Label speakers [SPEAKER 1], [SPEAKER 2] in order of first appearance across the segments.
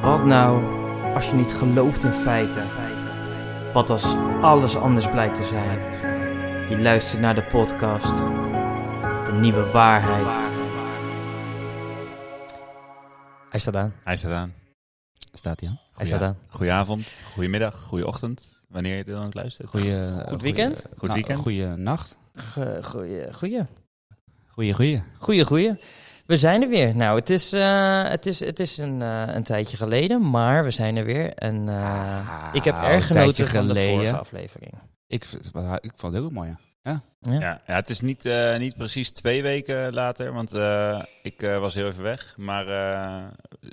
[SPEAKER 1] Wat nou als je niet gelooft in feiten? Wat als alles anders blijkt te zijn? Je luistert naar de podcast. De nieuwe waarheid.
[SPEAKER 2] Hij staat aan.
[SPEAKER 3] Hij staat aan.
[SPEAKER 2] Staat hij aan?
[SPEAKER 3] Goeia-
[SPEAKER 2] staat aan.
[SPEAKER 3] Goedenavond, goedemiddag, goedochtend, wanneer je dan ook luistert.
[SPEAKER 2] Goeie,
[SPEAKER 1] Goed weekend?
[SPEAKER 2] Goeie,
[SPEAKER 3] Goed weekend.
[SPEAKER 2] Goeie nacht.
[SPEAKER 1] Goeie, goeie.
[SPEAKER 2] Goeie, goeie.
[SPEAKER 1] Goeie, goeie. We zijn er weer. Nou, het is, eh, het is, het is een, eh, een tijdje geleden, maar we zijn er weer. En eh, ik heb
[SPEAKER 2] Ah,
[SPEAKER 1] erg
[SPEAKER 2] een tijdje
[SPEAKER 1] genoten van de
[SPEAKER 2] geleden.
[SPEAKER 1] vorige aflevering.
[SPEAKER 2] Ik, v- ik vond het ook mooi.
[SPEAKER 3] Ja, ja, het is niet, eh, niet precies twee weken later, want eh, ik eh, was heel even weg. Maar eh,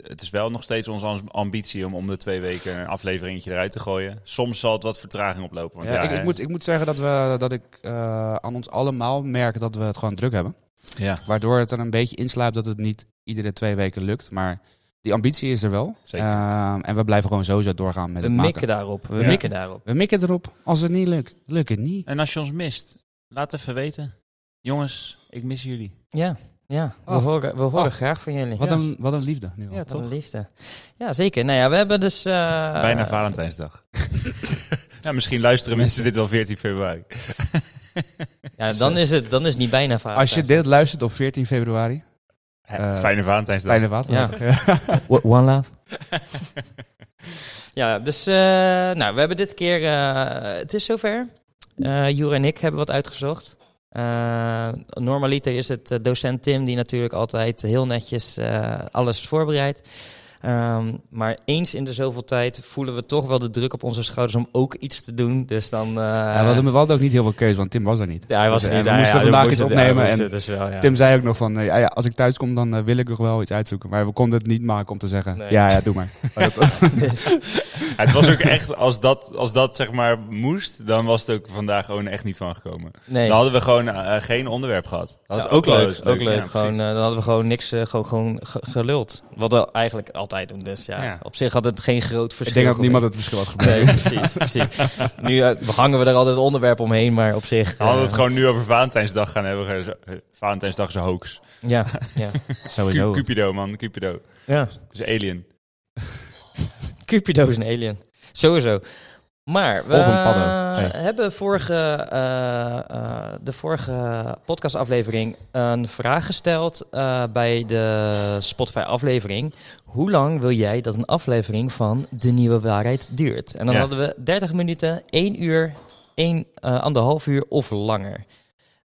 [SPEAKER 3] het is wel nog steeds onze am- ambitie om om de twee weken een afleveringetje eruit te gooien. Soms zal het wat vertraging oplopen. Want
[SPEAKER 2] Ja,
[SPEAKER 3] ja, eh,
[SPEAKER 2] ik, ik,
[SPEAKER 3] hè.
[SPEAKER 2] moet, ik moet zeggen dat, we, dat ik eh, aan ons allemaal merk dat we het gewoon druk hebben.
[SPEAKER 3] ja
[SPEAKER 2] Waardoor het er een beetje inslaapt dat het niet iedere twee weken lukt. Maar die ambitie is er wel.
[SPEAKER 3] Zeker.
[SPEAKER 2] Ehm, en we blijven gewoon sowieso doorgaan met
[SPEAKER 1] We
[SPEAKER 2] het maken.
[SPEAKER 1] mikken daarop. We
[SPEAKER 3] Ja.
[SPEAKER 1] mikken daarop.
[SPEAKER 2] We mikken erop. Als het niet lukt, lukt het niet.
[SPEAKER 3] En als je ons mist, laat even weten. Jongens, ik mis jullie.
[SPEAKER 1] Ja, ja. We
[SPEAKER 2] Oh.
[SPEAKER 1] horen, we horen
[SPEAKER 2] Oh.
[SPEAKER 1] graag van jullie.
[SPEAKER 2] Wat,
[SPEAKER 1] ja.
[SPEAKER 2] een, wat een liefde nu al.
[SPEAKER 3] Ja,
[SPEAKER 1] Wat een
[SPEAKER 3] toch?
[SPEAKER 1] liefde. Ja, zeker. Nou ja, we hebben dus... eh,
[SPEAKER 3] Bijna Valentijnsdag. ja, misschien luisteren mensen dit wel 14 februari.
[SPEAKER 1] Ja, dan is het dan is het niet bijna eh,
[SPEAKER 2] Als je
[SPEAKER 1] Valentijnsdag.
[SPEAKER 2] dit luistert op 14 februari, Eh,
[SPEAKER 3] Fijne Valentijnsdag.
[SPEAKER 2] fijne water.
[SPEAKER 1] One love. ja, dus eh, nou, we hebben dit keer... eh, het is zover. Eh Jure en ik hebben wat uitgezocht. Eh, normaliter is het eh, docent Tim die natuurlijk altijd heel netjes eh, alles voorbereidt. Ehm, maar eens in de zoveel tijd voelen we toch wel de druk op onze schouders om ook iets te doen. Dus dan... eh,
[SPEAKER 2] Ja, we hadden we hadden ook niet heel veel keus, want Tim was er niet.
[SPEAKER 1] Ja, hij was
[SPEAKER 2] Dus,
[SPEAKER 1] er
[SPEAKER 2] eh,
[SPEAKER 1] niet.
[SPEAKER 2] We
[SPEAKER 1] Ja,
[SPEAKER 2] moesten
[SPEAKER 1] ja,
[SPEAKER 2] vandaag
[SPEAKER 1] we
[SPEAKER 2] iets
[SPEAKER 1] moesten- ja, we
[SPEAKER 2] opnemen. en
[SPEAKER 1] moesten het dus wel, ja.
[SPEAKER 2] Tim zei ook nog van, eh, ja, ja, als ik thuis kom, dan eh, wil ik nog wel iets uitzoeken. Maar we konden het niet maken om te zeggen,
[SPEAKER 1] Nee.
[SPEAKER 2] ja, ja, doe maar. Maar dat-
[SPEAKER 1] Dus-
[SPEAKER 3] Ja, het was ook echt, als dat, als dat zeg maar moest, dan was het ook vandaag gewoon echt niet van gekomen.
[SPEAKER 1] nee.
[SPEAKER 3] Dan hadden we gewoon eh, geen onderwerp gehad. Dat
[SPEAKER 1] Ja,
[SPEAKER 3] is ook, wel eens
[SPEAKER 1] Ook leuk.
[SPEAKER 3] Ja,
[SPEAKER 1] gewoon,
[SPEAKER 3] precies.
[SPEAKER 1] eh, dan hadden we gewoon niks eh, gewoon, gewoon ge- geluld. Wat we eigenlijk altijd doen. Dus ja,
[SPEAKER 3] Ja.
[SPEAKER 1] op zich had het geen groot
[SPEAKER 2] ik
[SPEAKER 1] verschil.
[SPEAKER 2] denk dat niemand
[SPEAKER 1] geweest.
[SPEAKER 2] het verschil had gemaakt.
[SPEAKER 1] Nee, precies. precies. Nu eh, hangen we er altijd onderwerp omheen, maar op zich...
[SPEAKER 3] Dan hadden we
[SPEAKER 1] eh,
[SPEAKER 3] het gewoon nu over Valentijnsdag gaan hebben. eh, zo- eh, Valentijnsdag is een hoax.
[SPEAKER 1] Ja, ja.
[SPEAKER 2] Sowieso.
[SPEAKER 3] Cu- Cupido, man. Cupido. Dat
[SPEAKER 1] ja.
[SPEAKER 3] is een alien.
[SPEAKER 1] Cupido is een alien. Sowieso. Maar we
[SPEAKER 2] Of een paddo. Hey.
[SPEAKER 1] hebben vorige, eh, eh, de vorige podcastaflevering een vraag gesteld eh, bij de Spotify-aflevering. Hoe lang wil jij dat een aflevering van De Nieuwe Waarheid duurt? En dan
[SPEAKER 3] Ja.
[SPEAKER 1] hadden we 30 minuten, 1 uur, 1, anderhalf uur of langer.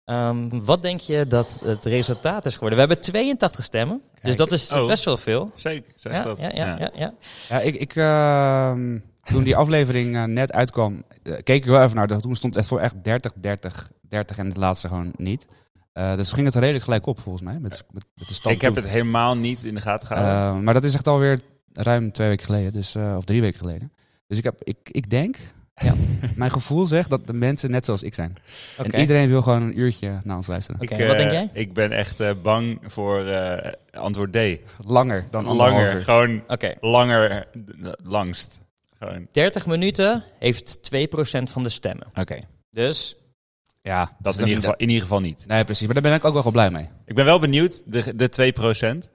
[SPEAKER 1] Ehm, wat denk je dat het resultaat is geworden? We hebben 82 stemmen, dus
[SPEAKER 3] Kijk.
[SPEAKER 1] dat is
[SPEAKER 3] Oh.
[SPEAKER 1] best wel veel.
[SPEAKER 3] Zeker, zeg
[SPEAKER 1] Ja,
[SPEAKER 3] dat.
[SPEAKER 1] ja, ja, ja, ja.
[SPEAKER 2] Ja, ik, ik, ehm, toen die aflevering eh, net uitkwam, eh, keek ik wel even naar. de- Toen stond het echt voor echt 30, 30, 30 en het laatste gewoon niet. Eh, dus ging het redelijk gelijk op, volgens mij, met, met, met de stand
[SPEAKER 3] Ik heb
[SPEAKER 2] toe.
[SPEAKER 3] het helemaal niet in de gaten gehouden.
[SPEAKER 2] Eh, maar dat is echt alweer ruim twee weken geleden, dus, eh, of drie weken geleden. Dus ik, heb, ik, ik denk, ja, mijn gevoel zegt dat de mensen net zoals ik zijn.
[SPEAKER 1] Oké.
[SPEAKER 2] En iedereen wil gewoon een uurtje naar ons luisteren.
[SPEAKER 1] Oké,
[SPEAKER 3] Ik,
[SPEAKER 1] wat
[SPEAKER 3] eh,
[SPEAKER 1] denk jij?
[SPEAKER 3] Ik ben echt eh, bang voor eh, antwoord D.
[SPEAKER 2] Langer dan anderhalf
[SPEAKER 3] Langer.
[SPEAKER 2] uur.
[SPEAKER 3] Gewoon
[SPEAKER 1] Oké.
[SPEAKER 3] langer. eh, Langst. Gewoon.
[SPEAKER 1] 30 minuten heeft 2% van de stemmen.
[SPEAKER 3] Oké.
[SPEAKER 1] Dus
[SPEAKER 2] Ja,
[SPEAKER 3] Dat
[SPEAKER 2] is
[SPEAKER 3] in ieder, geval, in ieder geval niet.
[SPEAKER 2] Nee, precies. Maar daar ben ik ook wel wel blij mee.
[SPEAKER 3] Ik ben wel benieuwd, de, de 2%.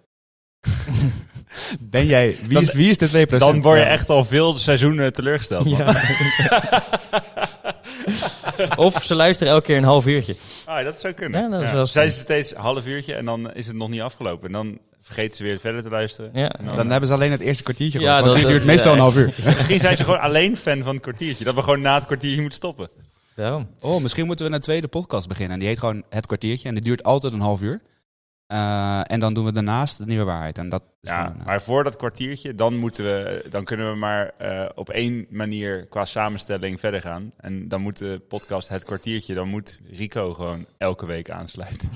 [SPEAKER 2] Ben jij, wie,
[SPEAKER 3] Dan-
[SPEAKER 2] is, wie is de 2%?
[SPEAKER 3] Dan word je
[SPEAKER 2] Ja.
[SPEAKER 3] echt al veel seizoenen teleurgesteld. Man.
[SPEAKER 1] Ja. of ze luisteren elke keer een half uurtje.
[SPEAKER 3] Ah, dat zou kunnen.
[SPEAKER 1] Ja, dat is wel slim.
[SPEAKER 3] Zijn ze steeds een half uurtje en dan is het nog niet afgelopen. En dan vergeten ze weer verder te luisteren.
[SPEAKER 1] Ja.
[SPEAKER 3] En dan-
[SPEAKER 2] Dan hebben ze alleen het eerste kwartiertje
[SPEAKER 1] Ja,
[SPEAKER 2] gehoord, want
[SPEAKER 1] dat-
[SPEAKER 2] die
[SPEAKER 1] dat-
[SPEAKER 2] duurt meestal
[SPEAKER 1] ja,
[SPEAKER 2] een half uur.
[SPEAKER 3] Misschien zijn ze gewoon alleen fan van het kwartiertje. Dat we gewoon na het kwartiertje moeten stoppen.
[SPEAKER 1] Daarom.
[SPEAKER 2] Oh, misschien moeten we een tweede podcast beginnen. En die heet gewoon Het Kwartiertje. En die duurt altijd een half uur. Eh, en dan doen we daarnaast de Nieuwe Waarheid. En dat is
[SPEAKER 3] Ja,
[SPEAKER 2] gewoon, eh,
[SPEAKER 3] maar voor dat kwartiertje, dan, moeten we, dan kunnen we maar eh, op één manier qua samenstelling verder gaan. En dan moet de podcast Het Kwartiertje, dan moet Rico gewoon elke week aansluiten.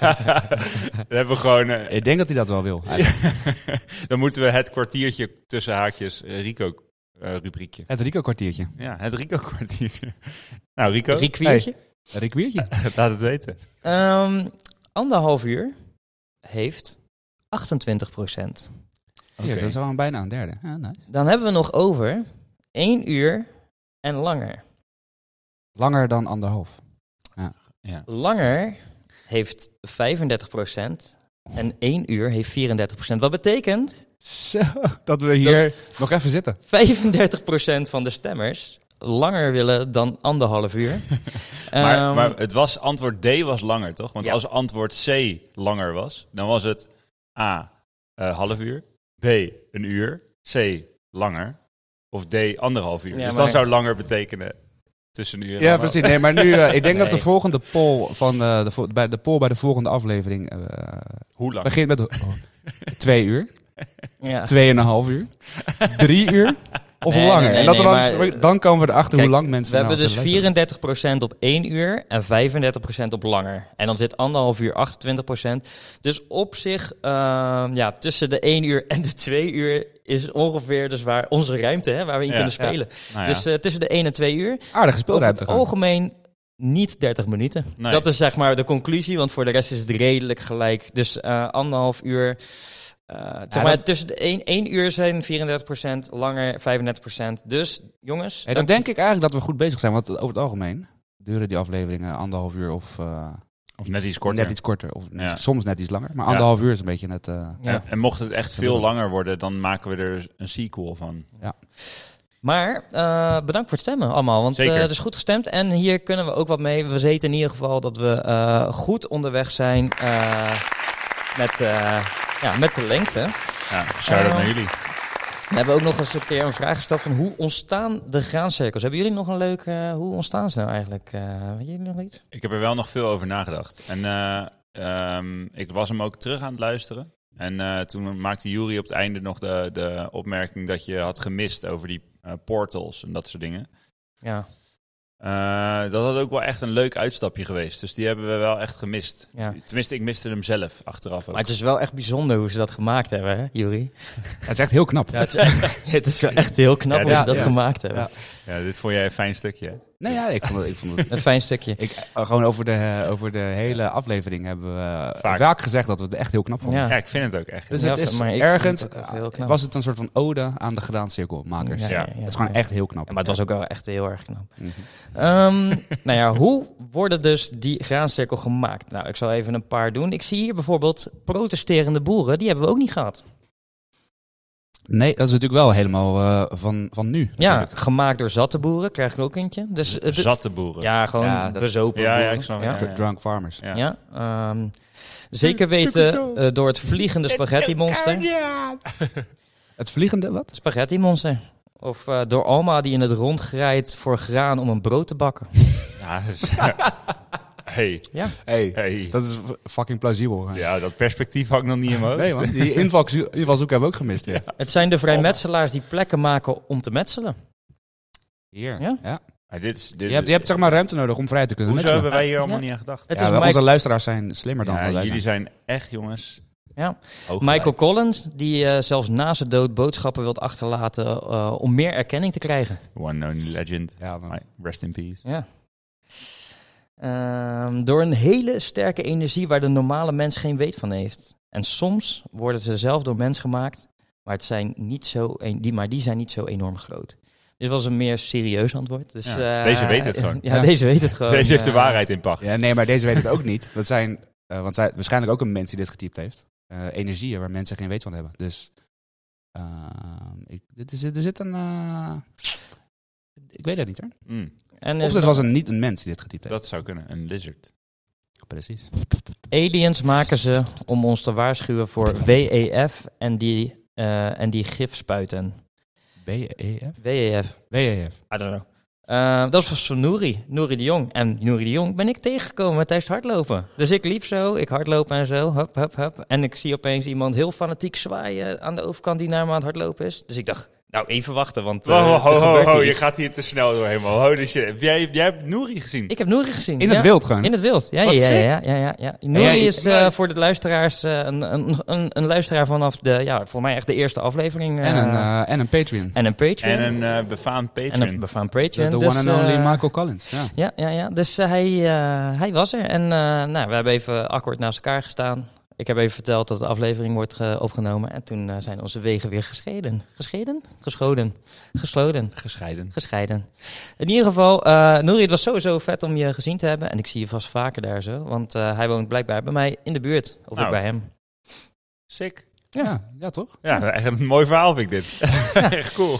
[SPEAKER 3] dan hebben we gewoon... eh,
[SPEAKER 2] Ik denk dat hij dat wel wil.
[SPEAKER 3] Dan moeten we het kwartiertje tussen haakjes eh, Rico eh, rubriekje.
[SPEAKER 2] Het Rico kwartiertje.
[SPEAKER 3] Ja, het Rico kwartiertje. Nou, Rico,
[SPEAKER 1] Requiertje.
[SPEAKER 2] Rick Wiertje.
[SPEAKER 3] laat het weten.
[SPEAKER 1] Ehm, anderhalf uur heeft 28%.
[SPEAKER 2] Ja, dat is al een bijna een derde. Ja, nice.
[SPEAKER 1] Dan hebben we nog over 1 uur en langer.
[SPEAKER 2] Langer dan anderhalf.
[SPEAKER 3] Ja.
[SPEAKER 1] Langer heeft 35%. En één uur heeft 34%. Wat betekent
[SPEAKER 2] Zo, dat we hier nog even zitten.
[SPEAKER 1] 35% van de stemmers langer willen dan anderhalf uur.
[SPEAKER 3] maar,
[SPEAKER 1] Ehm,
[SPEAKER 3] maar het was antwoord D was langer, toch? Want
[SPEAKER 1] Ja.
[SPEAKER 3] als antwoord C langer was, dan was het A eh, half uur, B een uur, C langer of D anderhalf uur.
[SPEAKER 1] Ja,
[SPEAKER 3] dus
[SPEAKER 1] maar-
[SPEAKER 3] dat zou langer betekenen tussen nu en
[SPEAKER 2] Ja,
[SPEAKER 3] anderhalf.
[SPEAKER 2] precies. Nee, maar nu, eh, ik denk dat de
[SPEAKER 1] Nee.
[SPEAKER 2] volgende poll, van, eh, de, vo- bij, de poll bij de volgende aflevering eh,
[SPEAKER 3] Hoe lang?
[SPEAKER 2] begint met oh, twee uur,
[SPEAKER 1] ja.
[SPEAKER 2] tweeënhalf uur, drie uur of
[SPEAKER 1] Nee,
[SPEAKER 2] langer.
[SPEAKER 1] nee, nee,
[SPEAKER 2] en dat we
[SPEAKER 1] nee,
[SPEAKER 2] dan,
[SPEAKER 1] maar-
[SPEAKER 2] dan komen we erachter
[SPEAKER 1] Kijk,
[SPEAKER 2] hoe lang mensen
[SPEAKER 1] We hebben
[SPEAKER 2] nou
[SPEAKER 1] dus
[SPEAKER 2] zullen luisteren.
[SPEAKER 1] 34% op één uur en 35% op langer. En dan zit anderhalf uur 28%. Dus op zich, ehm, ja, tussen de één uur en de twee uur is ongeveer dus waar onze ruimte hè, waar we in
[SPEAKER 3] Ja,
[SPEAKER 1] kunnen
[SPEAKER 2] ja.
[SPEAKER 1] spelen.
[SPEAKER 3] Nou ja.
[SPEAKER 1] Dus eh, tussen de 1 en 2 uur.
[SPEAKER 2] Aardige
[SPEAKER 1] Over
[SPEAKER 2] speelruimte.
[SPEAKER 1] het
[SPEAKER 2] gewoon.
[SPEAKER 1] algemeen niet 30 minuten.
[SPEAKER 3] Nee.
[SPEAKER 1] Dat is zeg maar de conclusie, want voor de rest is het redelijk gelijk. Dus eh, anderhalf uur. eh, zeg maar,
[SPEAKER 2] dat-
[SPEAKER 1] tussen de 1, uur zijn 34%, langer 35%. Dus jongens,
[SPEAKER 2] Hey, dan denk ik eigenlijk dat we goed bezig zijn, want over het algemeen duren die afleveringen anderhalf uur of eh,
[SPEAKER 3] Of net iets korter.
[SPEAKER 2] net iets korter. Of net-
[SPEAKER 3] Ja.
[SPEAKER 2] soms net iets langer, maar anderhalf uur is een beetje net... eh,
[SPEAKER 1] ja.
[SPEAKER 3] En, en mocht het echt veel langer worden, dan maken we er een sequel van.
[SPEAKER 1] Maar eh, bedankt voor het stemmen allemaal, want
[SPEAKER 3] Zeker.
[SPEAKER 1] eh, het is goed gestemd. En hier kunnen we ook wat mee. We weten in ieder geval dat we eh, goed onderweg zijn eh, met, eh, ja, met de lengte.
[SPEAKER 3] Ja, shout-out
[SPEAKER 1] Eh,
[SPEAKER 3] naar jullie.
[SPEAKER 1] We hebben ook nog eens een keer een vraag gesteld van hoe ontstaan de graancirkels? Hebben jullie nog een leuk, eh, hoe ontstaan ze nou eigenlijk? Eh weet jullie nog iets?
[SPEAKER 3] Ik heb er wel nog veel over nagedacht. En eh, ehm, ik was hem ook terug aan het luisteren. En eh, toen maakte Jury op het einde nog de, de opmerking dat je had gemist over die eh, portals en dat soort dingen.
[SPEAKER 1] Ja,
[SPEAKER 3] Eh, dat had ook wel echt een leuk uitstapje geweest. Dus die hebben we wel echt gemist.
[SPEAKER 1] ja.
[SPEAKER 3] Tenminste, ik miste hem zelf achteraf ook.
[SPEAKER 1] Maar het is wel echt bijzonder hoe ze dat gemaakt hebben, hè, Juri?
[SPEAKER 2] het is echt heel knap.
[SPEAKER 1] Ja, het, is echt, het is wel echt heel knap
[SPEAKER 3] Ja,
[SPEAKER 1] hoe ze
[SPEAKER 2] dit-
[SPEAKER 1] dat
[SPEAKER 2] ja.
[SPEAKER 1] gemaakt hebben.
[SPEAKER 2] Ja.
[SPEAKER 3] Ja, dit vond jij een fijn stukje. hè?
[SPEAKER 2] Nee, ja, ik vond het... Ik vond het
[SPEAKER 1] Een fijn stukje.
[SPEAKER 2] Ik, eh, gewoon over de, eh, over de hele aflevering hebben we eh,
[SPEAKER 3] Vaak.
[SPEAKER 2] vaak, gezegd dat we het echt heel knap vonden.
[SPEAKER 1] Ja.
[SPEAKER 3] Ja, ik vind het ook echt.
[SPEAKER 2] Dus
[SPEAKER 1] Ja,
[SPEAKER 2] het is
[SPEAKER 1] maar ik vond
[SPEAKER 2] ergens,
[SPEAKER 1] het ook heel knap.
[SPEAKER 2] was het een soort van ode aan de graancirkelmakers.
[SPEAKER 3] Ja.
[SPEAKER 2] Het is gewoon echt heel knap.
[SPEAKER 1] Ja, maar het was ook wel echt heel erg knap.
[SPEAKER 2] Mhm.
[SPEAKER 1] Ehm, nou ja, hoe worden dus die graancirkel gemaakt? Nou, ik zal even een paar doen. Ik zie hier bijvoorbeeld protesterende boeren. Die hebben we ook niet gehad.
[SPEAKER 2] Nee, dat is natuurlijk wel helemaal eh, van, van nu.
[SPEAKER 1] Ja,
[SPEAKER 2] natuurlijk.
[SPEAKER 1] gemaakt door zatte boeren. Krijg je er ook eentje. Dus het,
[SPEAKER 3] Zatte boeren.
[SPEAKER 1] ja, gewoon
[SPEAKER 2] Ja, dat-
[SPEAKER 1] bezopen
[SPEAKER 3] Ja, ja,
[SPEAKER 1] boeren.
[SPEAKER 3] ik snap het,
[SPEAKER 1] Ja,
[SPEAKER 3] ja.
[SPEAKER 2] Dr- Drunk farmers.
[SPEAKER 3] Ja.
[SPEAKER 1] ja, ehm, zeker weten eh, door het vliegende spaghetti monster.
[SPEAKER 2] Het vliegende, wat?
[SPEAKER 1] Spaghetti monster. Of eh, door Alma die in het rond grijpt voor graan om een brood te bakken.
[SPEAKER 3] Ja, dus- hey,
[SPEAKER 2] Hé,
[SPEAKER 3] hey.
[SPEAKER 2] dat is fucking plausibel.
[SPEAKER 3] Ja, dat perspectief had ik nog niet in mijn hoofd.
[SPEAKER 2] Nee man, die invals- invalshoek hebben we ook gemist. Ja.
[SPEAKER 1] Het zijn de vrijmetselaars die plekken maken om te metselen.
[SPEAKER 2] Hier.
[SPEAKER 1] Ja?
[SPEAKER 2] Ja?
[SPEAKER 3] Maar dit is, dit,
[SPEAKER 2] Je, hebt, je hebt zeg maar ruimte nodig om vrij te kunnen
[SPEAKER 3] hoezo
[SPEAKER 2] metselen.
[SPEAKER 3] hebben wij hier allemaal
[SPEAKER 1] Ja.
[SPEAKER 3] niet aan gedacht?
[SPEAKER 1] Het
[SPEAKER 2] Ja,
[SPEAKER 1] is
[SPEAKER 2] wij-
[SPEAKER 1] Mike-
[SPEAKER 2] Onze luisteraars zijn slimmer dan
[SPEAKER 3] Ja,
[SPEAKER 2] wij zijn.
[SPEAKER 3] jullie zijn echt jongens.
[SPEAKER 1] Ja.
[SPEAKER 3] Hoog
[SPEAKER 1] Michael
[SPEAKER 3] gelijk.
[SPEAKER 1] Collins, die eh, zelfs na zijn dood boodschappen wilt achterlaten eh, om meer erkenning te krijgen.
[SPEAKER 3] One known legend.
[SPEAKER 2] Ja, man.
[SPEAKER 3] Maar Rest in peace.
[SPEAKER 1] Ja. Ehm, door een hele sterke energie waar de normale mens geen weet van heeft. En soms worden ze zelf door mens gemaakt, maar, het zijn niet zo en- die, maar die zijn niet zo enorm groot. Dit was een meer serieus antwoord. Dus,
[SPEAKER 3] Ja,
[SPEAKER 1] eh,
[SPEAKER 3] deze weet het gewoon.
[SPEAKER 1] Ja,
[SPEAKER 2] Ja.
[SPEAKER 1] deze weet het gewoon.
[SPEAKER 3] Deze heeft de
[SPEAKER 1] eh,
[SPEAKER 3] waarheid in pacht.
[SPEAKER 2] Ja, nee, maar deze weet het ook niet. Dat zijn, eh, want zij, waarschijnlijk ook een mens die dit getypt heeft. Eh, energieën waar mensen geen weet van hebben. Dus ehm, ik, dit is, er zit een. eh, ik weet dat niet hoor.
[SPEAKER 3] Mm,
[SPEAKER 1] En
[SPEAKER 2] Of
[SPEAKER 1] is
[SPEAKER 2] het
[SPEAKER 1] nog-
[SPEAKER 2] was een, niet een mens die dit getypt heeft.
[SPEAKER 3] dat zou kunnen. Een lizard.
[SPEAKER 2] Precies.
[SPEAKER 1] Aliens Dus maken ze om ons te waarschuwen voor WEF en die, eh, en die gifspuiten.
[SPEAKER 2] BEF?
[SPEAKER 1] WEF.
[SPEAKER 2] WEF.
[SPEAKER 1] I don't know. Eh, dat was van Nouri, Nouri de Jong. En Nouri de Jong ben ik tegengekomen tijdens het hardlopen. Dus ik liep zo, ik hardloop en zo, hup, hup, hup. En ik zie opeens iemand heel fanatiek zwaaien aan de overkant die naar me aan het hardlopen is. Dus ik dacht, nou even wachten, want eh, er gebeurt hier iets.
[SPEAKER 3] gaat hier te snel doorheen, man. Holy shit. Jij, jij hebt Nouri gezien.
[SPEAKER 1] Ik heb Nouri gezien.
[SPEAKER 2] In het
[SPEAKER 1] ja.
[SPEAKER 2] wild gewoon.
[SPEAKER 1] In het wild, ja, ja,
[SPEAKER 3] Wat
[SPEAKER 1] ja,
[SPEAKER 3] sick.
[SPEAKER 1] ja, ja, ja, ja. Nouri
[SPEAKER 2] Ja, ja,
[SPEAKER 1] is eh, voor de luisteraars eh, een, een, een, een luisteraar vanaf de, ja, voor mij echt de eerste aflevering. eh,
[SPEAKER 2] en, een, eh, en een Patreon.
[SPEAKER 1] en een Patreon.
[SPEAKER 3] En een eh, befaamd
[SPEAKER 1] en een
[SPEAKER 3] patron.
[SPEAKER 1] befaamd
[SPEAKER 2] De,
[SPEAKER 1] Patreon.
[SPEAKER 2] de
[SPEAKER 1] Dus,
[SPEAKER 2] one and only
[SPEAKER 1] eh,
[SPEAKER 2] Michael Collins. Ja.
[SPEAKER 1] Ja, ja, ja. dus eh, hij, eh, hij was er. En eh, nou, we hebben even akkoord naast elkaar gestaan. Ik heb even verteld dat de aflevering wordt eh, opgenomen. En toen eh, zijn onze wegen weer gescheiden. Gescheiden? Geschoden. Gesloten.
[SPEAKER 3] Gescheiden.
[SPEAKER 1] Gescheiden. In ieder geval, eh Nouri, het was sowieso vet om je gezien te hebben. En ik zie je vast vaker daar zo. Want eh, hij woont blijkbaar bij mij in de buurt. Of
[SPEAKER 3] Nou.
[SPEAKER 1] ook bij hem.
[SPEAKER 3] Sick.
[SPEAKER 2] Ja, ja, toch?
[SPEAKER 3] Ja, echt een mooi verhaal vind ik dit. echt cool.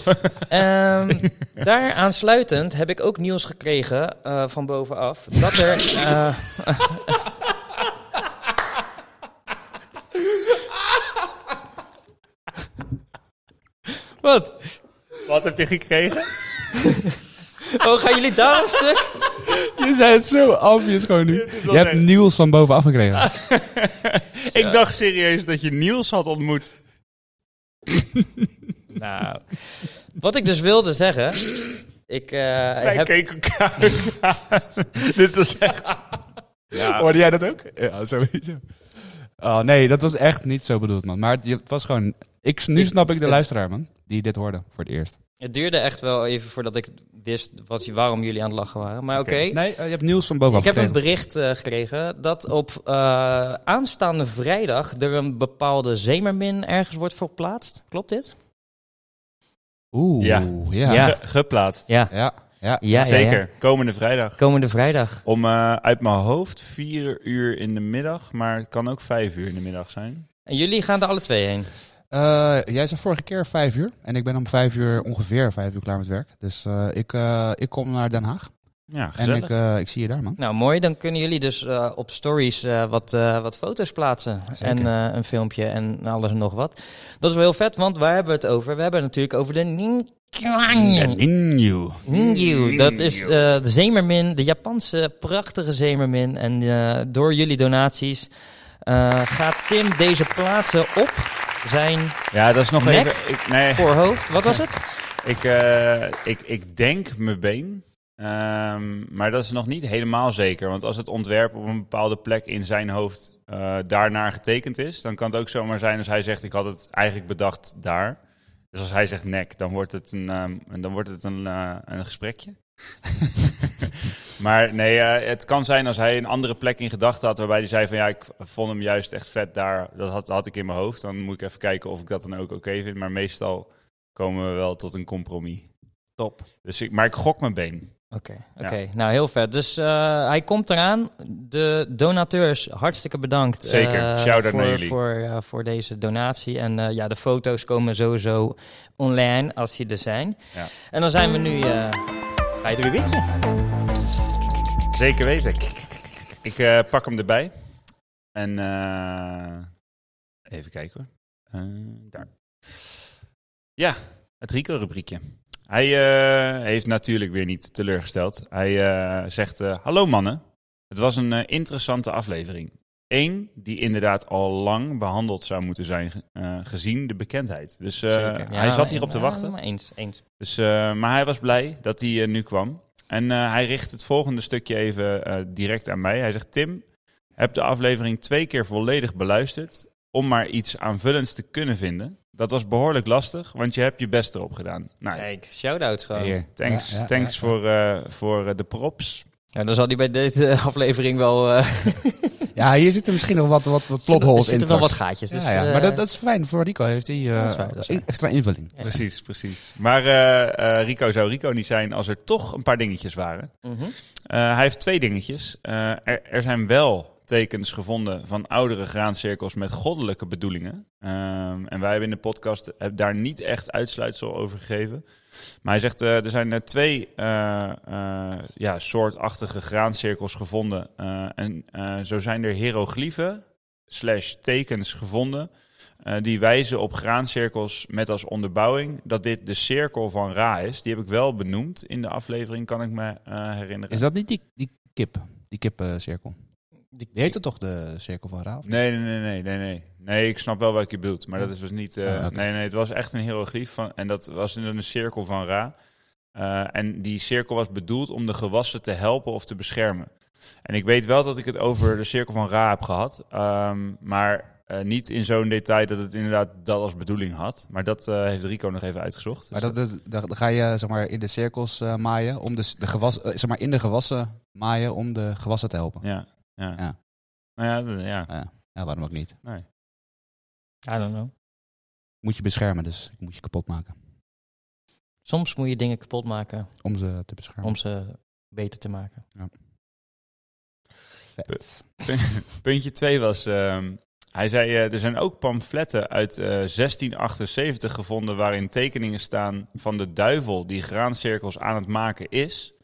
[SPEAKER 1] Ehm daar aansluitend heb ik ook nieuws gekregen eh, van bovenaf. Dat er. eh, Wat?
[SPEAKER 3] Wat heb je gekregen?
[SPEAKER 1] Oh, gaan jullie daar op stuk?
[SPEAKER 2] Je zei het zo obvious gewoon nu. Je hebt
[SPEAKER 3] echt-
[SPEAKER 2] Niels van bovenaf gekregen.
[SPEAKER 3] Ik dacht serieus dat je Niels had ontmoet.
[SPEAKER 1] Nou, wat ik dus wilde zeggen. Ik eh,
[SPEAKER 3] Wij
[SPEAKER 1] heb
[SPEAKER 3] keken elkaar aan. Dit was echt... Ja.
[SPEAKER 2] Hoorde jij dat ook? Ja, sowieso. Oh nee, dat was echt niet zo bedoeld, man. Maar het- het was gewoon... Ik, nu snap ik de luisteraar, man. Die dit hoorde voor het eerst.
[SPEAKER 1] Het duurde echt wel even voordat ik wist wat, waarom jullie aan het lachen waren. Maar oké,
[SPEAKER 3] Oké.
[SPEAKER 2] Nee, eh, je hebt Niels van bovenaf
[SPEAKER 1] ik heb een
[SPEAKER 2] gekregen.
[SPEAKER 1] bericht eh, gekregen dat op eh, aanstaande vrijdag er een bepaalde zeemermin ergens wordt verplaatst. Klopt dit?
[SPEAKER 2] Oeh,
[SPEAKER 3] Ja.
[SPEAKER 2] ja.
[SPEAKER 1] Ja.
[SPEAKER 3] Ge- geplaatst.
[SPEAKER 1] Ja,
[SPEAKER 2] Ja, ja.
[SPEAKER 1] ja,
[SPEAKER 3] Zeker. Komende vrijdag.
[SPEAKER 1] Komende vrijdag.
[SPEAKER 3] Om eh, uit mijn hoofd vier uur in de middag, maar het kan ook vijf uur in de middag zijn.
[SPEAKER 1] En jullie gaan er alle twee heen.
[SPEAKER 2] Eh, jij zei vorige keer vijf uur. En ik ben om vijf uur, ongeveer vijf uur klaar met werk. Dus eh, ik, eh, ik kom naar Den Haag.
[SPEAKER 3] Ja,
[SPEAKER 2] En
[SPEAKER 3] gezellig.
[SPEAKER 2] ik, eh, ik zie je daar, man.
[SPEAKER 1] Nou, mooi. Dan kunnen jullie dus eh, op stories eh, wat, eh, wat foto's plaatsen.
[SPEAKER 2] Zeker.
[SPEAKER 1] En eh, een filmpje en alles en nog wat. Dat is wel heel vet, want waar hebben we het over? We hebben het natuurlijk over de Ninklang.
[SPEAKER 2] you.
[SPEAKER 1] Ningyu, dat is eh, de zeemermin, de Japanse prachtige zeemermin. En eh, door jullie donaties eh, gaat Tim deze plaatsen op zijn
[SPEAKER 3] Ja, dat is nog
[SPEAKER 1] Nek?
[SPEAKER 3] even. Ik, nee,
[SPEAKER 1] voorhoofd. Wat was het?
[SPEAKER 3] ik, eh, ik, ik denk mijn been. Ehm, maar dat is nog niet helemaal zeker. Want als het ontwerp op een bepaalde plek in zijn hoofd eh, daarnaar getekend is, dan kan het ook zomaar zijn als hij zegt: Ik had het eigenlijk bedacht daar. Dus als hij zegt nek, dan wordt het een, ehm, en dan wordt het een, eh, een gesprekje. maar nee, eh, het kan zijn als hij een andere plek in gedachten had waarbij hij zei van ja, ik vond hem juist echt vet daar. Dat had, had ik in mijn hoofd. Dan moet ik even kijken of ik dat dan ook oké vind. Maar meestal komen we wel tot een compromis.
[SPEAKER 1] Top.
[SPEAKER 3] Dus ik, maar ik gok mijn been.
[SPEAKER 1] Oké, oké. nou heel vet. Dus eh, hij komt eraan. De donateurs, hartstikke bedankt. eh,
[SPEAKER 3] Zeker. Shout-out
[SPEAKER 1] voor,
[SPEAKER 3] naar jullie.
[SPEAKER 1] Voor, eh, voor deze donatie. En eh, ja, de foto's komen sowieso online als die er zijn.
[SPEAKER 3] Ja.
[SPEAKER 1] En dan zijn we nu eh, bij het rubriekje.
[SPEAKER 3] Zeker weten. Ik eh, pak hem erbij. En eh, even kijken hoor. Eh, daar. Ja, het Rico-rubriekje. Hij eh, heeft natuurlijk weer niet teleurgesteld. Hij eh, zegt, eh, hallo mannen. Het was een eh, interessante aflevering. Eén die inderdaad al lang behandeld zou moeten zijn ge- eh, gezien de bekendheid. Dus eh,
[SPEAKER 1] Zeker.
[SPEAKER 3] hij
[SPEAKER 1] Ja,
[SPEAKER 3] zat hierop te
[SPEAKER 1] ja,
[SPEAKER 3] wachten.
[SPEAKER 1] Eens, eens.
[SPEAKER 3] Dus, eh, maar hij was blij dat hij eh, nu kwam. En eh, hij richt het volgende stukje even eh, direct aan mij. Hij zegt: Tim, heb de aflevering twee keer volledig beluisterd. om maar iets aanvullends te kunnen vinden. Dat was behoorlijk lastig, want je hebt je best erop gedaan. Nou,
[SPEAKER 1] Kijk, shout-outs gewoon.
[SPEAKER 3] thanks, thanks voor, eh, voor eh, de props.
[SPEAKER 1] Ja, dan zal hij bij deze eh, aflevering wel... eh
[SPEAKER 2] Ja, hier zitten misschien nog wat, wat, wat plot holes
[SPEAKER 1] er zitten
[SPEAKER 2] in
[SPEAKER 1] wel wat
[SPEAKER 2] straks.
[SPEAKER 1] gaatjes. Dus,
[SPEAKER 2] ja, ja.
[SPEAKER 1] eh,
[SPEAKER 2] maar dat, dat is fijn. Voor Rico heeft hij eh,
[SPEAKER 1] Dat is waar, dat is waar.
[SPEAKER 2] extra invulling.
[SPEAKER 1] Ja.
[SPEAKER 3] Precies, precies. Maar eh, eh, Rico zou Rico niet zijn als er toch een paar dingetjes waren.
[SPEAKER 1] mhm.
[SPEAKER 3] Eh, hij heeft twee dingetjes. Eh, er, er zijn wel tekens gevonden van oudere graancirkels met goddelijke bedoelingen. Ehm, en wij hebben in de podcast eh, daar niet echt uitsluitsel over gegeven. Maar hij zegt, eh, er zijn eh, twee eh, eh, ja, soortachtige graancirkels gevonden. Eh, en eh, zo zijn er hieroglyphen slash tekens gevonden... eh, die wijzen op graancirkels met als onderbouwing dat dit de cirkel van Ra is. Die heb ik wel benoemd in de aflevering, kan ik me eh, herinneren.
[SPEAKER 2] Is dat niet die, die kip? Die kipcirkel?
[SPEAKER 1] Die-
[SPEAKER 2] die heet het toch de cirkel van Raaf?
[SPEAKER 3] Nee, nee, nee, nee, nee, nee. Nee, ik snap wel wat je bedoelt. Maar dat is dus niet. eh,
[SPEAKER 2] Ah, oké.
[SPEAKER 3] Nee, nee, het was echt een hieroglyf. Van, en dat was in een cirkel van Ra. Eh, en die cirkel was bedoeld om de gewassen te helpen of te beschermen. En ik weet wel dat ik het over de cirkel van Ra heb gehad. ehm, maar eh, niet in zo'n detail dat het inderdaad dat als bedoeling had. Maar dat eh, heeft Rico nog even uitgezocht.
[SPEAKER 2] Maar
[SPEAKER 3] Dus
[SPEAKER 2] dat, dat, dat- dan ga je zeg maar, in de cirkels eh, maaien om de, s- de gewas, eh, zeg maar, in de gewassen maaien om de gewassen te helpen.
[SPEAKER 3] Ja, ja.
[SPEAKER 2] Ja.
[SPEAKER 3] Nou ja, dat- ja.
[SPEAKER 2] Ja, waarom ook niet?
[SPEAKER 1] I don't know.
[SPEAKER 2] Moet je beschermen, dus ik moet je kapot maken.
[SPEAKER 1] Soms moet je dingen kapot maken
[SPEAKER 2] Om ze te beschermen.
[SPEAKER 1] om ze beter te maken.
[SPEAKER 2] Vet.
[SPEAKER 3] Puntje 2 was ehm, Hij zei, eh, er zijn ook pamfletten uit eh, 1678 gevonden waarin tekeningen staan van de duivel die graancirkels aan het maken is.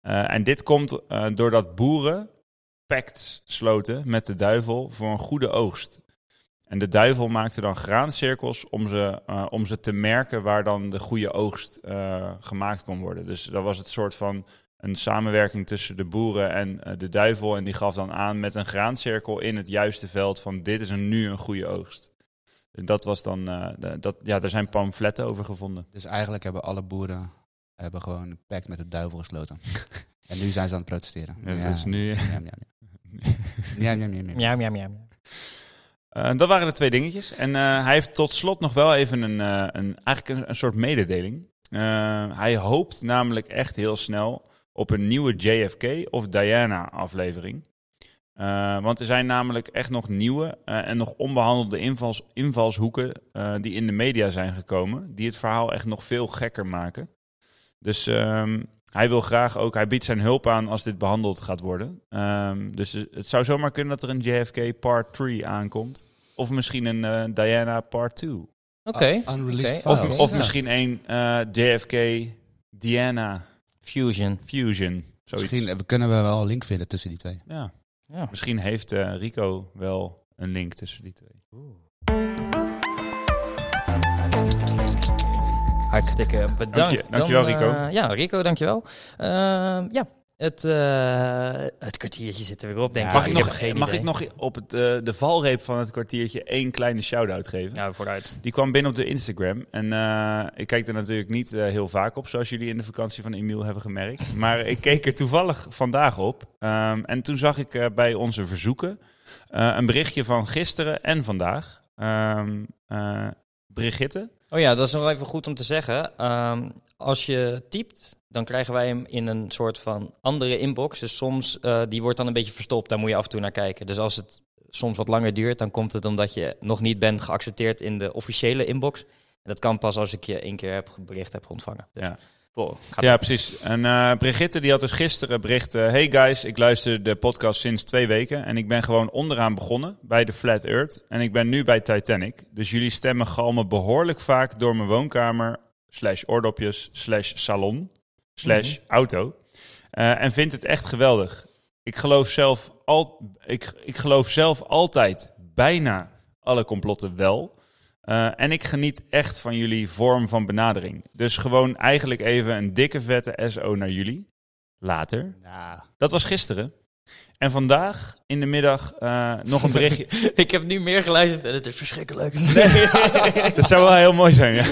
[SPEAKER 3] Eh, en dit komt eh, doordat boeren pacts sloten met de duivel voor een goede oogst. En de duivel maakte dan graancirkels om ze, eh, om ze te merken waar dan de goede oogst eh, gemaakt kon worden. Dus dat was het soort van een samenwerking tussen de boeren en eh, de duivel. En die gaf dan aan met een graancirkel in het juiste veld van dit is een, nu een goede oogst. En dat was dan, eh, de- dat, ja, daar zijn pamfletten over gevonden.
[SPEAKER 2] Dus eigenlijk hebben alle boeren hebben gewoon een pact met de duivel gesloten. en nu zijn ze aan het protesteren.
[SPEAKER 3] Ja, Dat is nu...
[SPEAKER 2] Njam, njam, njam. Njam, njam, njam.
[SPEAKER 1] Ja, ja, ja.
[SPEAKER 3] Eh, dat waren de twee dingetjes. En eh, hij heeft tot slot nog wel even een, eh, een, eigenlijk een, een soort mededeling. Eh, hij hoopt namelijk echt heel snel op een nieuwe JFK of Diana aflevering. Eh, want er zijn namelijk echt nog nieuwe eh, en nog onbehandelde invals, invalshoeken eh, die in de media zijn gekomen. Die het verhaal echt nog veel gekker maken. Dus ehm, hij wil graag ook, hij biedt zijn hulp aan als dit behandeld gaat worden. Ehm, dus het zou zomaar kunnen dat er een JFK Part 3 aankomt. Of misschien een eh, Diana Part 2.
[SPEAKER 1] Oké.
[SPEAKER 2] Uh, unreleased
[SPEAKER 1] Oké.
[SPEAKER 2] files.
[SPEAKER 1] Oké.
[SPEAKER 3] Of, of misschien een eh, JFK Diana
[SPEAKER 1] Fusion.
[SPEAKER 3] Fusion. Zoiets.
[SPEAKER 2] Misschien eh, kunnen we wel een link vinden tussen die twee.
[SPEAKER 3] Ja.
[SPEAKER 1] Ja.
[SPEAKER 3] Misschien heeft eh, Rico wel een link tussen die twee.
[SPEAKER 1] Hartstikke bedankt.
[SPEAKER 3] Dank je- dankjewel,
[SPEAKER 1] Dan,
[SPEAKER 3] Rico.
[SPEAKER 1] eh, ja, Rico, dankjewel. Ehm ja, het, eh, het kwartiertje zit er weer op, denk ik.
[SPEAKER 2] Ja,
[SPEAKER 3] mag ik,
[SPEAKER 1] ik heb
[SPEAKER 3] nog,
[SPEAKER 1] geen
[SPEAKER 3] mag
[SPEAKER 1] idee.
[SPEAKER 3] ik nog op het, eh, de valreep van het kwartiertje één kleine shout-out geven?
[SPEAKER 1] Ja, Nou, vooruit.
[SPEAKER 3] Die kwam binnen op de Instagram. En eh, ik kijk er natuurlijk niet eh, heel vaak op, zoals jullie in de vakantie van Emiel hebben gemerkt. Maar ik keek er toevallig vandaag op. Ehm, en toen zag ik eh, bij onze verzoeken eh, een berichtje van gisteren en vandaag. Ehm eh, Brigitte.
[SPEAKER 1] Oh ja, dat is nog even goed om te zeggen. Ehm, als je typt, dan krijgen wij hem in een soort van andere inbox. Dus soms, eh, die wordt dan een beetje verstopt. Daar moet je af en toe naar kijken. Dus als het soms wat langer duurt, dan komt het omdat je nog niet bent geaccepteerd in de officiële inbox. En dat kan pas als ik je één keer heb ge- bericht heb ontvangen. Dus,
[SPEAKER 3] Ja.
[SPEAKER 1] wow, gaat
[SPEAKER 3] Ja, precies. En eh, Brigitte die had dus gisteren bericht... eh, hey guys, ik luister de podcast sinds twee weken... en ik ben gewoon onderaan begonnen bij de Flat Earth... en ik ben nu bij Titanic. Dus jullie stemmen galmen behoorlijk vaak door mijn woonkamer... slash oordopjes, slash salon, slash auto. Eh, en vind het echt geweldig. Ik geloof, zelf al, ik, ik geloof zelf altijd bijna alle complotten wel... Eh, en ik geniet echt van jullie vorm van benadering. Dus gewoon eigenlijk even een dikke vette SO naar jullie. Later. Dat was gisteren. En vandaag in de middag eh, nog een berichtje.
[SPEAKER 1] Ik heb nu meer geluisterd en het is verschrikkelijk.
[SPEAKER 3] dat zou wel heel mooi zijn. Ja.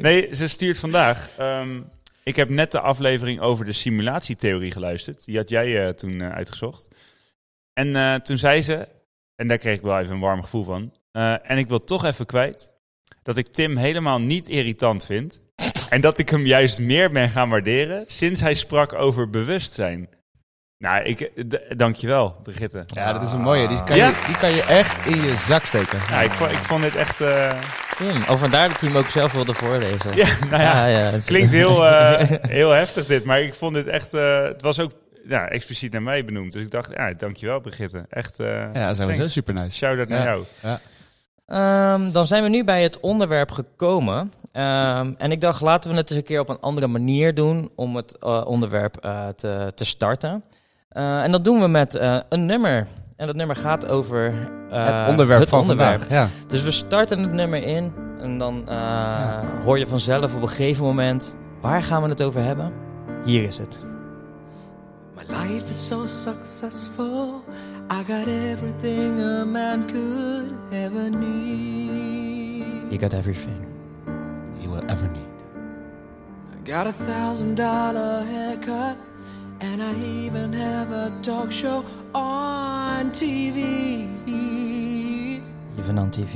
[SPEAKER 3] Nee, ze stuurt vandaag. ehm, ik heb net de aflevering over de simulatietheorie geluisterd. Die had jij eh, toen eh, uitgezocht. En eh, toen zei ze, en daar kreeg ik wel even een warm gevoel van. eh, en ik wil toch even kwijt dat ik Tim helemaal niet irritant vind. En dat ik hem juist meer ben gaan waarderen sinds hij sprak over bewustzijn. Nou, ik, eh, d- dankjewel, Brigitte.
[SPEAKER 2] Ja, dat is een mooie. Die kan,
[SPEAKER 3] Ja.
[SPEAKER 2] je, die kan je echt in je zak steken.
[SPEAKER 3] Ja, ik, vond- ik vond dit echt... eh,
[SPEAKER 1] Tim, oh, vandaar dat hij hem ook zelf wilde voorlezen. Ah,
[SPEAKER 3] ja, nou ja,
[SPEAKER 1] ja, het is-
[SPEAKER 3] Klinkt heel, eh, heel heftig dit, maar ik vond dit echt... eh, het was ook ja, expliciet naar mij benoemd. Dus ik dacht, ja, dankjewel Brigitte. Echt, eh,
[SPEAKER 2] Ja, sowieso
[SPEAKER 3] thanks.
[SPEAKER 2] super nice.
[SPEAKER 3] shout-out naar
[SPEAKER 2] Ja.
[SPEAKER 3] jou.
[SPEAKER 1] Ehm, dan zijn we nu bij het onderwerp gekomen. Ehm, en ik dacht, laten we het eens een keer op een andere manier doen om het eh, onderwerp eh, te, te starten. Eh, en dat doen we met eh, een nummer. En dat nummer gaat over eh,
[SPEAKER 2] het onderwerp van
[SPEAKER 1] onderwerp.
[SPEAKER 2] vandaag. Ja.
[SPEAKER 1] Dus we starten het nummer in en dan eh, hoor je vanzelf op een gegeven moment waar gaan we het over hebben. Hier is het.
[SPEAKER 4] My life is so successful. I got everything a man could ever need.
[SPEAKER 1] You got everything.
[SPEAKER 2] You will ever need.
[SPEAKER 4] I got a thousand dollar haircut, and I even have a talk show on TV.
[SPEAKER 1] Even on TV.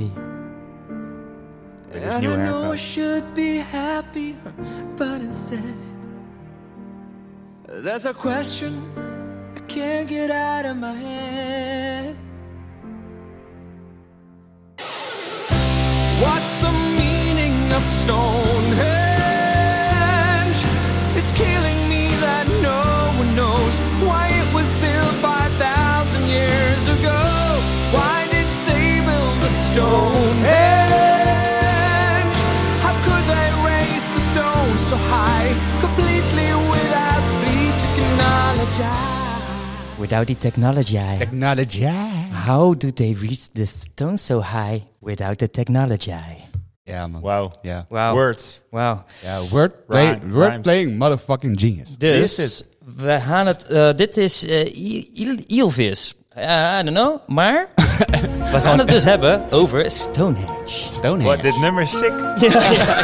[SPEAKER 3] is
[SPEAKER 4] And
[SPEAKER 3] nieuw
[SPEAKER 4] I know I
[SPEAKER 3] haircut.
[SPEAKER 4] should be happy, but instead, there's a question I can't get out of my head. What's the meaning of Stonehenge? It's killing me that no one knows why it was built 5,000 years ago. Why did they build own hands. How could they raise the stone so high, completely without the technology?
[SPEAKER 1] Without the technology.
[SPEAKER 2] Technology.
[SPEAKER 1] How do they reach the stone so high without the technology?
[SPEAKER 2] Ja, man.
[SPEAKER 3] Wauw.
[SPEAKER 2] Ja.
[SPEAKER 1] Wauw.
[SPEAKER 3] Word.
[SPEAKER 1] Wauw.
[SPEAKER 2] ja word, play-
[SPEAKER 3] Rhyme-
[SPEAKER 2] word
[SPEAKER 3] rhymes.
[SPEAKER 2] playing motherfucking genius.
[SPEAKER 1] Dus we gaan het. eh, dit is eh, I- Il- Ilvis. Eh, I don't know, maar we gaan het dus hebben over Stonehenge.
[SPEAKER 3] Wat,
[SPEAKER 2] Stonehenge.
[SPEAKER 3] dit nummer is sick.
[SPEAKER 1] ja, ja, ja.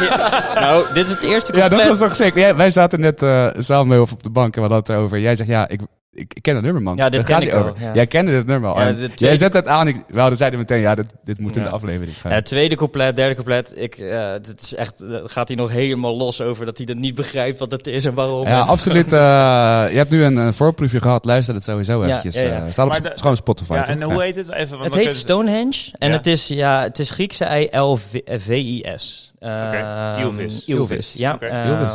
[SPEAKER 1] Nou, dit is het eerste
[SPEAKER 2] Ja,
[SPEAKER 1] compleet.
[SPEAKER 2] dat was toch zeker. Jij- wij zaten net eh, samen heel veel op de bank en we hadden het over. Jij zegt, ja, ik, ik, ik ken dat nummer, man.
[SPEAKER 1] Ja, dit
[SPEAKER 2] Daar
[SPEAKER 1] ken
[SPEAKER 2] gaat
[SPEAKER 1] ik
[SPEAKER 2] hij
[SPEAKER 1] wel,
[SPEAKER 2] over.
[SPEAKER 1] ja.
[SPEAKER 2] Jij kende dit nummer al.
[SPEAKER 1] Ja,
[SPEAKER 2] En
[SPEAKER 1] dit-
[SPEAKER 2] Jij zet het aan. Ik, we hadden zeiden meteen, ja, dit, dit moet in
[SPEAKER 3] Ja.
[SPEAKER 2] de aflevering gaan.
[SPEAKER 1] Ja, tweede compleet, derde compleet. Ik, eh, dit is echt, eh, gaat hij nog helemaal los over dat hij dat niet begrijpt wat het is en waarom.
[SPEAKER 2] Ja,
[SPEAKER 1] En-
[SPEAKER 2] absoluut. eh, je hebt nu een, een voorproefje gehad. Luister het sowieso
[SPEAKER 1] Ja,
[SPEAKER 2] eventjes.
[SPEAKER 1] ja, ja.
[SPEAKER 2] eh, staat
[SPEAKER 3] Maar
[SPEAKER 2] op, sp-
[SPEAKER 3] de-
[SPEAKER 2] is gewoon Spotify.
[SPEAKER 3] Ja,
[SPEAKER 2] toch?
[SPEAKER 3] en
[SPEAKER 2] Ja.
[SPEAKER 3] hoe heet het? Even, want
[SPEAKER 1] het
[SPEAKER 3] dan
[SPEAKER 1] heet
[SPEAKER 3] kunnen
[SPEAKER 1] Stonehenge en
[SPEAKER 3] Ja.
[SPEAKER 1] het is, ja, het is Griekse I-L-V-I-S.
[SPEAKER 3] Oké, Ylvis.
[SPEAKER 2] Ylvis.
[SPEAKER 1] Ehm, Ja,
[SPEAKER 3] Oké.
[SPEAKER 1] ehm,
[SPEAKER 2] Ylvis.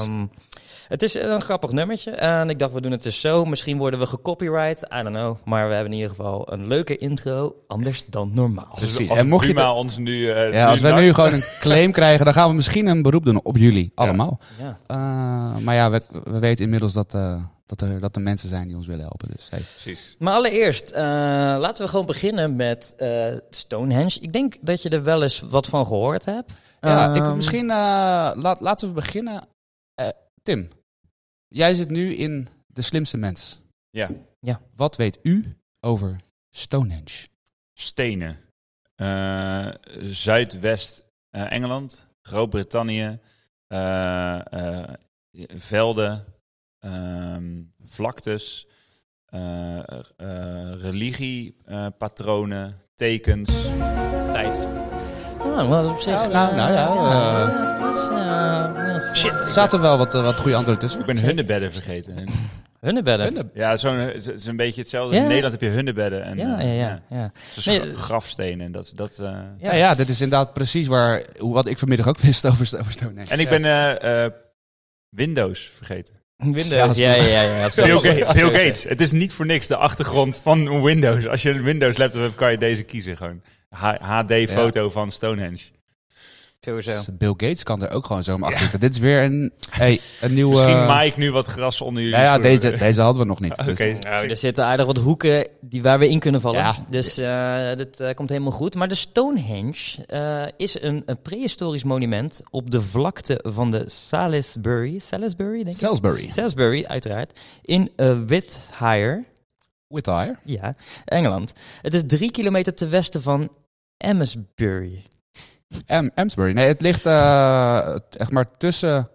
[SPEAKER 1] het is een grappig nummertje en ik dacht we doen het dus zo. Misschien worden we gecopyright, I don't know. Maar we hebben in ieder geval een leuke intro, anders dan normaal.
[SPEAKER 3] dus
[SPEAKER 2] Precies.
[SPEAKER 3] als
[SPEAKER 2] En mocht je
[SPEAKER 3] Buma
[SPEAKER 2] dat-
[SPEAKER 3] ons nu... eh,
[SPEAKER 2] Ja, als wij
[SPEAKER 3] nakt-
[SPEAKER 2] nu gewoon een claim krijgen, dan gaan we misschien een beroep doen op jullie. Allemaal.
[SPEAKER 1] Ja.
[SPEAKER 2] Eh, maar ja, we, we weten inmiddels dat, eh, dat, er, dat er mensen zijn die ons willen helpen. Dus hey.
[SPEAKER 3] Precies.
[SPEAKER 1] Maar allereerst, eh, laten we gewoon beginnen met eh, Stonehenge. Ik denk dat je er wel eens wat van gehoord hebt.
[SPEAKER 2] Ja, ik,
[SPEAKER 1] Ehm,
[SPEAKER 2] misschien eh, laat, laten we beginnen. Eh, Tim, jij zit nu in De Slimste Mens.
[SPEAKER 3] Ja.
[SPEAKER 1] Ja.
[SPEAKER 2] Wat weet u over Stonehenge?
[SPEAKER 3] Stenen. Eh, Zuidwest-Engeland. Groot-Brittannië. eh, eh, velden. ehm, vlaktes. eh, eh, religie. eh, patronen. Tekens.
[SPEAKER 1] tijd. Nou, dat is op zich...
[SPEAKER 2] Nou, nou,
[SPEAKER 1] eh,
[SPEAKER 2] nou ja,
[SPEAKER 1] dat is, eh, dat is-
[SPEAKER 3] Shit.
[SPEAKER 2] Er zaten wel wat, eh, wat goede antwoorden tussen.
[SPEAKER 3] Ik ben hunnebedden vergeten.
[SPEAKER 1] Hunnebedden.
[SPEAKER 2] Hun-
[SPEAKER 3] Ja, zo'n, het is een beetje hetzelfde.
[SPEAKER 1] Ja.
[SPEAKER 3] In Nederland heb je hunnebedden. En,
[SPEAKER 1] Ja, ja,
[SPEAKER 3] eh,
[SPEAKER 1] ja. ja.
[SPEAKER 3] Zo'n
[SPEAKER 1] Nee,
[SPEAKER 3] gra-
[SPEAKER 1] eh,
[SPEAKER 3] grafstenen. En dat, dat, eh,
[SPEAKER 2] Ja, Nou ja, dit is inderdaad precies waar, hoe- wat ik vanmiddag ook wist over, over Stonehenge.
[SPEAKER 3] En ik ben eh, eh, Windows vergeten.
[SPEAKER 1] Windows. Ja, ja, ja. ja,
[SPEAKER 3] Bill,
[SPEAKER 1] sorry.
[SPEAKER 3] Ga- Bill Gates. Het is niet voor niks de achtergrond van Windows. Als je een Windows laptop hebt, kan je deze kiezen gewoon. HD-foto van Stonehenge.
[SPEAKER 1] Sowieso.
[SPEAKER 2] Dus Bill Gates kan er ook gewoon zo maar achter zitten. Dit is weer een, hey, een nieuwe...
[SPEAKER 3] Misschien Mike nu wat gras onder jullie
[SPEAKER 2] eh, Ja, ja
[SPEAKER 3] schoenen.
[SPEAKER 2] deze, deze hadden we nog niet.
[SPEAKER 3] Oké.
[SPEAKER 2] Dus-
[SPEAKER 1] Nou, er zitten aardig wat hoeken die, waar we in kunnen vallen.
[SPEAKER 2] Ja.
[SPEAKER 1] Dus eh dat eh, komt helemaal goed. Maar de Stonehenge eh, is een, een prehistorisch monument op de vlakte van de Salisbury. Salisbury, denk ik?
[SPEAKER 2] Salisbury.
[SPEAKER 1] Salisbury, uiteraard. In eh, Whitshire,
[SPEAKER 2] With hire.
[SPEAKER 1] ja, Engeland. Het is drie kilometer ten westen van Amesbury.
[SPEAKER 2] Am- Amsbury. Nee, het ligt eh, t- echt maar tussen,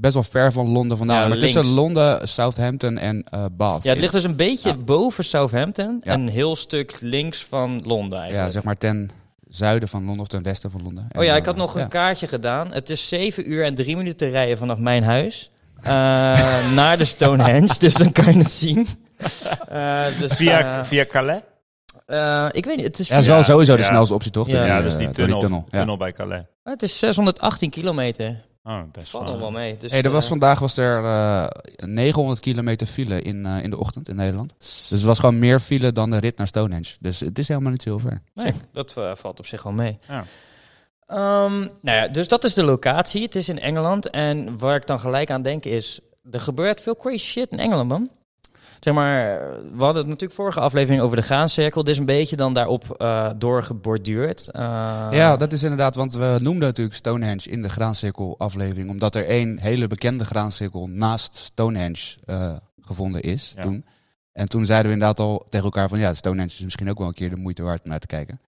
[SPEAKER 2] best wel ver van Londen vandaan.
[SPEAKER 1] Ja,
[SPEAKER 2] maar
[SPEAKER 1] links.
[SPEAKER 2] tussen Londen, Southampton en eh, Bath.
[SPEAKER 1] Ja, het ligt dus een beetje
[SPEAKER 2] Ja.
[SPEAKER 1] boven Southampton
[SPEAKER 2] Ja.
[SPEAKER 1] en een heel stuk links van Londen eigenlijk.
[SPEAKER 2] Ja, zeg maar ten zuiden van Londen of ten westen van Londen. En,
[SPEAKER 1] Oh ja, ik
[SPEAKER 2] eh,
[SPEAKER 1] had nog een
[SPEAKER 2] ja.
[SPEAKER 1] kaartje gedaan. Het is 7 uur en 3 minuten rijden vanaf mijn huis. eh, naar de Stonehenge, dus dan kan je het zien. Eh, dus,
[SPEAKER 3] Via,
[SPEAKER 1] eh,
[SPEAKER 3] via Calais?
[SPEAKER 1] eh, ik weet niet, het is,
[SPEAKER 2] Ja, dat is
[SPEAKER 1] via-
[SPEAKER 2] wel sowieso de
[SPEAKER 3] Ja.
[SPEAKER 2] snelste optie, toch?
[SPEAKER 1] Ja.
[SPEAKER 2] Door
[SPEAKER 3] Ja,
[SPEAKER 2] die,
[SPEAKER 3] dus
[SPEAKER 2] eh,
[SPEAKER 3] die
[SPEAKER 2] door
[SPEAKER 3] tunnel, tunnel,
[SPEAKER 2] Ja.
[SPEAKER 3] bij Calais.
[SPEAKER 1] het is 618 kilometer.
[SPEAKER 3] Oh,
[SPEAKER 1] Dat
[SPEAKER 3] best
[SPEAKER 1] valt nog wel mee. Dus,
[SPEAKER 2] Hey, er was
[SPEAKER 1] eh,
[SPEAKER 2] vandaag was er eh, 900 kilometer file in, eh, in de ochtend in Nederland. Dus het was gewoon meer file dan de rit naar Stonehenge. Dus het is helemaal niet zo ver.
[SPEAKER 1] Nee, dat eh, valt op zich wel mee.
[SPEAKER 3] Ja.
[SPEAKER 1] Ehm, nou ja, dus dat is de locatie. Het is in Engeland. En waar ik dan gelijk aan denk is... Er gebeurt veel crazy shit in Engeland, man. Zeg maar, we hadden het natuurlijk vorige aflevering over de graancirkel. Dit is een beetje dan daarop eh doorgeborduurd. Eh,
[SPEAKER 2] Ja, dat is inderdaad, want we noemden natuurlijk Stonehenge in de graancirkel aflevering, omdat er één hele bekende graancirkel naast Stonehenge eh, gevonden is
[SPEAKER 3] Ja.
[SPEAKER 2] toen. En toen zeiden we inderdaad al tegen elkaar van ja, Stonehenge is misschien ook wel een keer de moeite waard om naar te kijken.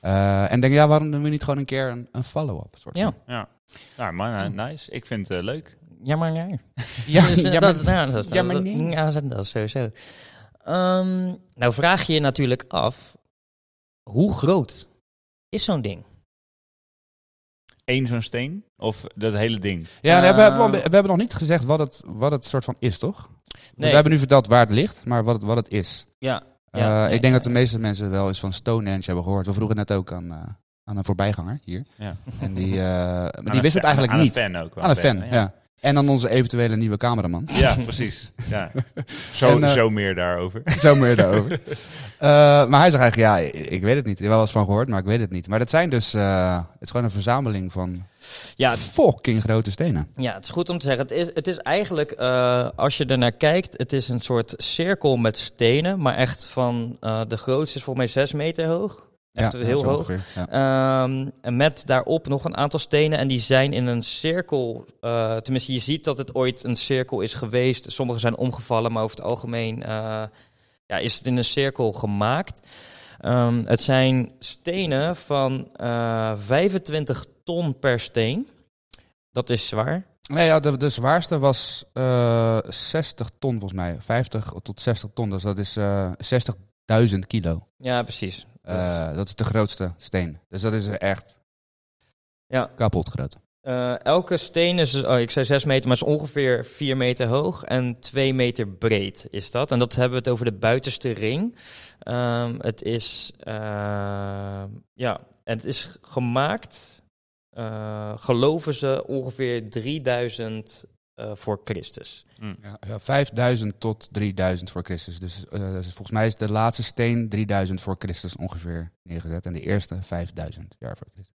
[SPEAKER 2] Eh, en denk ja, waarom doen we niet gewoon een keer een, een follow-up? soort
[SPEAKER 1] Ja.
[SPEAKER 2] van?
[SPEAKER 3] Ja. Nou, maar eh, nice. Ik vind het eh, leuk.
[SPEAKER 1] Ja, maar nee.
[SPEAKER 2] Ja,
[SPEAKER 1] Dus, eh,
[SPEAKER 2] ja,
[SPEAKER 1] dat,
[SPEAKER 2] maar-
[SPEAKER 1] nou, dat,
[SPEAKER 2] ja, maar
[SPEAKER 1] dat-
[SPEAKER 2] nee.
[SPEAKER 1] ja, dat- dat is sowieso. Ehm, nou vraag je je natuurlijk af... Hoe groot is zo'n ding?
[SPEAKER 3] Eén zo'n steen of dat hele ding?
[SPEAKER 2] ja, nee, we, hebben, wel-
[SPEAKER 1] Eh,
[SPEAKER 2] we hebben nog niet gezegd wat het, wat het soort van is, toch? We hebben nu verteld waar het ligt, maar wat het, wat het is.
[SPEAKER 1] Ja.
[SPEAKER 2] Eh,
[SPEAKER 1] Ja,
[SPEAKER 2] ik
[SPEAKER 1] nee,
[SPEAKER 2] denk dat de meeste mensen wel eens van Stonehenge hebben gehoord. We vroegen het net ook aan, eh, aan een voorbijganger hier.
[SPEAKER 3] Ja.
[SPEAKER 2] En die, eh, maar
[SPEAKER 3] Aan
[SPEAKER 2] die
[SPEAKER 3] een
[SPEAKER 2] wist het
[SPEAKER 3] fan-
[SPEAKER 2] eigenlijk
[SPEAKER 3] aan
[SPEAKER 2] niet.
[SPEAKER 3] Een fan ook wel.
[SPEAKER 2] Aan een fan, ja. En dan onze eventuele nieuwe cameraman.
[SPEAKER 3] Ja, precies. Ja. Zo,
[SPEAKER 2] En, eh,
[SPEAKER 3] zo meer daarover.
[SPEAKER 2] Zo meer daarover. Eh, maar hij zegt eigenlijk, ja, ik, ik weet het niet. Ik heb wel eens van gehoord, maar ik weet het niet. Maar dat zijn dus, eh, het is gewoon een verzameling van
[SPEAKER 1] Ja,
[SPEAKER 2] fucking grote stenen.
[SPEAKER 1] Ja, het is goed om te zeggen. Het is, het is eigenlijk, eh, als je ernaar kijkt, het is een soort cirkel met stenen. Maar echt van, eh, de grootste is volgens mij 6 meter hoog. Echt
[SPEAKER 2] ja,
[SPEAKER 1] heel
[SPEAKER 2] zo
[SPEAKER 1] hoog.
[SPEAKER 2] ongeveer, Ja.
[SPEAKER 1] Ehm, en met daarop nog een aantal stenen. En die zijn in een cirkel. eh, tenminste, je ziet dat het ooit een cirkel is geweest. Sommige zijn omgevallen, maar over het algemeen eh, ja, is het in een cirkel gemaakt. Ehm, het zijn stenen van eh, 25 ton per steen. Dat is zwaar.
[SPEAKER 2] Nee, ja, de, de zwaarste was eh, 60 ton volgens mij. 50 tot 60 ton, dus dat is eh 60.000 kilo.
[SPEAKER 1] Ja, precies.
[SPEAKER 2] Eh, dat is de grootste steen. Dus dat is echt
[SPEAKER 1] Ja.
[SPEAKER 2] kapot groot.
[SPEAKER 1] Eh, elke steen is, oh, ik zei 6 meter, maar is ongeveer 4 meter hoog en 2 meter breed is dat. En dat hebben we het over de buitenste ring. Ehm, het is, ehm, ja, het is gemaakt, eh, geloven ze, ongeveer 3000 eh, voor Christus.
[SPEAKER 2] Ja, ja, 5000 tot 3000 voor Christus. Dus eh, volgens mij is de laatste steen 3000 voor Christus ongeveer neergezet. En de eerste 5000 jaar voor Christus.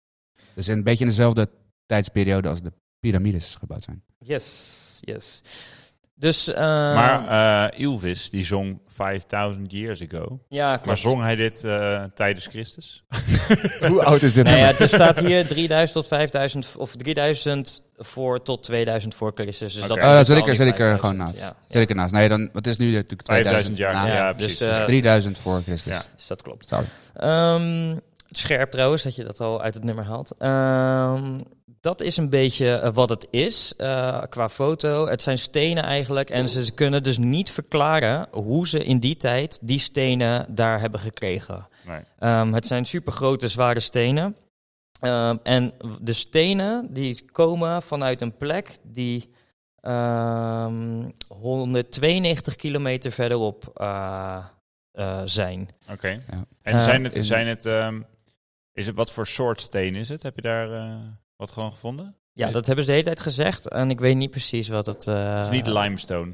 [SPEAKER 2] Dus een beetje in dezelfde tijdsperiode als de piramides gebouwd zijn.
[SPEAKER 1] Yes, yes. Dus, eh,
[SPEAKER 3] maar eh, Ilvis, die zong 5000 years ago.
[SPEAKER 1] ja,
[SPEAKER 3] Maar
[SPEAKER 1] klopt.
[SPEAKER 3] zong hij dit eh, tijdens Christus?
[SPEAKER 2] Hoe oud is dit
[SPEAKER 1] Nou ja,
[SPEAKER 2] nummer?
[SPEAKER 1] het staat hier 3000 tot 5000 v- of 3000 voor tot 2000 voor Christus. Dus
[SPEAKER 3] Oké.
[SPEAKER 1] dat
[SPEAKER 3] Oh,
[SPEAKER 1] zijn
[SPEAKER 2] dan
[SPEAKER 1] in
[SPEAKER 2] zit ik
[SPEAKER 1] totaal
[SPEAKER 2] er-
[SPEAKER 1] die
[SPEAKER 2] zit ik er
[SPEAKER 1] 5000,
[SPEAKER 2] gewoon naast.
[SPEAKER 1] Ja, ja.
[SPEAKER 2] Zit ik ernaast? Nee, dan, wat is nu natuurlijk
[SPEAKER 3] 5000
[SPEAKER 2] 2000
[SPEAKER 3] jaar.
[SPEAKER 2] na.
[SPEAKER 3] Ja,
[SPEAKER 1] Ja,
[SPEAKER 3] precies.
[SPEAKER 1] dus, eh,
[SPEAKER 2] Dus 3000 voor Christus.
[SPEAKER 3] Ja.
[SPEAKER 1] Dus dat klopt.
[SPEAKER 2] Sorry.
[SPEAKER 1] Ehm, scherp trouwens, dat je dat al uit het nummer haalt. Ehm, dat is een beetje eh, wat het is eh, qua foto. Het zijn stenen eigenlijk. En ze kunnen dus niet verklaren hoe ze in die tijd die stenen daar hebben gekregen.
[SPEAKER 3] Nee.
[SPEAKER 1] Ehm, het zijn supergrote, zware stenen. Ehm, en w- de stenen die komen vanuit een plek die ehm, 192 kilometer verderop eh, eh, zijn.
[SPEAKER 3] Oké.
[SPEAKER 2] Ja.
[SPEAKER 3] En
[SPEAKER 1] Eh,
[SPEAKER 3] zijn het,
[SPEAKER 2] in-
[SPEAKER 3] zijn het, ehm, is het, wat voor soort steen is het? Heb je daar eh, wat gewoon gevonden?
[SPEAKER 1] Ja, dat hebben ze de hele tijd gezegd. En ik weet niet precies wat het... eh,
[SPEAKER 3] Dus het is niet limestone.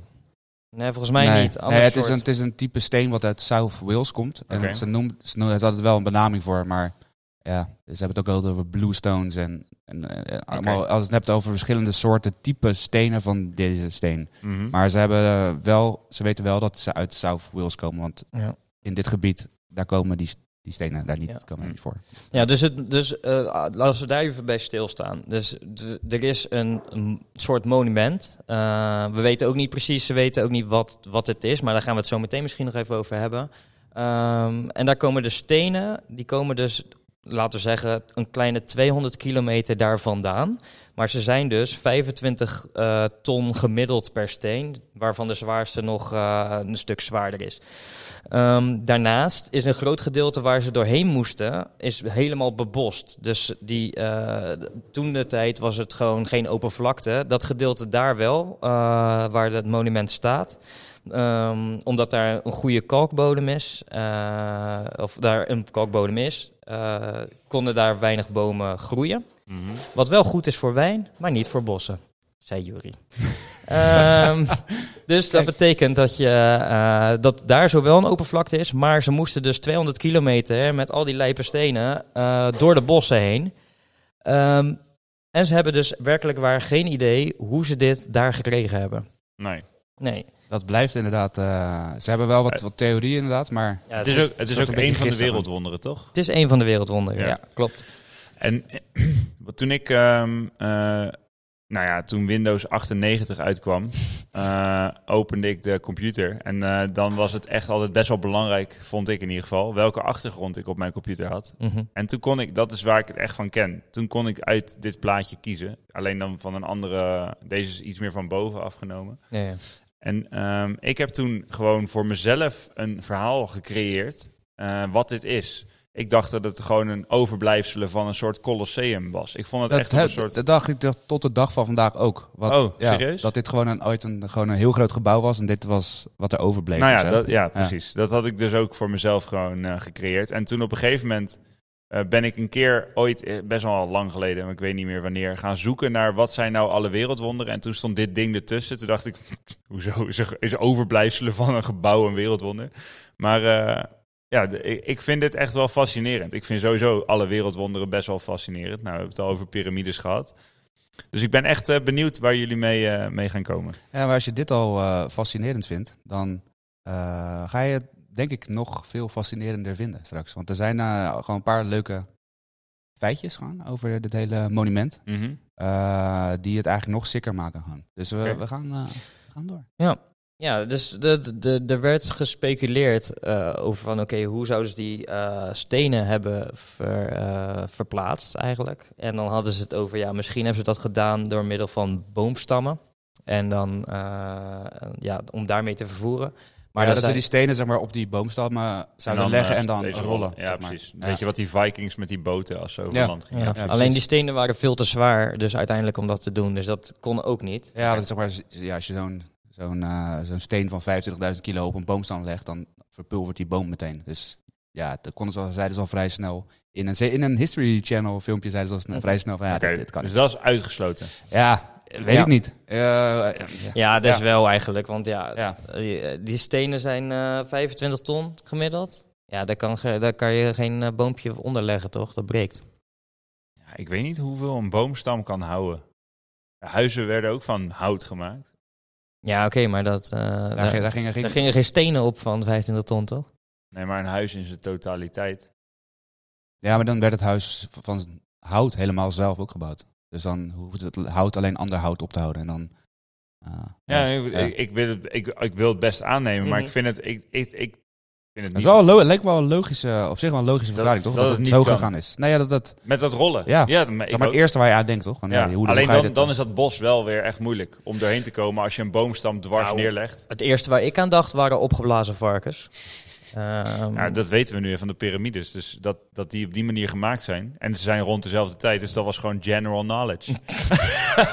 [SPEAKER 1] Nee, volgens mij
[SPEAKER 2] Nee.
[SPEAKER 1] niet.
[SPEAKER 2] Nee,
[SPEAKER 1] Ander
[SPEAKER 2] het, is
[SPEAKER 1] soort.
[SPEAKER 2] een, het is een type steen wat uit South Wales komt.
[SPEAKER 3] Oké.
[SPEAKER 2] En ze noemen ze noemen- het had het wel een benaming voor, maar ja, ze hebben het ook wel over bluestones en, en, eh, eh, allemaal, als je het hebt over verschillende soorten type stenen van deze steen.
[SPEAKER 3] Mhm.
[SPEAKER 2] Maar ze hebben eh, wel, ze weten wel dat ze uit South Wales komen, want
[SPEAKER 1] Ja.
[SPEAKER 2] in dit gebied daar komen die, die stenen daar niet,
[SPEAKER 1] Ja.
[SPEAKER 2] komen niet voor.
[SPEAKER 1] Ja, dus, het, dus eh, als we daar even bij stilstaan. Dus d- er is een, een soort monument. Eh, we weten ook niet precies, ze weten ook niet wat, wat het is, maar daar gaan we het zo meteen misschien nog even over hebben. Ehm, en daar komen de stenen, die komen dus, laten we zeggen, een kleine 200 kilometer daar vandaan. Maar ze zijn dus 25 eh, ton gemiddeld per steen, waarvan de zwaarste nog eh, een stuk zwaarder is. Ehm, daarnaast is een groot gedeelte waar ze doorheen moesten, is helemaal bebost. Dus die, toen de tijd was het gewoon geen open vlakte. Dat gedeelte daar wel, eh, waar het monument staat. Ehm, omdat daar een goede kalkbodem is, eh, of daar een kalkbodem is, eh, konden daar weinig bomen groeien.
[SPEAKER 3] Mhm.
[SPEAKER 1] Wat wel goed is voor wijn, maar niet voor bossen, zei Jury. Ehm, dus dat betekent dat, je, eh, dat daar zowel een open vlakte is, maar ze moesten dus 200 kilometer met al die lijpe stenen eh, door de bossen heen. Ehm, en ze hebben dus werkelijk waar geen idee hoe ze dit daar gekregen hebben.
[SPEAKER 3] Nee.
[SPEAKER 1] Nee.
[SPEAKER 2] Dat blijft inderdaad, eh, ze hebben wel wat, wat theorieën inderdaad, maar
[SPEAKER 1] Ja,
[SPEAKER 3] Het is ook, het
[SPEAKER 2] het
[SPEAKER 3] is
[SPEAKER 2] is
[SPEAKER 3] ook
[SPEAKER 2] een beetje
[SPEAKER 3] een van de
[SPEAKER 2] gisteren.
[SPEAKER 3] wereldwonderen, toch?
[SPEAKER 1] het is een van de wereldwonderen,
[SPEAKER 3] Ja.
[SPEAKER 1] ja, klopt.
[SPEAKER 3] En eh, wat toen ik, ehm, eh, nou ja, toen Windows 98 uitkwam, eh, opende ik de computer. En eh, dan was het echt altijd best wel belangrijk, vond ik in ieder geval, welke achtergrond ik op mijn computer had.
[SPEAKER 1] Mhm.
[SPEAKER 3] En toen kon ik, dat is waar ik het echt van ken, toen kon ik uit dit plaatje kiezen. Alleen dan van een andere, deze is iets meer van boven afgenomen.
[SPEAKER 1] Ja, ja.
[SPEAKER 3] En ehm, ik heb toen gewoon voor mezelf een verhaal gecreëerd eh, wat dit is. Ik dacht dat het gewoon een overblijfselen van een soort colosseum was. Ik vond het
[SPEAKER 2] Dat,
[SPEAKER 3] echt op een
[SPEAKER 2] heb-
[SPEAKER 3] soort...
[SPEAKER 2] dat dacht ik toch tot de dag van vandaag ook. Wat,
[SPEAKER 3] Oh,
[SPEAKER 2] ja,
[SPEAKER 3] serieus?
[SPEAKER 2] Dat dit gewoon een, ooit een, gewoon een heel groot gebouw was en dit was wat er overbleef.
[SPEAKER 3] nou ja,
[SPEAKER 2] dus, hè?
[SPEAKER 3] dat, ja, precies. Dat had ik dus ook voor mezelf gewoon eh, gecreëerd. En toen op een gegeven moment eh, ben ik een keer ooit, eh, best wel al lang geleden, maar ik weet niet meer wanneer, gaan zoeken naar wat zijn nou alle wereldwonderen. En toen stond dit ding ertussen. Toen dacht ik, hoezo is, er- is overblijfselen van een gebouw een wereldwonder? Maar eh, ja, de- ik, ik vind dit echt wel fascinerend. Ik vind sowieso alle wereldwonderen best wel fascinerend. Nou, we hebben het al over piramides gehad. Dus ik ben echt eh, benieuwd waar jullie mee, eh, mee gaan komen.
[SPEAKER 2] Ja, maar als je dit al eh, fascinerend vindt, dan eh, ga je het denk ik nog veel fascinerender vinden straks. Want er zijn eh, gewoon een paar leuke feitjes gewoon over dit hele monument. eh, die het eigenlijk nog sicker maken gewoon. Dus we,
[SPEAKER 3] Oké.
[SPEAKER 2] we gaan, eh, we gaan door.
[SPEAKER 1] Ja, dus de, de, er werd gespeculeerd eh, over van oké, hoe zouden ze die eh, stenen hebben ver, eh, verplaatst eigenlijk? En dan hadden ze het over, ja, misschien hebben ze dat gedaan door middel van boomstammen. En dan, eh, ja, om daarmee te vervoeren.
[SPEAKER 2] Maar
[SPEAKER 1] er
[SPEAKER 2] dat
[SPEAKER 1] zijn-
[SPEAKER 2] we die stenen zeg maar, op die boomstammen zouden leggen
[SPEAKER 3] eh,
[SPEAKER 2] en dan
[SPEAKER 3] deze
[SPEAKER 2] rollen.
[SPEAKER 3] Ja,
[SPEAKER 2] zeg maar.
[SPEAKER 3] precies.
[SPEAKER 2] Ja.
[SPEAKER 3] Weet je wat die Vikings met die boten als ze over
[SPEAKER 2] Ja.
[SPEAKER 3] land gingen?
[SPEAKER 1] Ja,
[SPEAKER 2] precies.
[SPEAKER 1] alleen die stenen waren veel te zwaar, dus uiteindelijk om dat te doen. Dus dat kon ook niet.
[SPEAKER 2] Ja, dat is zeg maar, z- ja, als je zo'n zo'n eh, zo'n steen van 25.000 kilo op een boomstam legt, dan verpulvert die boom meteen. Dus ja, dat konden ze al, zeiden ze al vrij snel. In een, ze- in een History Channel filmpje zeiden ze al sne- vrij snel van ja,
[SPEAKER 3] Oké,
[SPEAKER 2] dit, dit kan
[SPEAKER 3] dus
[SPEAKER 2] niet.
[SPEAKER 3] dat is uitgesloten.
[SPEAKER 2] Ja, weet
[SPEAKER 1] Ja.
[SPEAKER 2] ik niet. Eh, ja.
[SPEAKER 1] Ja, dat is
[SPEAKER 2] Ja.
[SPEAKER 1] wel eigenlijk, want ja,
[SPEAKER 2] Ja.
[SPEAKER 1] eh, die stenen zijn eh 25 ton gemiddeld. Ja, daar kan, ge- daar kan je geen eh, boompje onder leggen, toch? Dat breekt.
[SPEAKER 3] Ja, ik weet niet hoeveel een boomstam kan houden. Huizen werden ook van hout gemaakt.
[SPEAKER 1] Ja, oké, maar dat, eh,
[SPEAKER 2] Daar,
[SPEAKER 1] daar,
[SPEAKER 2] ging- daar ging,
[SPEAKER 1] daar gingen geen stenen op van 25 ton, toch?
[SPEAKER 3] Nee, maar een huis in zijn totaliteit.
[SPEAKER 2] Ja, maar dan werd het huis v- van hout helemaal zelf ook gebouwd. Dus dan hoeft het hout alleen ander hout op te houden. En dan, eh,
[SPEAKER 3] Ja, Ik, ik, ik wil het, ik, ik wil het best aannemen, maar ik
[SPEAKER 1] Mhm.
[SPEAKER 3] vind het, ik, ik, ik vind het
[SPEAKER 2] Dat
[SPEAKER 3] niet...
[SPEAKER 2] is wel een lo- leek wel een logische, op zich wel een
[SPEAKER 3] Dat-
[SPEAKER 2] logische verklaring, toch?
[SPEAKER 3] dat
[SPEAKER 2] Dat,
[SPEAKER 3] het
[SPEAKER 2] het
[SPEAKER 3] niet
[SPEAKER 2] zo
[SPEAKER 3] kan.
[SPEAKER 2] gegaan is. Nou ja, dat, dat,
[SPEAKER 3] Met dat rollen.
[SPEAKER 2] Ja.
[SPEAKER 3] maar
[SPEAKER 2] zeg
[SPEAKER 3] ik
[SPEAKER 2] maar
[SPEAKER 3] ook.
[SPEAKER 2] het eerste waar je aan denkt, toch? Van, ja,
[SPEAKER 3] Ja,
[SPEAKER 2] hoe- hoe,
[SPEAKER 3] Alleen
[SPEAKER 2] ga je
[SPEAKER 3] dan,
[SPEAKER 2] dit,
[SPEAKER 3] dan
[SPEAKER 2] eh,
[SPEAKER 3] is dat bos wel weer echt moeilijk om doorheen te komen als je een boomstam dwars
[SPEAKER 1] Nou,
[SPEAKER 3] neerlegt.
[SPEAKER 1] Het eerste waar ik aan dacht waren opgeblazen varkens. Ehm,
[SPEAKER 3] Ja, dat weten we nu hè, van de piramides. Dus dat, dat die op die manier gemaakt zijn. En ze zijn rond dezelfde tijd. Dus dat was gewoon general knowledge.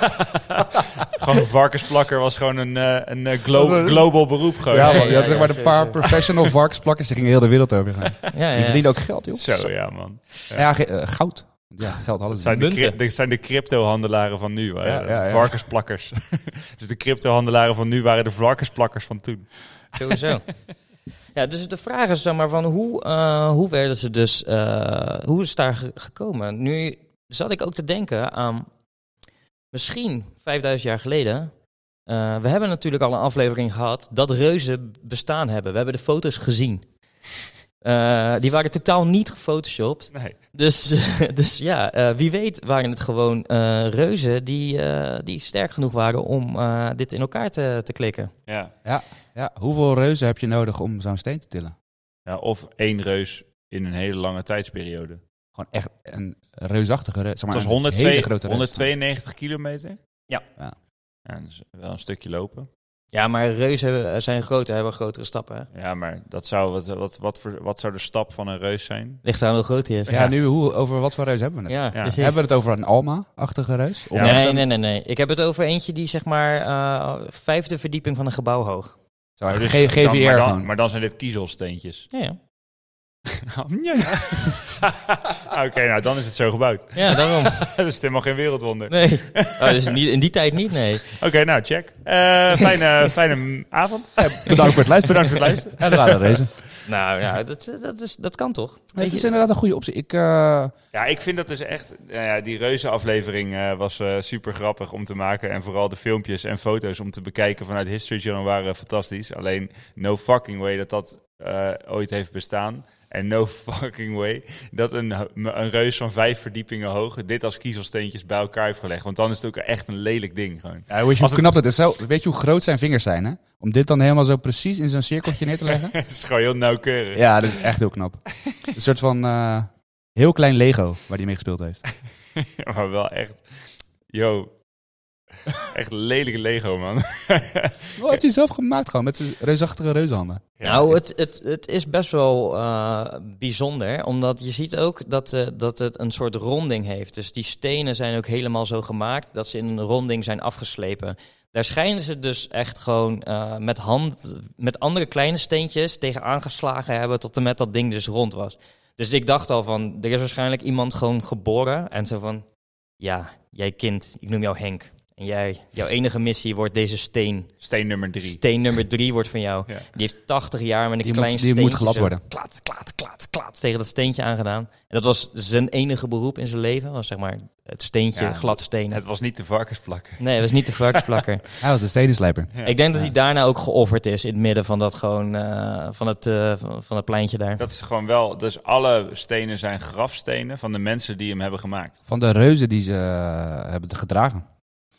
[SPEAKER 3] gewoon een varkensplakker was gewoon een, eh, een eh, glo-
[SPEAKER 2] Dat is wel-
[SPEAKER 3] global beroep. Gewoon.
[SPEAKER 2] Ja,
[SPEAKER 1] Ja,
[SPEAKER 2] man, je
[SPEAKER 1] ja,
[SPEAKER 2] had zeg
[SPEAKER 1] ja,
[SPEAKER 2] maar een
[SPEAKER 1] zeker,
[SPEAKER 2] paar
[SPEAKER 1] zeker.
[SPEAKER 2] professional varkensplakkers, die gingen heel de wereld over gaan.
[SPEAKER 1] ja,
[SPEAKER 2] Die
[SPEAKER 1] ja.
[SPEAKER 2] verdienen ook geld, joh.
[SPEAKER 3] Zo, ja man.
[SPEAKER 2] Ja, ja, ge- eh, goud. Ja, geld
[SPEAKER 3] Dat
[SPEAKER 2] alles.
[SPEAKER 3] zijn de,
[SPEAKER 1] Munten.
[SPEAKER 3] cri- dat zijn de cryptohandelaren van nu. hè.
[SPEAKER 2] Ja, ja, ja.
[SPEAKER 3] Varkensplakkers. dus de cryptohandelaren van nu waren de varkensplakkers van toen.
[SPEAKER 1] Sowieso. ja, dus de vraag is dan maar van hoe, eh, hoe werden ze dus, eh, hoe is daar ge- gekomen? Nu zat ik ook te denken aan misschien 5000 jaar geleden. Eh, we hebben natuurlijk al een aflevering gehad dat reuzen bestaan hebben. We hebben de foto's gezien. Eh, die waren totaal niet gefotoshopt.
[SPEAKER 3] Nee.
[SPEAKER 1] Dus, dus ja, eh, wie weet waren het gewoon eh, reuzen die, eh, die sterk genoeg waren om eh, dit in elkaar te, te klikken.
[SPEAKER 3] Ja.
[SPEAKER 2] Ja, hoeveel reuzen heb je nodig om zo'n steen te tillen?
[SPEAKER 3] Ja, of één reus in een hele lange tijdsperiode.
[SPEAKER 2] Gewoon echt een reusachtige reus. Zeg maar,
[SPEAKER 3] Het was
[SPEAKER 2] een hele
[SPEAKER 3] 102,
[SPEAKER 2] grote reus.
[SPEAKER 3] 192 kilometer.
[SPEAKER 1] Ja.
[SPEAKER 2] Ja.
[SPEAKER 3] Ja, dat is wel een stukje lopen.
[SPEAKER 1] Ja, maar reuzen eh, zijn groter, hebben grotere stappen. Hè?
[SPEAKER 3] Ja, maar dat zou, wat, wat, wat, voor, wat zou de stap van een reus zijn?
[SPEAKER 1] Ligt eraan hoe groot hij is.
[SPEAKER 2] Ja, nu hoe, over wat voor reus hebben we het?
[SPEAKER 1] Ja,
[SPEAKER 3] Ja.
[SPEAKER 1] precies.
[SPEAKER 2] Hebben we het over een Alma-achtige reus? Of echt
[SPEAKER 1] nee,
[SPEAKER 2] een-
[SPEAKER 1] nee, nee, nee. Ik heb het over eentje die zeg maar eh, vijfde verdieping van een gebouw hoog.
[SPEAKER 2] Zo,
[SPEAKER 3] Maar
[SPEAKER 2] echt
[SPEAKER 3] dus
[SPEAKER 2] G-
[SPEAKER 3] dan-
[SPEAKER 2] GVR
[SPEAKER 3] maar,
[SPEAKER 2] gewoon.
[SPEAKER 3] dan, maar dan zijn dit kiezelsteentjes.
[SPEAKER 1] Ja, ja.
[SPEAKER 2] Nou,
[SPEAKER 3] ja, Oké, nou dan is het zo gebouwd.
[SPEAKER 1] ja daarom.
[SPEAKER 3] dat is helemaal geen wereldwonder.
[SPEAKER 1] Nee. Oh, dus niet, in die tijd niet, nee.
[SPEAKER 3] Oké, nou check. Eh, fijne, fijne avond.
[SPEAKER 2] Bedankt voor het luisteren.
[SPEAKER 3] Bedankt voor het luisteren.
[SPEAKER 2] En we gaan reizen.
[SPEAKER 1] Nou ja, dat, dat, is, dat kan toch?
[SPEAKER 2] Het
[SPEAKER 1] Weet
[SPEAKER 2] is
[SPEAKER 1] je-
[SPEAKER 2] inderdaad een goede optie. Ik, eh,
[SPEAKER 3] Ja, ik vind dat dus echt. Nou ja, die reuzenaflevering eh, was eh, super grappig om te maken. En vooral de filmpjes en foto's om te bekijken vanuit History Channel waren fantastisch. Alleen, no fucking way dat dat eh, ooit heeft bestaan. En no fucking way dat een, ho- m- een reus van vijf verdiepingen hoog dit als kiezelsteentjes bij elkaar heeft gelegd. Want dan is het ook echt een lelijk ding gewoon.
[SPEAKER 2] ja, weet je
[SPEAKER 3] Als
[SPEAKER 2] hoe
[SPEAKER 3] het-
[SPEAKER 2] knap dat is? Zo, weet je hoe groot zijn vingers zijn, hè? Om dit dan helemaal zo precies in zo'n cirkeltje neer te leggen?
[SPEAKER 3] het is gewoon heel nauwkeurig.
[SPEAKER 2] ja, dat is echt heel knap. Een soort van eh, heel klein Lego waar hij mee gespeeld heeft.
[SPEAKER 3] maar wel echt. Yo. Echt lelijke Lego, man.
[SPEAKER 2] Wat heeft hij zelf gemaakt gewoon, met zijn reusachtige reuzenhanden.
[SPEAKER 1] nou, het, het, het is best wel eh, bijzonder, omdat je ziet ook dat, eh, dat het een soort ronding heeft. Dus die stenen zijn ook helemaal zo gemaakt dat ze in een ronding zijn afgeslepen. Daar schijnen ze dus echt gewoon eh, met hand, met andere kleine steentjes tegen aangeslagen hebben tot en met dat ding dus rond was. Dus ik dacht al van, er is waarschijnlijk iemand gewoon geboren en zo van, ja, jij kind, ik noem jou Henk. En jij, jouw enige missie wordt deze steen.
[SPEAKER 3] Steen nummer drie.
[SPEAKER 1] Steen nummer drie wordt van jou.
[SPEAKER 3] Ja.
[SPEAKER 1] Die heeft 80 jaar met een
[SPEAKER 2] Die
[SPEAKER 1] klein
[SPEAKER 2] moet- die
[SPEAKER 1] steentje.
[SPEAKER 2] moet glad
[SPEAKER 1] zo
[SPEAKER 2] worden.
[SPEAKER 1] Klaat, klaat, klaat, klaat. Tegen dat steentje aangedaan. En dat was zijn enige beroep in zijn leven. Was zeg maar het steentje,
[SPEAKER 3] Ja,
[SPEAKER 1] glad stenen.
[SPEAKER 3] Het was niet de varkensplakker.
[SPEAKER 1] Nee, dat was niet de varkensplakker.
[SPEAKER 2] Hij was de stenenslijper.
[SPEAKER 3] Ja.
[SPEAKER 1] Ik denk dat hij daarna ook geofferd is. In het midden van dat gewoon, eh, van, het, eh, van, van het pleintje daar.
[SPEAKER 3] Dat is gewoon wel... Dus alle stenen zijn grafstenen van de mensen die hem hebben gemaakt.
[SPEAKER 2] Van de reuzen die ze eh, hebben gedragen.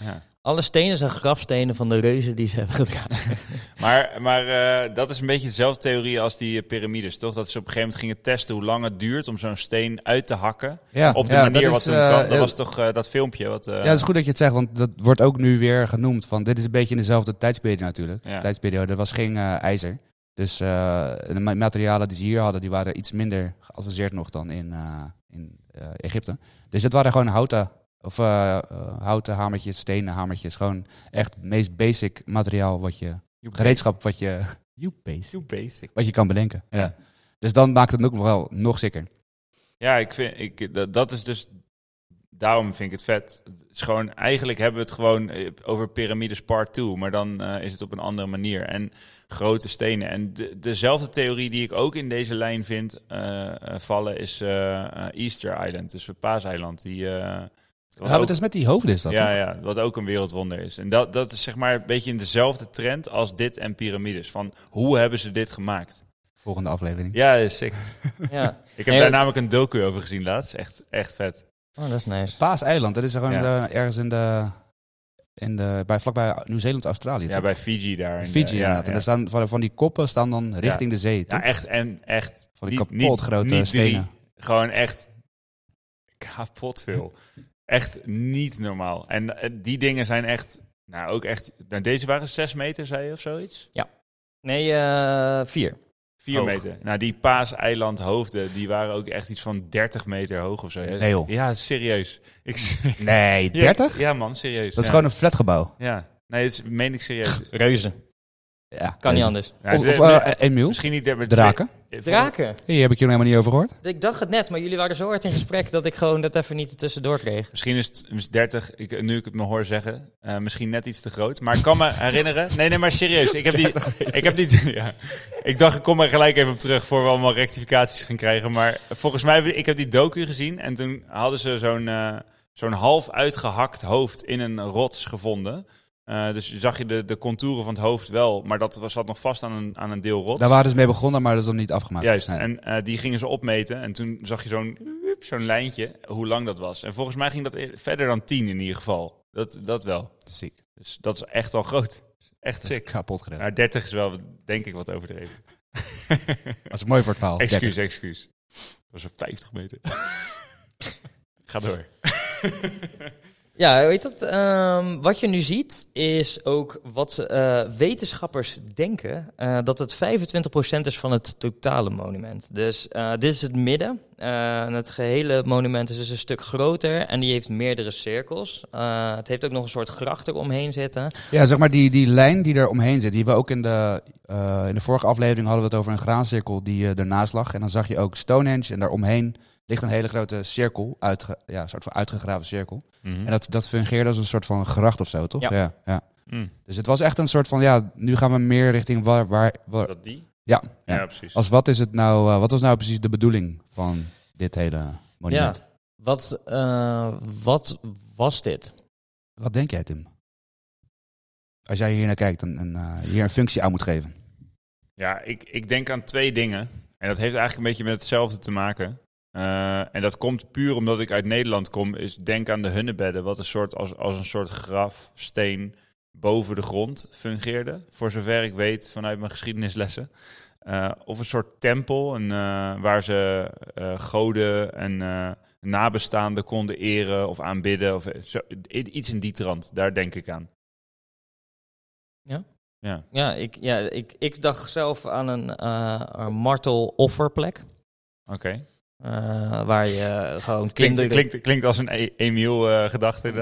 [SPEAKER 3] Ja.
[SPEAKER 1] Alle stenen zijn grafstenen van de reuzen die ze hebben gedragen.
[SPEAKER 3] Maar, maar eh, dat is een beetje dezelfde theorie als die eh, piramides, toch? Dat ze op een gegeven moment gingen testen hoe lang het duurt om zo'n steen uit te hakken.
[SPEAKER 2] Ja,
[SPEAKER 3] Op de
[SPEAKER 2] ja,
[SPEAKER 3] manier
[SPEAKER 2] dat
[SPEAKER 3] wat
[SPEAKER 2] is,
[SPEAKER 3] toen
[SPEAKER 2] eh,
[SPEAKER 3] kwam. Dat
[SPEAKER 2] ja,
[SPEAKER 3] was toch eh, dat filmpje? Wat, eh,
[SPEAKER 2] Ja, het is goed dat je het zegt, want dat wordt ook nu weer genoemd. Van, dit is een beetje in dezelfde tijdsperiode natuurlijk.
[SPEAKER 3] Ja.
[SPEAKER 2] Tijdsperiode, er was geen eh, ijzer. Dus eh, de ma- materialen die ze hier hadden, die waren iets minder geavanceerd nog dan in, eh, in eh, Egypte. Dus dat waren gewoon houten, of, eh, eh, houten hamertjes, stenen hamertjes. Gewoon echt het meest basic materiaal wat je, gereedschap wat je,
[SPEAKER 3] Too basic.
[SPEAKER 2] wat je kan bedenken. Ja.
[SPEAKER 3] Ja.
[SPEAKER 2] Dus dan maakt het ook nog wel nog sicker.
[SPEAKER 3] Ja, ik vind, ik, dat, dat is dus. Daarom vind ik het vet. Het is gewoon, eigenlijk hebben we het gewoon eh, over piramides part 2, maar dan eh, is het op een andere manier. En grote stenen. En de, dezelfde theorie die ik ook in deze lijn vind eh, eh, vallen is eh, eh, Easter Island, dus Paaseiland. Die, eh, wat
[SPEAKER 2] Ja,
[SPEAKER 3] ook-
[SPEAKER 2] het is met die hoofden is dat.
[SPEAKER 3] ja,
[SPEAKER 2] toch?
[SPEAKER 3] ja, wat ook een wereldwonder is. En dat, dat is zeg maar een beetje in dezelfde trend als dit en piramides. Van hoe hebben ze dit gemaakt?
[SPEAKER 2] Volgende aflevering.
[SPEAKER 3] Ja, dat is sick.
[SPEAKER 1] ja.
[SPEAKER 3] Ik heb
[SPEAKER 1] Nee,
[SPEAKER 3] daar
[SPEAKER 1] dat-
[SPEAKER 3] namelijk een docu over gezien laatst. Echt, echt vet.
[SPEAKER 1] Oh, dat is nice.
[SPEAKER 2] Paaseiland, dat is gewoon
[SPEAKER 3] Ja.
[SPEAKER 2] eh, ergens in de, in de, bij, vlakbij Nieuw-Zeeland, Australië.
[SPEAKER 3] Ja,
[SPEAKER 2] toch?
[SPEAKER 3] bij Fiji daar. in de-
[SPEAKER 2] Fiji inderdaad. En
[SPEAKER 3] Ja,
[SPEAKER 2] daar staan, van, van die koppen staan dan richting de zee.
[SPEAKER 3] Ja,
[SPEAKER 2] toch?
[SPEAKER 3] echt. En echt.
[SPEAKER 2] van die
[SPEAKER 3] niet-
[SPEAKER 2] kapot grote
[SPEAKER 3] niet drie.
[SPEAKER 2] stenen.
[SPEAKER 3] Gewoon echt kapot veel. echt niet normaal. En eh, die dingen zijn echt... Nou, ook echt... Nou, deze waren zes meter, zei je, of zoiets?
[SPEAKER 1] Nee, eh, vier.
[SPEAKER 3] Vier
[SPEAKER 1] Hoog.
[SPEAKER 3] meter. Nou, die paaseiland hoofden, die waren ook echt iets van 30 meter hoog of zo. hè?
[SPEAKER 2] Nee, joh.
[SPEAKER 3] Ja, serieus. Ik,
[SPEAKER 2] Nee, 30?
[SPEAKER 3] Ja, man, serieus.
[SPEAKER 2] Dat is
[SPEAKER 3] Ja.
[SPEAKER 2] gewoon een flatgebouw.
[SPEAKER 3] Ja. Nee, dat is- meen ik serieus.
[SPEAKER 1] Reuzen.
[SPEAKER 2] Ja,
[SPEAKER 1] Kan niet
[SPEAKER 2] deze.
[SPEAKER 1] anders.
[SPEAKER 3] Ja, het
[SPEAKER 2] Of,
[SPEAKER 3] is-
[SPEAKER 2] of eh, eh, Emiel,
[SPEAKER 3] misschien niet... der- maar twee-
[SPEAKER 2] draken.
[SPEAKER 1] Draken.
[SPEAKER 2] Hier heb ik jullie helemaal niet over gehoord.
[SPEAKER 1] Ik dacht het net, maar jullie waren zo hard in gesprek dat ik gewoon dat even niet ertussendoor kreeg.
[SPEAKER 3] Misschien is het is 30, ik, nu ik het me hoor zeggen, eh, misschien net iets te groot. Maar ik kan me herinneren. Nee, nee, maar serieus. Ik heb die. Ik, heb die ja. ik dacht, ik kom er gelijk even op terug voor we allemaal rectificaties gaan krijgen. Maar volgens mij, ik heb die docu gezien. En toen hadden ze zo'n eh, zo'n half uitgehakt hoofd in een rots gevonden. Eh, dus je zag je de, de contouren van het hoofd wel. Maar dat was, zat nog vast aan een, aan een deel rots.
[SPEAKER 2] Daar waren ze mee begonnen, maar dat is dan niet afgemaakt.
[SPEAKER 3] Juist,
[SPEAKER 2] Nee.
[SPEAKER 3] en eh, die gingen ze opmeten en toen zag je zo'n wiep, zo'n lijntje, hoe lang dat was. En volgens mij ging dat e- verder dan 10 in ieder geval. Dat, dat wel.
[SPEAKER 2] Ziek.
[SPEAKER 3] Dus dat is echt al groot. Echt
[SPEAKER 2] Dat is Oh,
[SPEAKER 3] sick.
[SPEAKER 2] kapot gered.
[SPEAKER 3] Maar 30 is wel, denk ik, wat overdreven.
[SPEAKER 2] Dat is mooi voor het verhaal.
[SPEAKER 3] excuus, excuus. Dat was een 50 meter. Ga door.
[SPEAKER 1] Ja, weet dat? ehm, wat je nu ziet is ook wat eh, wetenschappers denken eh, dat het 25% is van het totale monument. Dus eh, dit is het midden. Eh, en het gehele monument is dus een stuk groter en die heeft meerdere cirkels. Eh, het heeft ook nog een soort gracht eromheen zitten.
[SPEAKER 2] Ja, zeg maar die, die lijn die er omheen zit, die we ook in de, eh, in de vorige aflevering hadden we het over een graancirkel die eh, ernaast lag. En dan zag je ook Stonehenge en daaromheen ligt een hele grote cirkel, uitge, ja, een soort van uitgegraven cirkel. En dat, dat fungeerde als een soort van gracht of zo, toch?
[SPEAKER 1] Mhm. Ja.
[SPEAKER 2] ja, ja.
[SPEAKER 3] Mm.
[SPEAKER 2] Dus het was echt een soort van, ja, nu gaan we meer richting waar... waar, waar-
[SPEAKER 3] Dat die?
[SPEAKER 2] ja,
[SPEAKER 3] Ja,
[SPEAKER 2] ja.
[SPEAKER 3] precies.
[SPEAKER 2] Als wat is het nou, eh, wat was nou precies de bedoeling van dit hele monument?
[SPEAKER 1] Ja. Wat, eh, wat was dit?
[SPEAKER 2] Wat denk jij, Tim? Als jij hier naar kijkt en, en eh, hier een functie aan moet geven.
[SPEAKER 3] Ja, ik, ik denk aan twee dingen. En dat heeft eigenlijk een beetje met hetzelfde te maken. Eh, en dat komt puur omdat ik uit Nederland kom. Is denk aan de hunnebedden, wat een soort, als, als een soort grafsteen boven de grond fungeerde. Voor zover ik weet vanuit mijn geschiedenislessen. Eh, of een soort tempel een, eh, waar ze eh, goden en eh, nabestaanden konden eren of aanbidden. Of, zo, i- iets in die trant, daar denk ik aan.
[SPEAKER 1] Ja?
[SPEAKER 3] Ja.
[SPEAKER 1] Ja, ik, ja, ik, ik dacht zelf aan een, eh, een martelofferplek.
[SPEAKER 3] Oké.
[SPEAKER 1] Eh, waar je gewoon
[SPEAKER 3] Klinkt,
[SPEAKER 1] kinderen...
[SPEAKER 3] klinkt, klinkt als een E- Emiel-gedachte.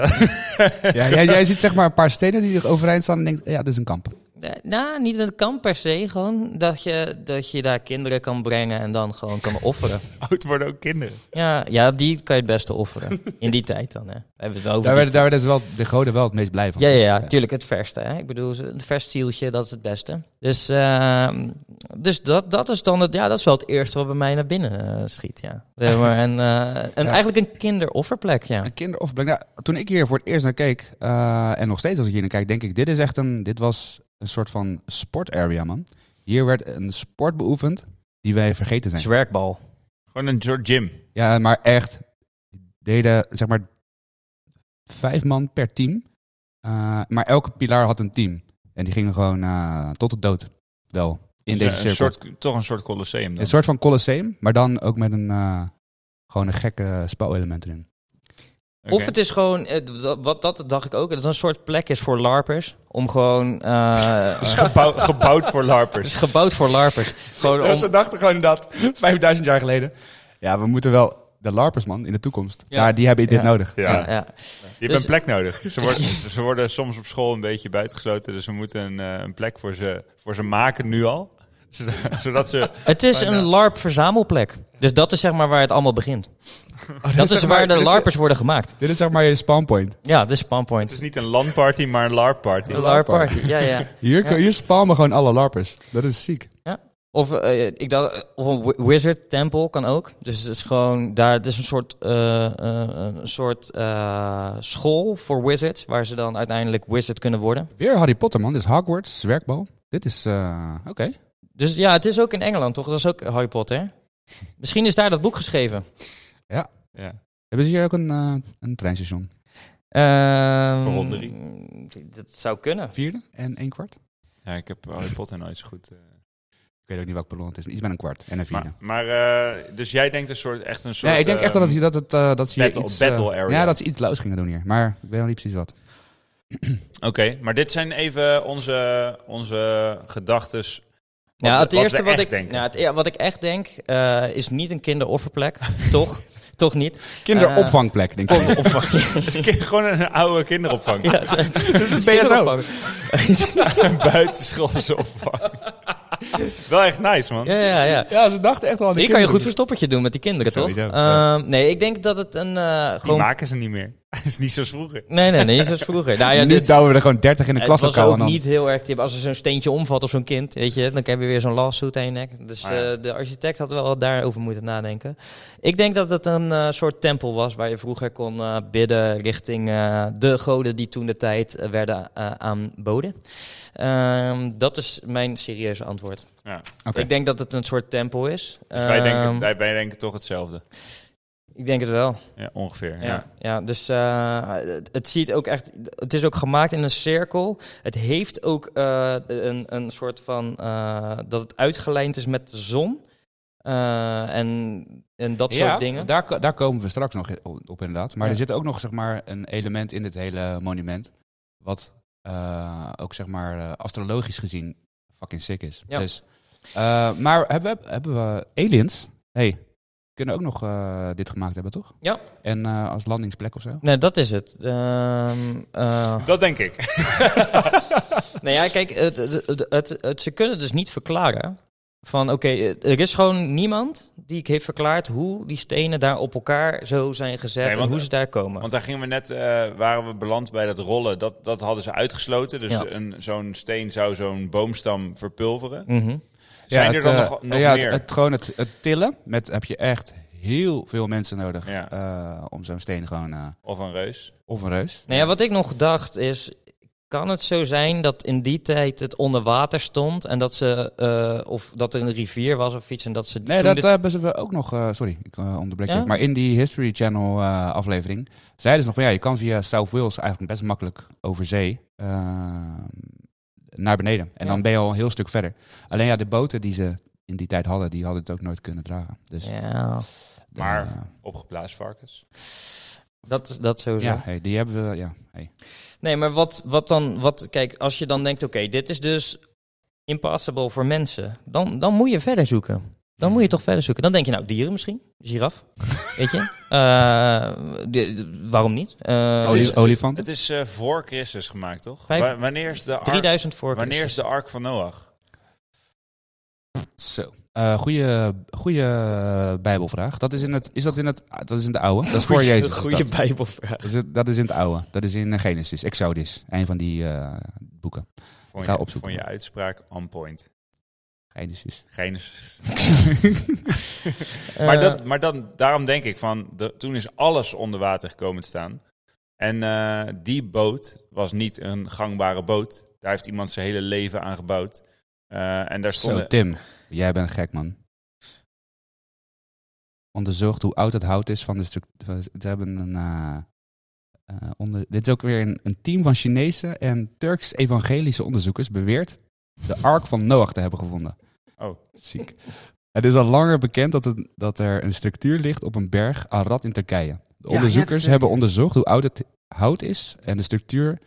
[SPEAKER 2] Ja, jij, jij ziet zeg maar een paar steden die er overeind staan en denkt, ja, dit is een kamp.
[SPEAKER 1] eh, nou, niet een kamp per se. Gewoon dat je, dat je daar kinderen kan brengen en dan gewoon kan offeren.
[SPEAKER 3] Oud worden ook kinderen.
[SPEAKER 1] Ja, ja, die kan je het beste offeren. In die tijd dan, hè. We hebben het wel over
[SPEAKER 2] Daar
[SPEAKER 1] die
[SPEAKER 2] werden, daar werden ze wel, de goden wel het meest blij van.
[SPEAKER 1] Ja, ja, ja, natuurlijk het verste. Hè? Ik bedoel, ze- het vers zieltje, dat is het beste. Dus, ehm, dus dat, dat is dan het, ja, dat is wel het eerste wat bij mij naar binnen eh, schiet. Ja. Zeg maar, en, eh, en
[SPEAKER 2] Ja.
[SPEAKER 1] eigenlijk een kinderofferplek, ja.
[SPEAKER 2] Een kinderofferplek. Nou, toen ik hier voor het eerst naar keek, eh, en nog steeds als ik hier naar kijk, denk ik, dit is echt een, dit was een soort van sportarea, man. Hier werd een sport beoefend die wij vergeten zijn.
[SPEAKER 1] Zwerkbal.
[SPEAKER 3] Gewoon een soort gym.
[SPEAKER 2] Ja, maar echt, deden zeg maar vijf man per team. Eh, maar elke pilaar had een team. En die gingen gewoon eh, tot de dood. Wel, in
[SPEAKER 3] Dus,
[SPEAKER 2] deze
[SPEAKER 3] eh,
[SPEAKER 2] cirkel.
[SPEAKER 3] een soort, Toch een soort colosseum dan.
[SPEAKER 2] Een soort van Colosseum, maar dan ook met een, eh, gewoon een gekke spelelement erin.
[SPEAKER 3] Oké.
[SPEAKER 1] Of het is gewoon, eh, dat- wat dat dacht ik ook, dat het een soort plek is voor larpers. Om gewoon... eh,
[SPEAKER 3] Het is gebouw- gebouwd voor
[SPEAKER 1] het is
[SPEAKER 3] larpers.
[SPEAKER 1] gebouwd voor larpers. Gewoon om,
[SPEAKER 2] Ze dachten gewoon dat, 5000 jaar geleden. Ja, we moeten wel, de larpers man, in de toekomst.
[SPEAKER 1] Ja.
[SPEAKER 2] Ja, die hebben dit
[SPEAKER 1] Ja.
[SPEAKER 2] nodig.
[SPEAKER 3] Ja.
[SPEAKER 1] ja, ja.
[SPEAKER 3] Je hebt
[SPEAKER 1] Dus-
[SPEAKER 3] een plek nodig. Ze worden, ze worden soms op school een beetje buitengesloten, dus we moeten een, eh, een plek voor ze, voor ze maken nu al. Zodat, zodat ze...
[SPEAKER 1] Het is
[SPEAKER 3] Bijna.
[SPEAKER 1] een larp-verzamelplek. Dus dat is zeg maar waar het allemaal begint. dat is
[SPEAKER 2] zeg
[SPEAKER 1] waar
[SPEAKER 2] maar-
[SPEAKER 1] de
[SPEAKER 2] dit is-
[SPEAKER 1] larpers worden gemaakt.
[SPEAKER 2] Dit is zeg maar je spawnpoint.
[SPEAKER 1] Ja, de spawnpoint.
[SPEAKER 3] Het is niet een LAN-party, maar een LARP-party.
[SPEAKER 1] Een LARP party, ja, ja.
[SPEAKER 2] Hier,
[SPEAKER 1] Ja.
[SPEAKER 2] kun- hier spawnen gewoon alle larpers. Dat is ziek.
[SPEAKER 1] Of, eh, ik dacht, of een wi- wizard tempel kan ook. Dus het is gewoon daar, het is een soort, eh, eh, een soort eh, school voor wizards, waar ze dan uiteindelijk wizard kunnen worden.
[SPEAKER 2] Weer Harry Potter, man. Dit is Hogwarts, zwerkbal. Dit is, eh, oké.
[SPEAKER 1] Dus ja, het is ook in Engeland, toch? Dat is ook Harry Potter. Misschien is daar dat boek geschreven.
[SPEAKER 3] Ja.
[SPEAKER 2] Hebben ze hier ook een, eh, een treinstation?
[SPEAKER 1] Ehm,
[SPEAKER 3] Waarom drie?
[SPEAKER 1] Dat zou kunnen.
[SPEAKER 2] Vierde en één kwart? Ik
[SPEAKER 3] ja, ik heb Harry Potter nooit zo goed... eh,
[SPEAKER 2] weet ook niet welk ballon het is, maar iets met een kwart en een vierde.
[SPEAKER 3] maar maar eh, dus jij denkt een soort, echt een soort...
[SPEAKER 2] nee, ik denk echt
[SPEAKER 3] eh,
[SPEAKER 2] dat, het, dat, het, eh, dat ze hier
[SPEAKER 3] battle-
[SPEAKER 2] iets... eh,
[SPEAKER 3] battle area.
[SPEAKER 2] Ja, dat ze iets luis gingen doen hier. Maar ik weet nog niet precies wat.
[SPEAKER 3] Oké, maar dit zijn even onze, onze gedachten.
[SPEAKER 1] Ja, het
[SPEAKER 3] wat we
[SPEAKER 1] eerste wat,
[SPEAKER 3] echt
[SPEAKER 1] ik,
[SPEAKER 3] denken.
[SPEAKER 1] nou, het, e- wat ik echt denk, eh, is niet een kinderofferplek. toch? Toch niet?
[SPEAKER 2] Kinderopvangplek, denk ik.
[SPEAKER 3] Het is ki- gewoon een oude kinderopvang.
[SPEAKER 1] Ja, het- het is
[SPEAKER 2] BSO.
[SPEAKER 1] kinderopvang.
[SPEAKER 3] Een buitenschoolse opvang. Wel echt nice, man.
[SPEAKER 1] Ja, ja, ja.
[SPEAKER 2] ja, ze dachten echt wel aan
[SPEAKER 1] Die kan je goed verstoppertje doen met die kinderen,
[SPEAKER 2] Sowieso,
[SPEAKER 1] toch?
[SPEAKER 2] ja.
[SPEAKER 1] Ehm, nee, ik denk dat het een... eh,
[SPEAKER 3] Die
[SPEAKER 1] gewoon...
[SPEAKER 3] maken ze niet meer. Dat is niet zoals vroeger.
[SPEAKER 1] Nee, nee, nee, zoals vroeger. Nou, ja,
[SPEAKER 2] Nu
[SPEAKER 1] dit,
[SPEAKER 2] douwen we er gewoon 30 in de
[SPEAKER 1] het was
[SPEAKER 2] klaslokaal.
[SPEAKER 1] ook
[SPEAKER 2] en dan-
[SPEAKER 1] niet heel erg... tip. Als er zo'n steentje omvalt of zo'n kind, weet je, dan heb je weer zo'n lawsuit aan je nek. Dus
[SPEAKER 3] Ah, ja.
[SPEAKER 1] eh, de architect had wel daarover moeten nadenken. Ik denk dat het een eh, soort tempel was waar je vroeger kon eh, bidden richting eh, de goden die toen de tijd eh, werden eh, aanboden. Ehm, dat is mijn serieuze antwoord.
[SPEAKER 3] Ja.
[SPEAKER 2] Oké.
[SPEAKER 1] Ik denk dat het een soort tempel is.
[SPEAKER 3] Dus wij, denken,
[SPEAKER 1] Ehm,
[SPEAKER 3] wij, wij denken toch hetzelfde.
[SPEAKER 1] Ik denk het wel.
[SPEAKER 3] Ja, ongeveer. Ja.
[SPEAKER 1] Ja, ja dus eh, het, het ziet ook echt. Het is ook gemaakt in een cirkel. Het heeft ook eh, een, een soort van. eh, dat het uitgelijnd is met de zon. Eh, en, en dat soort dingen.
[SPEAKER 2] Daar, ko- daar komen we straks nog i- op inderdaad. Maar
[SPEAKER 1] Ja.
[SPEAKER 2] er zit ook nog zeg maar, een element in dit hele monument. Wat eh, ook zeg maar, eh, astrologisch gezien fucking sick is.
[SPEAKER 1] Ja.
[SPEAKER 2] Dus, eh, maar hebben we, hebben we aliens? hey, kunnen ook nog eh, dit gemaakt hebben, toch?
[SPEAKER 1] Ja.
[SPEAKER 2] En eh, als landingsplek of zo?
[SPEAKER 1] Nee, dat is het. Ehm, eh,
[SPEAKER 3] Dat denk ik.
[SPEAKER 1] nou ja, kijk, het, het, het, het- het- ze kunnen dus niet verklaren. Van oké, eh, er is gewoon niemand die ik heeft verklaard hoe die stenen daar op elkaar zo zijn gezet
[SPEAKER 3] Nee, want-
[SPEAKER 1] en hoe ze daar komen.
[SPEAKER 3] Want daar gingen we net, eh, waren we beland bij dat rollen. Dat, dat hadden ze uitgesloten. Dus
[SPEAKER 1] Ja.
[SPEAKER 3] een- zo'n steen zou zo'n boomstam verpulveren.
[SPEAKER 1] Mhm.
[SPEAKER 3] Zijn er
[SPEAKER 2] het,
[SPEAKER 3] dan
[SPEAKER 2] eh,
[SPEAKER 3] nog, nog
[SPEAKER 2] ja, het-
[SPEAKER 3] meer?
[SPEAKER 2] Het, gewoon het, het tillen met, heb je echt heel veel mensen nodig
[SPEAKER 3] Ja.
[SPEAKER 2] eh, om zo'n steen gewoon... eh,
[SPEAKER 3] of een reus?
[SPEAKER 2] of een reus.
[SPEAKER 1] Nou ja, wat ik nog dacht is... Kan het zo zijn dat in die tijd het onder water stond en dat ze eh, of dat er een rivier was of iets en dat ze
[SPEAKER 2] Nee,
[SPEAKER 1] toen
[SPEAKER 2] dat
[SPEAKER 1] dit-
[SPEAKER 2] hebben ze wel ook nog. eh, sorry, ik eh, onderbreek
[SPEAKER 1] Ja?
[SPEAKER 2] je. even, Maar in die History Channel eh, aflevering zeiden ze nog van ja, je kan via South Wales eigenlijk best makkelijk over zee eh, naar beneden. En
[SPEAKER 1] Ja.
[SPEAKER 2] dan ben je al een heel stuk verder. Alleen ja, de boten die ze in die tijd hadden, die hadden het ook nooit kunnen dragen. Dus,
[SPEAKER 1] ja,
[SPEAKER 3] Maar-
[SPEAKER 2] eh,
[SPEAKER 3] Opgeplaatst varkens.
[SPEAKER 1] dat dat sowieso.
[SPEAKER 2] ja, hey, die hebben we. Ja, hey.
[SPEAKER 1] Nee, maar wat wat dan wat kijk als je dan denkt oké dit is dus impossible voor mensen dan dan moet je verder zoeken. Dan moet je
[SPEAKER 2] Hmm.
[SPEAKER 1] toch verder zoeken. Dan denk je, nou, dieren misschien. Giraf. Weet je? Eh, de- de- waarom niet? Eh,
[SPEAKER 3] Oh,
[SPEAKER 1] het is
[SPEAKER 3] die-
[SPEAKER 2] olifant.
[SPEAKER 3] Het is eh, voor Christus gemaakt, toch?
[SPEAKER 1] Vijf-
[SPEAKER 3] Wa- wanneer is de ark,
[SPEAKER 1] 3000 voor
[SPEAKER 3] wanneer is
[SPEAKER 1] Christus.
[SPEAKER 3] de ark van Noach?
[SPEAKER 2] Zo. Eh goede, goede bijbelvraag. Dat is in het, is dat in het, ah, dat is in de oude. Dat is voor
[SPEAKER 1] Goeie-
[SPEAKER 2] Jezus. is
[SPEAKER 1] Goeie
[SPEAKER 2] dat.
[SPEAKER 1] bijbelvraag.
[SPEAKER 2] Dat is, het- dat is in het oude. Dat is in eh, Genesis, Exodus, een van die eh, boeken.
[SPEAKER 3] Vond
[SPEAKER 2] ga
[SPEAKER 3] je,
[SPEAKER 2] opzoeken.
[SPEAKER 3] Vond je uitspraak on point.
[SPEAKER 2] Genesis.
[SPEAKER 3] Genesis. maar dat, maar dan, daarom denk ik van, de- toen is alles onder water gekomen te staan. En eh, die boot was niet een gangbare boot. Daar heeft iemand zijn hele leven aan gebouwd. Eh, en daar
[SPEAKER 2] Zo,
[SPEAKER 3] stonden...
[SPEAKER 2] Tim, jij bent gek man. Onderzocht hoe oud het hout is van de structuur. Ze hebben een. eh, eh, onder... Dit is ook weer een, een team van Chinese en Turks-evangelische onderzoekers beweert de ark van Noach te hebben gevonden.
[SPEAKER 3] Oh.
[SPEAKER 2] Ziek. Het is al langer bekend dat, het- dat er een structuur ligt op een berg Arad in Turkije. De
[SPEAKER 3] ja, dat
[SPEAKER 2] onderzoekers
[SPEAKER 3] weet
[SPEAKER 2] hebben onderzocht hoe oud het hout is en de structuur,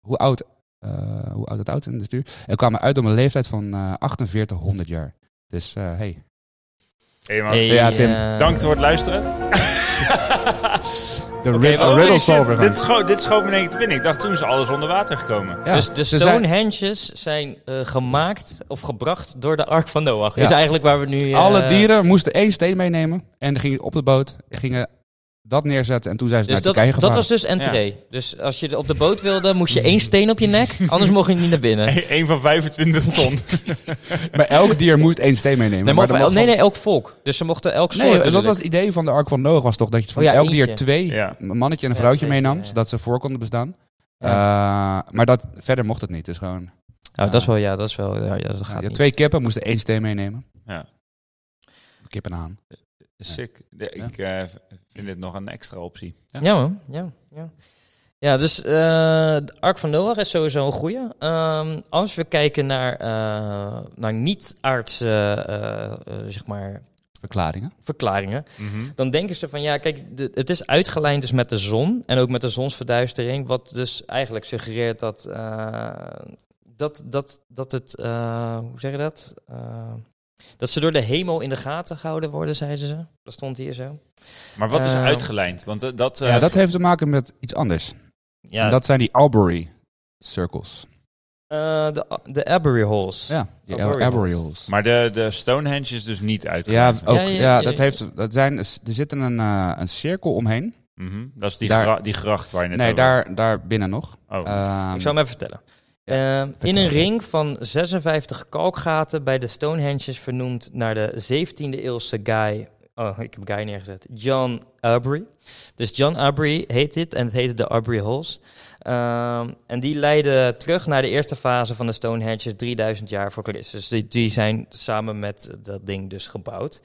[SPEAKER 2] hoe oud, eh, hoe oud het hout en de structuur. En kwamen uit op een leeftijd van eh 4800 jaar. Dus eh, hey.
[SPEAKER 3] Hey, man.
[SPEAKER 1] Hey,
[SPEAKER 2] Ja, Tim.
[SPEAKER 1] eh,
[SPEAKER 3] Dank voor het luisteren.
[SPEAKER 2] De
[SPEAKER 1] Oké, oh,
[SPEAKER 2] rid-
[SPEAKER 1] maar-
[SPEAKER 3] Holy
[SPEAKER 2] riddle
[SPEAKER 3] shit,
[SPEAKER 2] solver.
[SPEAKER 3] Oh, Dit, scho dit schoot me in één keer te binnen. Ik dacht, toen is alles onder water gekomen.
[SPEAKER 2] Ja,
[SPEAKER 1] dus de
[SPEAKER 2] ze zijn-
[SPEAKER 1] Stonehenges zijn eh, gemaakt of gebracht door de Ark van Noach.
[SPEAKER 2] Ja.
[SPEAKER 1] Is eigenlijk waar we nu... eh,
[SPEAKER 2] Alle dieren moesten één steen meenemen en gingen op de boot, gingen dat neerzetten en toen zijn ze
[SPEAKER 1] Dus
[SPEAKER 2] naar
[SPEAKER 1] dat,
[SPEAKER 2] Turkije
[SPEAKER 1] dat
[SPEAKER 2] gevaren.
[SPEAKER 1] was dus entree. Dus als je op de boot wilde, moest je één steen op je nek. Anders mocht je niet naar binnen. Nee,
[SPEAKER 3] Eén van 25 ton.
[SPEAKER 2] Maar elk dier moest één steen meenemen.
[SPEAKER 1] maar
[SPEAKER 2] maar
[SPEAKER 1] of-
[SPEAKER 2] er mocht
[SPEAKER 1] nee,
[SPEAKER 2] van-
[SPEAKER 1] nee, elk volk. Dus ze mochten elk soort...
[SPEAKER 2] Nee, dat
[SPEAKER 1] natuurlijk.
[SPEAKER 2] was het idee van de Ark van Noach was toch dat je van
[SPEAKER 1] Oh ja,
[SPEAKER 2] elk
[SPEAKER 1] eentje.
[SPEAKER 2] dier twee,
[SPEAKER 3] Ja.
[SPEAKER 2] een mannetje en een
[SPEAKER 1] Ja,
[SPEAKER 2] vrouwtje
[SPEAKER 1] twee,
[SPEAKER 2] meenam,
[SPEAKER 1] ja.
[SPEAKER 2] zodat ze voor konden bestaan.
[SPEAKER 1] Ja.
[SPEAKER 2] Eh, maar dat, verder mocht het niet. Dus gewoon,
[SPEAKER 1] Oh, dat is wel... Ja, dat is wel... Ja, ja, dat
[SPEAKER 2] ja,
[SPEAKER 1] gaat
[SPEAKER 2] je had
[SPEAKER 1] niet.
[SPEAKER 2] twee kippen, moesten één steen meenemen.
[SPEAKER 3] Ja.
[SPEAKER 2] Kippen aan.
[SPEAKER 3] Sick. De- Ik eh, v- vind dit nog een extra optie.
[SPEAKER 1] Ja, man. Ja, ja. ja dus eh, de Ark van Noach is sowieso een goeie. Ehm, als we kijken naar, eh, naar niet-aardse eh, eh, zeg maar,
[SPEAKER 2] Verklaringen.
[SPEAKER 1] verklaringen,
[SPEAKER 3] Mhm.
[SPEAKER 1] dan denken ze van ja, kijk, de- het is uitgelijnd dus met de zon en ook met de zonsverduistering, wat dus eigenlijk suggereert dat, eh, dat, dat, dat het, eh, hoe zeg je dat? Eh, dat ze door de hemel in de gaten gehouden worden, zeiden ze. Dat stond hier zo.
[SPEAKER 3] Maar wat is
[SPEAKER 1] Eh,
[SPEAKER 3] uitgelijnd? Want eh, dat... eh,
[SPEAKER 2] Ehm, ja, dat heeft te maken met iets anders.
[SPEAKER 1] Ja,
[SPEAKER 2] En dat zijn die Albury circles.
[SPEAKER 1] eh, de, de Aberry Halls.
[SPEAKER 2] Ja, die
[SPEAKER 1] Albury
[SPEAKER 2] Albury
[SPEAKER 1] holes.
[SPEAKER 2] holes.
[SPEAKER 3] Maar de, de Stonehenge is dus niet
[SPEAKER 2] Ja,
[SPEAKER 3] uitgelijnd.
[SPEAKER 2] ook,
[SPEAKER 1] Ja,
[SPEAKER 2] ja,
[SPEAKER 1] ja, ja,
[SPEAKER 2] dat
[SPEAKER 1] ja.
[SPEAKER 2] heeft, dat zijn, er zit een, eh, een cirkel omheen.
[SPEAKER 3] Mhm. Dat is die,
[SPEAKER 2] Daar-
[SPEAKER 3] gra- die gracht waar je net
[SPEAKER 2] Nee,
[SPEAKER 3] over-
[SPEAKER 2] daar, daar binnen nog.
[SPEAKER 3] Oh.
[SPEAKER 2] Ehm,
[SPEAKER 1] Ik zal hem even vertellen. Eh, in
[SPEAKER 2] vertel.
[SPEAKER 1] een ring van 56 kalkgaten bij de Stonehenges vernoemd naar de 17e eeuwse guy. Oh, ik heb guy neergezet. John Aubrey. Dus John Aubrey heet dit en het heette de Aubrey Halls. Ehm, en die leiden terug naar de eerste fase van de Stonehenges 3000 jaar voor Christus. Die, die zijn samen met dat ding dus gebouwd.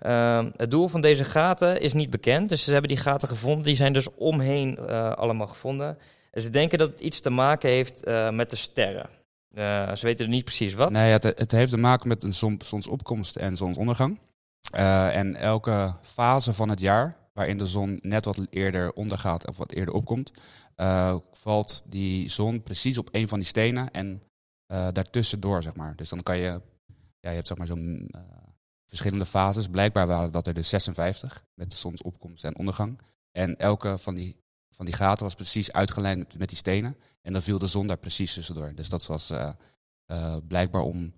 [SPEAKER 1] Ehm, het doel van deze gaten is niet bekend. Dus ze hebben die gaten gevonden. Die zijn dus omheen eh, allemaal gevonden. En ze denken dat het iets te maken heeft eh, met de sterren. Eh, ze weten er niet precies wat.
[SPEAKER 2] Nee, het, het heeft te maken met een zon- zonsopkomst en zonsondergang. Eh, en elke fase van het jaar, waarin de zon net wat eerder ondergaat of wat eerder opkomt, eh, valt die zon precies op een van die stenen en eh daartussendoor, zeg maar. Dus dan kan je, ja, je hebt zeg maar zo'n eh, verschillende fases. Blijkbaar waren dat er dus 56 met zonsopkomst en ondergang. En elke van die, van die gaten was precies uitgelijnd met, met die stenen. En dan viel de zon daar precies tussendoor. Dus dat was eh, eh, blijkbaar om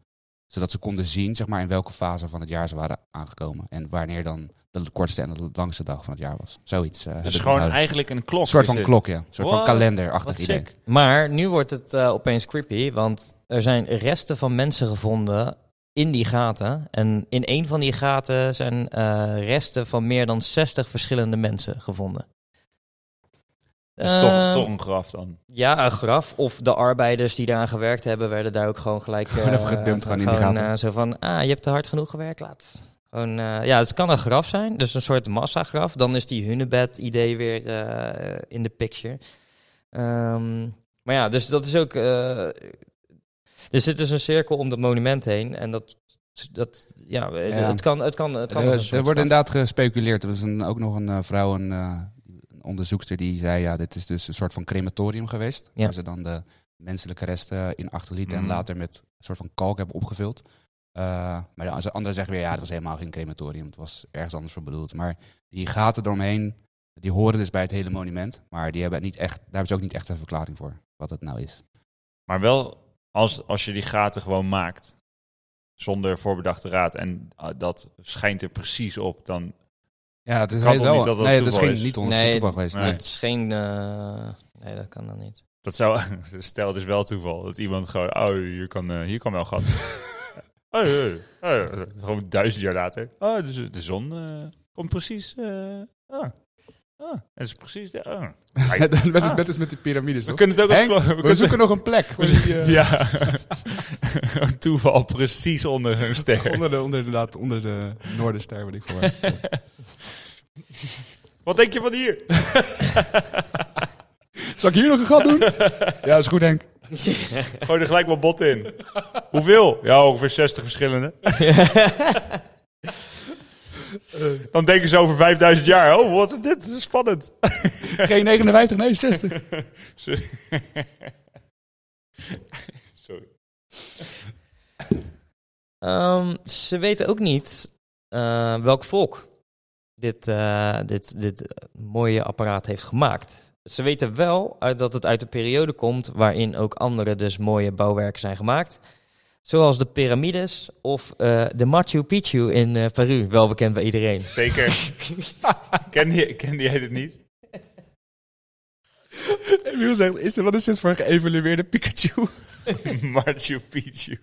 [SPEAKER 2] zodat ze konden zien zeg maar, in welke fase van het jaar ze waren aangekomen. En wanneer dan de kortste en de langste dag van het jaar was. Zoiets. eh, heb
[SPEAKER 3] Dus
[SPEAKER 2] ik
[SPEAKER 3] gewoon
[SPEAKER 2] onthouden.
[SPEAKER 3] eigenlijk een klok.
[SPEAKER 2] Een soort
[SPEAKER 3] is
[SPEAKER 2] van
[SPEAKER 3] dit.
[SPEAKER 2] klok, ja. Een soort van
[SPEAKER 3] Wow,
[SPEAKER 2] kalenderachtig
[SPEAKER 3] Wat
[SPEAKER 2] idee.
[SPEAKER 3] sick.
[SPEAKER 1] Maar nu wordt het eh, opeens creepy, want er zijn resten van mensen gevonden in die gaten. En in een van die gaten zijn eh, resten van meer dan 60 verschillende mensen gevonden.
[SPEAKER 3] Dat is
[SPEAKER 1] Eh,
[SPEAKER 3] toch, toch een graf dan.
[SPEAKER 1] Ja, een graf. Of de arbeiders die daaraan gewerkt hebben, werden daar ook gewoon gelijk... eh,
[SPEAKER 2] Gewoon even gedumpt gewoon in die gaten.
[SPEAKER 1] eh, zo van, ah, je hebt te hard genoeg gewerkt, laat. Gewoon, eh, ja, het kan een graf zijn, dus een soort massagraf. Dan is die hunebed-idee weer eh, in de picture. Ehm, maar ja, dus dat is ook... eh, er zit dus een cirkel om dat monument heen en dat... dat ja,
[SPEAKER 2] Ja.
[SPEAKER 1] het kan... Het kan, het kan
[SPEAKER 2] Er,
[SPEAKER 1] als een
[SPEAKER 2] er
[SPEAKER 1] soort
[SPEAKER 2] wordt
[SPEAKER 1] graf.
[SPEAKER 2] inderdaad gespeculeerd. Er was een, ook nog een eh, vrouw, een, eh, een onderzoekster, die zei: ja, dit is dus een soort van crematorium geweest.
[SPEAKER 1] Ja. Mm.
[SPEAKER 2] Waar ze dan de menselijke resten in achterlieten
[SPEAKER 3] Mhm.
[SPEAKER 2] en later met een soort van kalk hebben opgevuld. Eh, maar de anderen zeggen weer, ja, het was helemaal geen crematorium. Het was ergens anders voor bedoeld. Maar die gaten eromheen, die horen dus bij het hele monument. Maar die hebben het niet echt, daar hebben ze ook niet echt een verklaring voor, wat het nou is.
[SPEAKER 3] Maar wel als, als je die gaten gewoon maakt, zonder voorbedachte raad, en ah, dat schijnt er precies op, dan...
[SPEAKER 2] Ja, het is
[SPEAKER 3] Kan toch niet dat het
[SPEAKER 2] Nee, dat is
[SPEAKER 3] toeval
[SPEAKER 2] geen,
[SPEAKER 3] is?
[SPEAKER 2] niet onder
[SPEAKER 1] Nee,
[SPEAKER 2] toeval geweest.
[SPEAKER 3] nee.
[SPEAKER 2] nee.
[SPEAKER 1] Het is geen... eh, nee, dat kan dan niet.
[SPEAKER 3] Dat zou, stel het is wel toeval, dat iemand gewoon, oh, hier kan, eh, hier kan wel gat. oh, eh, eh, eh, gewoon duizend jaar later. Oh, de, de zon eh, komt precies... eh, ah, ah, het is precies... de- ah.
[SPEAKER 2] Net- net,
[SPEAKER 3] Ah.
[SPEAKER 2] net als met die piramides,
[SPEAKER 3] We
[SPEAKER 2] toch?
[SPEAKER 3] kunnen het ook als...
[SPEAKER 2] Henk,
[SPEAKER 3] klo-
[SPEAKER 2] We,
[SPEAKER 3] kunnen-
[SPEAKER 2] zoeken nog een plek voor die, eh,
[SPEAKER 3] Ja, Een toeval precies onder een ster.
[SPEAKER 2] onder, de, onder, inderdaad, onder de Noorderster, wat ik voor mij.
[SPEAKER 3] Wat denk je van hier?
[SPEAKER 2] Zal ik hier nog een gat doen? ja, is goed, Henk.
[SPEAKER 3] Gooi er gelijk wat bot in. Hoeveel? Ja, ongeveer 60 verschillende. Dan denken ze over 5000 jaar. Oh, wat is dit? Dit is spannend.
[SPEAKER 2] Geen 59, nee, 60.
[SPEAKER 3] Sorry. Sorry.
[SPEAKER 1] Ehm, ze weten ook niet eh, welk volk dit, eh, dit, dit mooie apparaat heeft gemaakt. Ze weten wel uit dat het uit de periode komt waarin ook andere dus mooie bouwwerken zijn gemaakt. Zoals de piramides of eh, de Machu Picchu in eh, Peru, wel bekend bij iedereen.
[SPEAKER 3] Zeker. Kende je- kende jij dit niet?
[SPEAKER 2] Emiel zegt, is dit, wat is dit voor een geëvalueerde Pikachu?
[SPEAKER 3] Machu Picchu.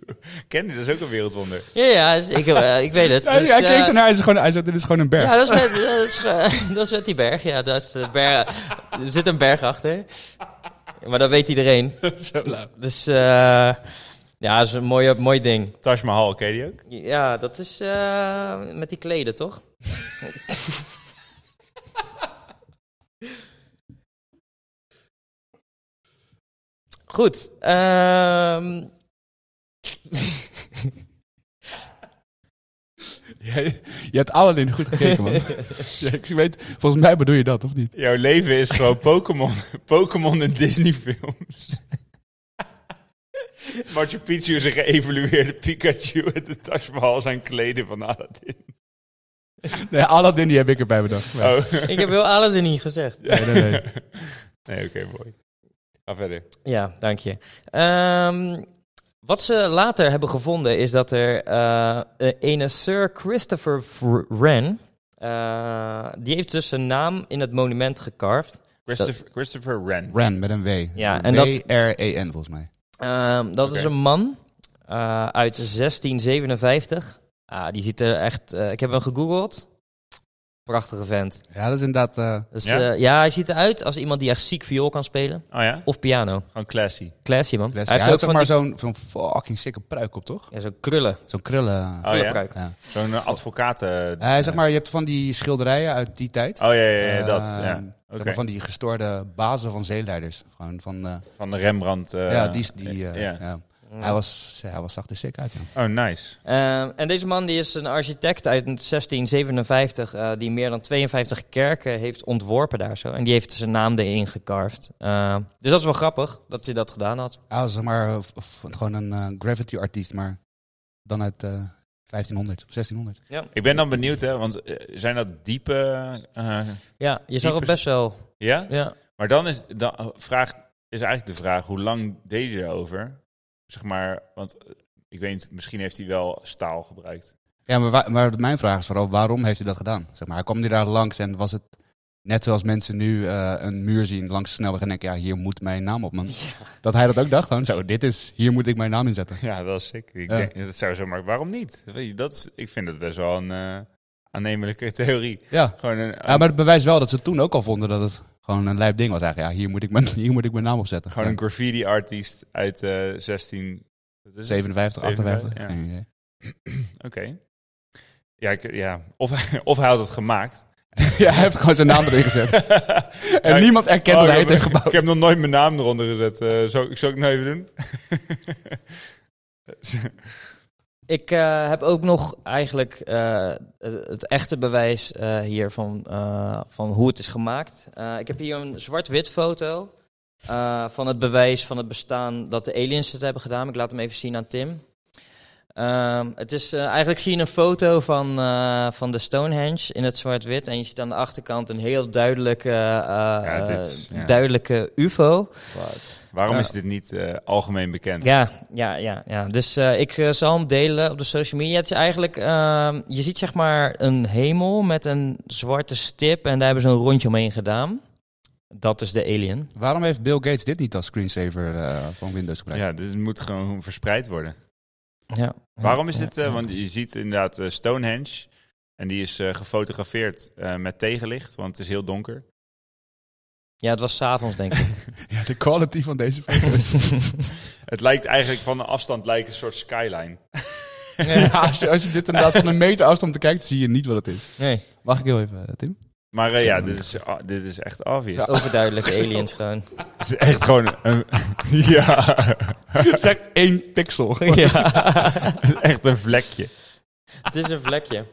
[SPEAKER 3] Ken je? Dat is ook een wereldwonder.
[SPEAKER 1] Ja, ja, dus ik, eh, ik weet het.
[SPEAKER 2] hij
[SPEAKER 1] Dus,
[SPEAKER 2] hij
[SPEAKER 1] eh,
[SPEAKER 2] keek ernaar, hij is gewoon, hij zegt, dit is gewoon een berg.
[SPEAKER 1] Ja, dat is, met, dat, is, ge- dat is met die berg. Ja, dat is de berg. Er zit een berg achter. Maar dat weet iedereen.
[SPEAKER 2] Zo lauw.
[SPEAKER 1] Dus eh, ja, dat is een mooi, mooi ding.
[SPEAKER 3] Taj Mahal, ken je die ook?
[SPEAKER 1] Ja, dat is eh, met die kleden, toch? Goed. ehm,
[SPEAKER 2] Je, je hebt Aladdin goed gekeken, man. Ja, ik weet, volgens mij bedoel je dat, of niet?
[SPEAKER 3] Jouw leven is gewoon Pokémon. Pokémon en Disney-films. Machu Picchu is een geëvolueerde Pikachu en de Taj Mahal zijn kleden van Aladdin.
[SPEAKER 2] Nee, Aladdin die heb ik erbij bedacht. Maar-
[SPEAKER 3] Oh.
[SPEAKER 1] ik heb heel Aladdin niet gezegd.
[SPEAKER 2] Nee, nee, nee.
[SPEAKER 3] Nee, oké, mooi. Ga verder.
[SPEAKER 1] Ja, dank je. Ehm, wat ze later hebben gevonden is dat er eh eh, ene Sir Christopher Wren, eh, die heeft dus zijn naam in het monument gecarved.
[SPEAKER 3] Christopher, Christopher Wren.
[SPEAKER 2] Ran met een W.
[SPEAKER 1] Ja, en dat-
[SPEAKER 2] W-R-E-N volgens mij.
[SPEAKER 1] Ehm, dat is
[SPEAKER 3] Oké.
[SPEAKER 1] een man eh, uit 1657. Ah, die ziet er echt... eh, ik heb hem gegoogeld. Prachtige vent.
[SPEAKER 2] Ja, dat is inderdaad... eh,
[SPEAKER 1] Dus,
[SPEAKER 3] Ja?
[SPEAKER 1] ja? ja, hij ziet eruit als iemand die echt ziek viool kan spelen.
[SPEAKER 3] Oh ja?
[SPEAKER 1] Of piano.
[SPEAKER 3] Gewoon classy.
[SPEAKER 1] Classy, man.
[SPEAKER 2] Hij
[SPEAKER 1] Hij
[SPEAKER 2] heeft
[SPEAKER 1] heeft ook
[SPEAKER 2] zeg
[SPEAKER 1] van
[SPEAKER 2] maar
[SPEAKER 1] die-
[SPEAKER 2] zo'n zo'n fucking sikke pruik op, toch?
[SPEAKER 1] ja, zo'n krullen.
[SPEAKER 2] Zo'n krullen...
[SPEAKER 3] Oh ja?
[SPEAKER 1] krullenpruik.
[SPEAKER 2] Ja.
[SPEAKER 3] Zo'n eh, advocaat. eh,
[SPEAKER 2] Eh, zeg maar, je hebt van die schilderijen uit die tijd.
[SPEAKER 3] Oh ja, ja, ja,
[SPEAKER 2] Eh,
[SPEAKER 3] dat. ja.
[SPEAKER 2] zeg
[SPEAKER 3] Oké.
[SPEAKER 2] maar van die gestoorde bazen van zeeleiders. Gewoon van... eh,
[SPEAKER 3] Van de Rembrandt. eh,
[SPEAKER 2] ja, die... is- die eh,
[SPEAKER 3] ja.
[SPEAKER 2] ja. Hij was, hij was zacht en sick uit, ja.
[SPEAKER 3] Oh, nice.
[SPEAKER 1] Ehm, en deze man die is een architect uit 1657 eh, die meer dan 52 kerken heeft ontworpen daar zo. En die heeft zijn naam erin gecarved. Ehm, dus dat is wel grappig dat hij dat gedaan had.
[SPEAKER 2] Hij was zeg maar eh, v- v- gewoon een eh, gravity artiest, maar dan uit eh, 1500 of 1600.
[SPEAKER 3] Ik ben dan benieuwd, hè, want eh, zijn dat diepe... eh,
[SPEAKER 1] Ja, je zag
[SPEAKER 3] Die
[SPEAKER 1] het best wel.
[SPEAKER 3] ja?
[SPEAKER 1] Ja.
[SPEAKER 3] Maar dan is, dan vraag, is eigenlijk de vraag, hoe lang deed je erover? Zeg maar, want eh, ik weet niet, misschien heeft hij wel staal gebruikt.
[SPEAKER 2] Ja, maar, wa- maar mijn vraag is vooral, waarom heeft hij dat gedaan? Zeg maar, hij kwam hij daar langs en was het net zoals mensen nu eh, een muur zien langs de snelweg en denken, ja, hier moet mijn naam op, man. Dat hij dat ook dacht, gewoon zo, dit is, hier moet ik mijn naam inzetten.
[SPEAKER 3] Ja, wel sick. Ik
[SPEAKER 2] Ja.
[SPEAKER 3] denk, dat zou zo, maar waarom niet? Weet je, dat is, ik vind dat best wel een eh, aannemelijke theorie.
[SPEAKER 2] Ja.
[SPEAKER 3] Gewoon een,
[SPEAKER 2] ja, maar het bewijst wel dat ze toen ook al vonden dat het gewoon een lijp ding was eigenlijk. Ja, hier moet ik mijn, hier moet ik mijn naam op zetten.
[SPEAKER 3] gewoon
[SPEAKER 2] Ja.
[SPEAKER 3] een graffiti-artiest uit eh 16... wat is het?
[SPEAKER 2] 57, 58,
[SPEAKER 3] 57, ja.
[SPEAKER 2] geen idee.
[SPEAKER 3] Oké. Ja, ik, ja. Of, hij- of hij had het gemaakt.
[SPEAKER 2] Ja, hij heeft gewoon zijn naam erin gezet. En
[SPEAKER 3] Ja, ik-
[SPEAKER 2] niemand erkent
[SPEAKER 3] Oh,
[SPEAKER 2] dat
[SPEAKER 3] ik
[SPEAKER 2] hij
[SPEAKER 3] heb-
[SPEAKER 2] het heeft gebouwd.
[SPEAKER 3] Ik heb nog nooit mijn naam eronder gezet. Eh zou, ik- zou ik het nou even doen?
[SPEAKER 1] Ik eh, heb ook nog eigenlijk eh, het, het echte bewijs eh, hier van, eh, van hoe het is gemaakt. Eh, ik heb hier een zwart-wit foto eh, van het bewijs van het bestaan dat de aliens het hebben gedaan. Ik laat hem even zien aan Tim. Eh, Ehm, het is, eh, eigenlijk zie je een foto van, eh, van de Stonehenge in het zwart-wit. En je ziet aan de achterkant een heel duidelijke, eh, eh,
[SPEAKER 3] dit is- ja.
[SPEAKER 1] duidelijke UFO.
[SPEAKER 3] Waarom
[SPEAKER 1] Ja.
[SPEAKER 3] is dit niet eh, algemeen bekend?
[SPEAKER 1] Ja, ja, ja, ja. Dus eh, ik eh, zal hem delen op de social media. Het is eigenlijk, ehm, je ziet zeg maar een hemel met een zwarte stip. En daar hebben ze een rondje omheen gedaan. Dat is de alien.
[SPEAKER 2] Waarom heeft Bill Gates dit niet als screensaver eh, van Windows gebruikt?
[SPEAKER 3] Ja, dit moet gewoon verspreid worden.
[SPEAKER 1] Ja.
[SPEAKER 3] Waarom is
[SPEAKER 1] Ja,
[SPEAKER 3] dit? eh,
[SPEAKER 1] ja.
[SPEAKER 3] Want je ziet inderdaad eh, Stonehenge. En die is eh, gefotografeerd eh, met tegenlicht, want het is heel donker.
[SPEAKER 1] Ja, het was s'avonds, denk ik.
[SPEAKER 2] Ja, de quality van deze foto's.
[SPEAKER 3] Het lijkt eigenlijk van een afstand lijkt een soort skyline.
[SPEAKER 2] ja, als, je, als je dit inderdaad van een meter afstand kijkt, zie je niet wat het is.
[SPEAKER 1] Nee,
[SPEAKER 2] Mag ik heel even, eh, Tim?
[SPEAKER 3] Maar eh, ja, dit is, ah, dit is echt obvious.
[SPEAKER 1] overduidelijke aliens gewoon.
[SPEAKER 3] Het is echt gewoon een... ja,
[SPEAKER 2] Het is echt één pixel.
[SPEAKER 1] ja.
[SPEAKER 3] echt een vlekje.
[SPEAKER 1] Het is een vlekje.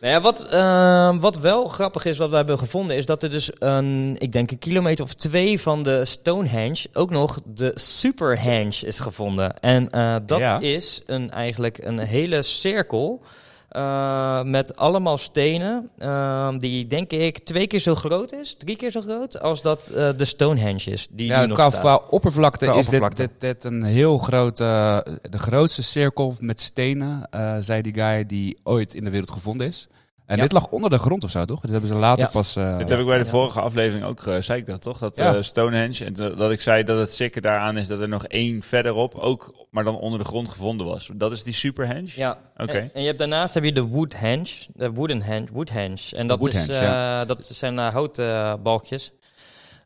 [SPEAKER 1] Nou ja, wat, ehm, wat wel grappig is, wat we hebben gevonden, is dat er dus een, ik denk een kilometer of twee van de Stonehenge ook nog de Superhenge is gevonden. En eh, dat
[SPEAKER 2] Ja.
[SPEAKER 1] is een, eigenlijk een hele cirkel eh, met allemaal stenen, ehm, die denk ik twee keer zo groot is, drie keer zo groot, als dat eh, de Stonehenge is. Die
[SPEAKER 2] Ja,
[SPEAKER 1] nu nog
[SPEAKER 2] qua,
[SPEAKER 1] staat.
[SPEAKER 2] qua oppervlakte
[SPEAKER 1] Qua
[SPEAKER 2] is dit,
[SPEAKER 1] oppervlakte.
[SPEAKER 2] dit, dit een heel groot, eh, de grootste cirkel met stenen, eh, zei die guy, die ooit in de wereld gevonden is. En
[SPEAKER 1] Ja.
[SPEAKER 2] dit lag onder de grond of zo, toch? Dit hebben ze later
[SPEAKER 1] Ja.
[SPEAKER 2] pas... eh,
[SPEAKER 3] Dit heb ik bij de
[SPEAKER 1] Ja.
[SPEAKER 3] vorige aflevering ook, eh, zei ik dat toch? Dat
[SPEAKER 2] Ja.
[SPEAKER 3] eh, Stonehenge, en dat dat ik zei dat het zeker daaraan is dat er nog één verderop ook, maar dan onder de grond gevonden was. Dat is die Superhenge?
[SPEAKER 1] Ja.
[SPEAKER 3] Oké.
[SPEAKER 1] En, en je hebt daarnaast heb je de woodhenge, de wooden henge, woodhenge. En dat,
[SPEAKER 2] Woodhenge,
[SPEAKER 1] is, eh, dat zijn eh, houten eh, balkjes.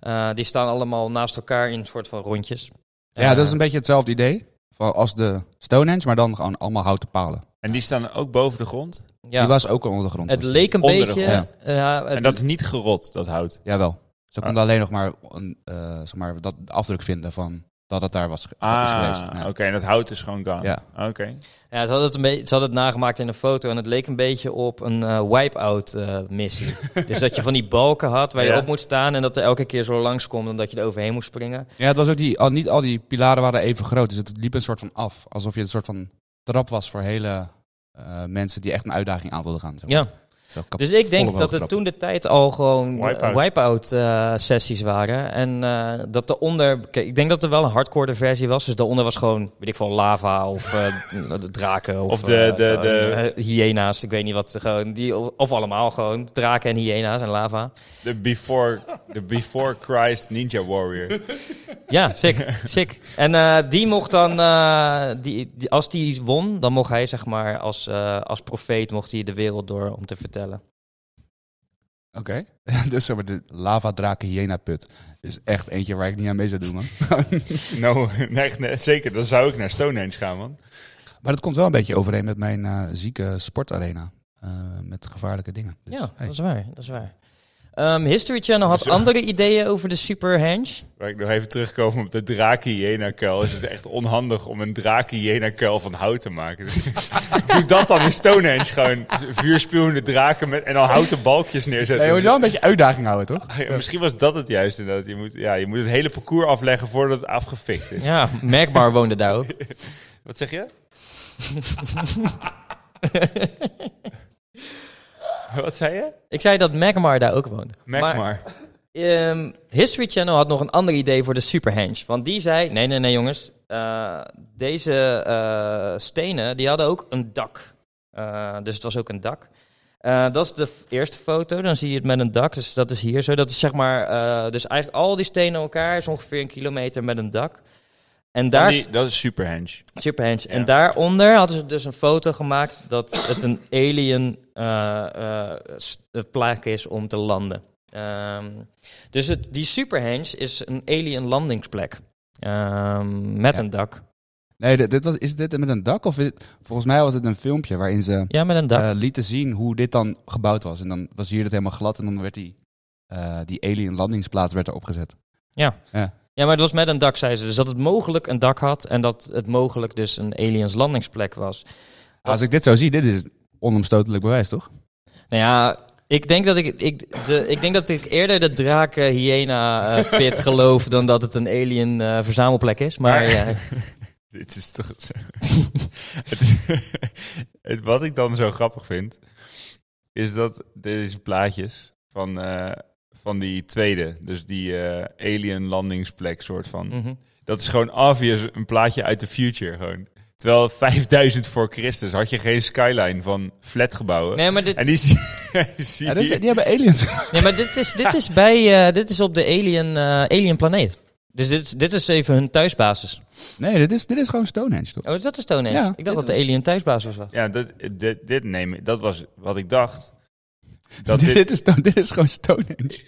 [SPEAKER 1] Eh, die staan allemaal naast elkaar in een soort van rondjes.
[SPEAKER 2] Ja,
[SPEAKER 1] Eh,
[SPEAKER 2] dat is een beetje hetzelfde idee van als de Stonehenge, maar dan gewoon allemaal houten palen.
[SPEAKER 3] En die staan ook boven de grond?
[SPEAKER 1] ja.
[SPEAKER 2] Die was ook al onder de grond.
[SPEAKER 1] het
[SPEAKER 2] was
[SPEAKER 1] leek een
[SPEAKER 3] onder de
[SPEAKER 1] beetje. eh,
[SPEAKER 2] grond.
[SPEAKER 1] ja, het-
[SPEAKER 3] En dat is niet gerot, dat hout.
[SPEAKER 2] die. Jawel. Ze
[SPEAKER 3] Ah.
[SPEAKER 2] konden alleen nog maar, een, eh, zeg maar dat de afdruk vinden van dat het daar was ge- is
[SPEAKER 3] Ah,
[SPEAKER 2] geweest.
[SPEAKER 3] oké.
[SPEAKER 2] Ja.
[SPEAKER 3] En dat hout is gewoon gone.
[SPEAKER 2] Ja.
[SPEAKER 3] Oké.
[SPEAKER 1] ja, ze, hadden het een beetje, ze hadden het nagemaakt in een foto en het leek een beetje op een eh, wipe-out eh, missie. dus dat je van die balken had waar je
[SPEAKER 3] Ja.
[SPEAKER 1] op moet staan en dat er elke keer zo langs komt en dat je er overheen moest springen.
[SPEAKER 2] Ja, het was ook die, al, niet al die pilaren waren even groot, dus het liep een soort van af. Alsof je een soort van trap was voor hele eh, mensen die echt een uitdaging aan wilden gaan. zeg maar.
[SPEAKER 1] Ja.
[SPEAKER 2] Zo kap-
[SPEAKER 1] Dus ik denk
[SPEAKER 2] volle
[SPEAKER 1] dat er
[SPEAKER 2] trappen.
[SPEAKER 1] toen de tijd al gewoon eh,
[SPEAKER 3] Wipeout.
[SPEAKER 1] wipe-out-sessies waren. En eh dat daaronder... Kijk, ik denk dat er wel een hardcore versie was. Dus daaronder was gewoon, weet ik veel, lava of eh, de draken. Of,
[SPEAKER 3] Of de-
[SPEAKER 1] eh,
[SPEAKER 3] de-
[SPEAKER 1] gewoon,
[SPEAKER 3] de-
[SPEAKER 1] eh, hyena's. Ik weet niet wat. Gewoon die, of allemaal gewoon draken en hyena's en lava.
[SPEAKER 3] De before, de before Christ Ninja Warrior.
[SPEAKER 1] Ja, sick. sick. En eh, die mocht dan... eh, die, die- als die won, dan mocht hij zeg maar als, eh, als profeet mocht hij de wereld door om te vertellen.
[SPEAKER 2] Oké. dus zeg maar, de lavadraken hyena put is echt eentje waar ik niet aan mee zou doen, man.
[SPEAKER 3] nou, nee, echt, nee, zeker. Dan zou ik naar Stonehenge gaan, man.
[SPEAKER 2] Maar dat komt wel een beetje overeen met mijn eh, zieke sportarena. Eh, met gevaarlijke dingen. Dus,
[SPEAKER 1] ja,
[SPEAKER 2] hey.
[SPEAKER 1] dat is waar. Dat is waar. Ehm, History Channel had
[SPEAKER 3] Dus, eh,
[SPEAKER 1] andere ideeën over de Superhenge.
[SPEAKER 3] Waar ik nog even terugkom op de draak-hyena-kuil. Is het echt onhandig om een draak-hyena-kuil van hout te maken? Dus doe dat dan in Stonehenge. Gewoon vuurspuwende draken met, en dan houten balkjes neerzetten. Dus
[SPEAKER 2] Nee, je moet wel een beetje uitdaging houden, toch?
[SPEAKER 3] Ja, Misschien was dat het juist inderdaad. Je moet, ja, je moet het hele parcours afleggen voordat het afgefikt is.
[SPEAKER 1] Ja, merkbaar woonde daar ook.
[SPEAKER 3] Wat zeg je? Wat zei je?
[SPEAKER 1] Ik zei dat Magmar daar ook woonde.
[SPEAKER 3] Mac
[SPEAKER 1] Maar,
[SPEAKER 3] maar.
[SPEAKER 1] ehm, History Channel had nog een ander idee voor de Superhenge. Want die zei, nee, nee, nee jongens. eh, deze eh, stenen, die hadden ook een dak. Eh, dus het was ook een dak. Eh, dat is de f- eerste foto. Dan zie je het met een dak. Dus dat is hier zo. Dat is zeg maar, eh, dus eigenlijk al die stenen aan elkaar is ongeveer een kilometer met een dak. En daar
[SPEAKER 3] Oh, Die, dat is Superhenge.
[SPEAKER 1] Superhenge.
[SPEAKER 3] Ja.
[SPEAKER 1] En daaronder hadden ze dus een foto gemaakt dat het een alien eh, eh, s- eh, plek is om te landen. Ehm, dus het, die Superhenge is een alien landingsplek. Ehm, met
[SPEAKER 2] Ja.
[SPEAKER 1] een dak.
[SPEAKER 2] Nee, dit, dit was, is dit met een dak? Of is- volgens mij was het een filmpje waarin ze
[SPEAKER 1] Ja, met een dak.
[SPEAKER 2] eh, lieten zien hoe dit dan gebouwd was. En dan was hier dit helemaal glad en dan werd die, eh, die alien landingsplaats werd erop gezet.
[SPEAKER 1] ja, maar het was met een dak, zei ze. Dus dat het mogelijk een dak had en dat het mogelijk dus een aliens landingsplek was.
[SPEAKER 2] Als ik dit zo zie, dit is onomstotelijk bewijs, toch?
[SPEAKER 1] Nou ja, ik denk dat ik, ik, de, ik, denk dat ik eerder de draken hyena eh, pit geloof dan dat het een alien eh, verzamelplek is. Maar
[SPEAKER 3] Maar-
[SPEAKER 1] ja,
[SPEAKER 3] Dit is toch zo. het, is- het- wat ik dan zo grappig vind, is dat deze plaatjes van, eh, van die tweede, dus die eh, alien landingsplek soort van.
[SPEAKER 1] Mhm.
[SPEAKER 3] Dat is gewoon obvious een plaatje uit de future gewoon. Terwijl 5000 voor Christus had je geen skyline van flatgebouwen.
[SPEAKER 1] Nee, maar dit,
[SPEAKER 3] En die zie, zie
[SPEAKER 2] Ja, dat
[SPEAKER 3] je-
[SPEAKER 2] is- die hebben aliens.
[SPEAKER 1] nee, maar dit is, dit is, bij, eh, dit is op de alien, eh, alien planeet. Dus dit, is- dit is even hun thuisbasis.
[SPEAKER 2] Nee, dit is, dit is gewoon Stonehenge, toch?
[SPEAKER 1] Oh, is dat de Stonehenge?
[SPEAKER 2] Ja,
[SPEAKER 1] ik
[SPEAKER 2] dit
[SPEAKER 1] dacht dat de
[SPEAKER 2] was-
[SPEAKER 1] alien thuisbasis was.
[SPEAKER 3] Ja, dat, dit, dit neem ik- Dat was wat ik dacht. Dat
[SPEAKER 2] dit,
[SPEAKER 3] dit,
[SPEAKER 2] dit is, Stone- dit is gewoon Stonehenge.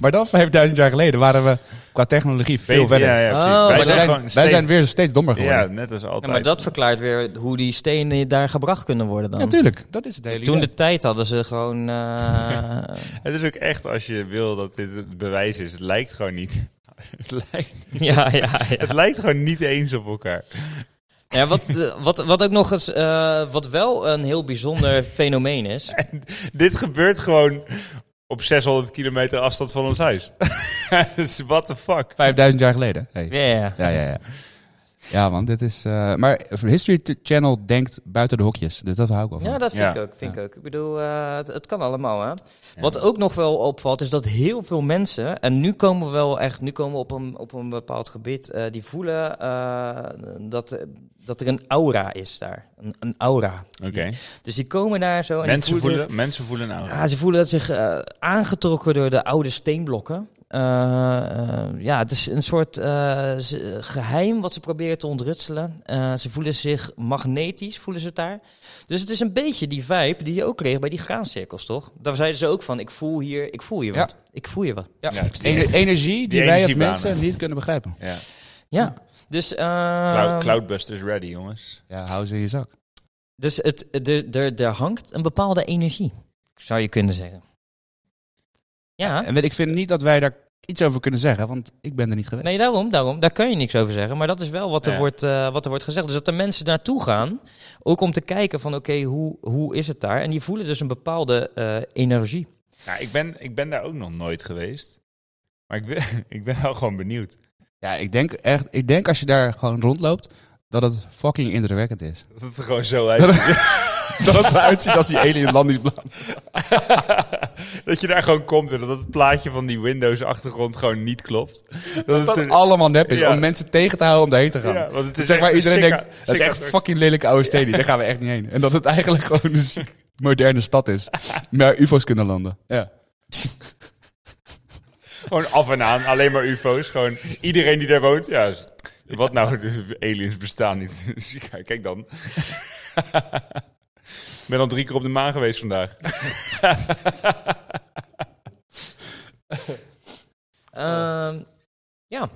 [SPEAKER 2] maar dan 5000 jaar geleden waren we qua technologie veel verder.
[SPEAKER 3] Ja, ja, precies.
[SPEAKER 1] Oh, maar
[SPEAKER 3] wij
[SPEAKER 2] wij,
[SPEAKER 3] zijn,
[SPEAKER 2] zijn,
[SPEAKER 3] gewoon
[SPEAKER 2] wij
[SPEAKER 3] steeds-
[SPEAKER 2] zijn weer steeds dommer geworden.
[SPEAKER 3] Ja,
[SPEAKER 2] Ja,
[SPEAKER 3] net als
[SPEAKER 1] Ja,
[SPEAKER 3] altijd.
[SPEAKER 1] Nou, maar dat verklaart weer hoe die stenen daar gebracht kunnen worden dan.
[SPEAKER 2] natuurlijk. Dat is het hele
[SPEAKER 1] Toen
[SPEAKER 2] idee.
[SPEAKER 1] de tijd hadden ze gewoon... eh,
[SPEAKER 3] Het is ook echt, als je wil dat dit het bewijs is, het lijkt gewoon niet. Het lijkt,
[SPEAKER 1] ja, ja, ja.
[SPEAKER 3] het lijkt gewoon niet eens op elkaar.
[SPEAKER 1] ja wat, eh, wat, wat ook nog eens... eh, wat wel een heel bijzonder fenomeen is...
[SPEAKER 3] Dit gebeurt gewoon op 600 kilometer afstand van ons huis. dus what the fuck?
[SPEAKER 2] 5000 jaar geleden. Hey.
[SPEAKER 1] Ja, ja.
[SPEAKER 2] Ja, ja, ja. Ja, man, dit is... eh, maar History T- Channel denkt buiten de hokjes. Dus dat hou ik wel van.
[SPEAKER 1] Ja, dat vind
[SPEAKER 3] Ja.
[SPEAKER 1] ik ook. Vind
[SPEAKER 2] Ja.
[SPEAKER 1] ik, ook. ik bedoel, eh, het, het kan allemaal, hè. Wat ook nog wel opvalt, is dat heel veel mensen... En nu komen we wel echt... Nu komen we op een, op een bepaald gebied... eh, die voelen eh, dat, dat er een aura is daar. Een, een aura.
[SPEAKER 3] Oké.
[SPEAKER 1] Dus die komen daar zo... En die
[SPEAKER 3] Mensen,
[SPEAKER 1] voelen,
[SPEAKER 3] voelen, mensen voelen nou.
[SPEAKER 1] Ja, ze voelen zich eh, aangetrokken door de oude steenblokken. Eh, eh, ja, het is een soort eh, ze- geheim wat ze proberen te ontrutselen. Eh, ze voelen zich magnetisch, voelen ze het daar. Dus het is een beetje die vibe die je ook kreeg bij die graancirkels, toch? Daar zeiden ze ook van, ik voel hier, ik voel hier
[SPEAKER 2] Ja.
[SPEAKER 1] wat. Ik voel hier wat.
[SPEAKER 2] Ja.
[SPEAKER 3] Ja, die-
[SPEAKER 2] Ener- energie die,
[SPEAKER 3] die
[SPEAKER 2] wij als
[SPEAKER 3] energiebanen.
[SPEAKER 2] mensen niet kunnen begrijpen.
[SPEAKER 3] Ja.
[SPEAKER 1] Ja, dus... eh,
[SPEAKER 3] Clou- Cloudbusters ready, jongens.
[SPEAKER 2] Ja, hou ze in je zak.
[SPEAKER 1] Dus het, de, de, er hangt een bepaalde energie, zou je kunnen zeggen. Ja,
[SPEAKER 2] En weet, ik vind niet dat wij daar iets over kunnen zeggen, want ik ben er niet geweest.
[SPEAKER 1] Nee, daarom, daarom. Daar kan je niks over zeggen. Maar dat is wel wat er,
[SPEAKER 3] Ja.
[SPEAKER 1] wordt, eh, wat er wordt gezegd. Dus dat er mensen naartoe gaan, ook om te kijken van oké, hoe, hoe is het daar? En die voelen dus een bepaalde eh, energie.
[SPEAKER 3] Nou, ik, ben, ik ben daar ook nog nooit geweest. Maar ik ben, ik ben wel gewoon benieuwd.
[SPEAKER 2] Ja, ik denk echt, ik denk als je daar gewoon rondloopt, dat het fucking indrukwekkend is.
[SPEAKER 3] Dat het er gewoon zo uitziet.
[SPEAKER 2] dat het eruit ziet als die alien landingsbaan.
[SPEAKER 3] dat je daar gewoon komt en dat het plaatje van die Windows-achtergrond gewoon niet klopt. Dat, het
[SPEAKER 2] Dat het
[SPEAKER 3] er-
[SPEAKER 2] allemaal nep is,
[SPEAKER 3] Ja.
[SPEAKER 2] om mensen tegen te houden om daarheen te gaan.
[SPEAKER 3] Ja, want het
[SPEAKER 2] Dus
[SPEAKER 3] is
[SPEAKER 2] zeg maar,
[SPEAKER 3] echt een
[SPEAKER 2] iedereen
[SPEAKER 3] sicka-
[SPEAKER 2] denkt, dat is
[SPEAKER 3] sicka
[SPEAKER 2] echt
[SPEAKER 3] soort-
[SPEAKER 2] fucking lelijke oude steden, daar gaan we echt niet heen. En dat het eigenlijk gewoon een ziek moderne stad is, waar ufo's kunnen landen. Ja.
[SPEAKER 3] Gewoon af en aan, alleen maar UFO's. Gewoon iedereen die daar woont. Ja, is- wat nou, de aliens bestaan niet. Dus ik- Kijk dan. Ik ben al drie keer op de maan geweest vandaag.
[SPEAKER 1] Ehm, ja,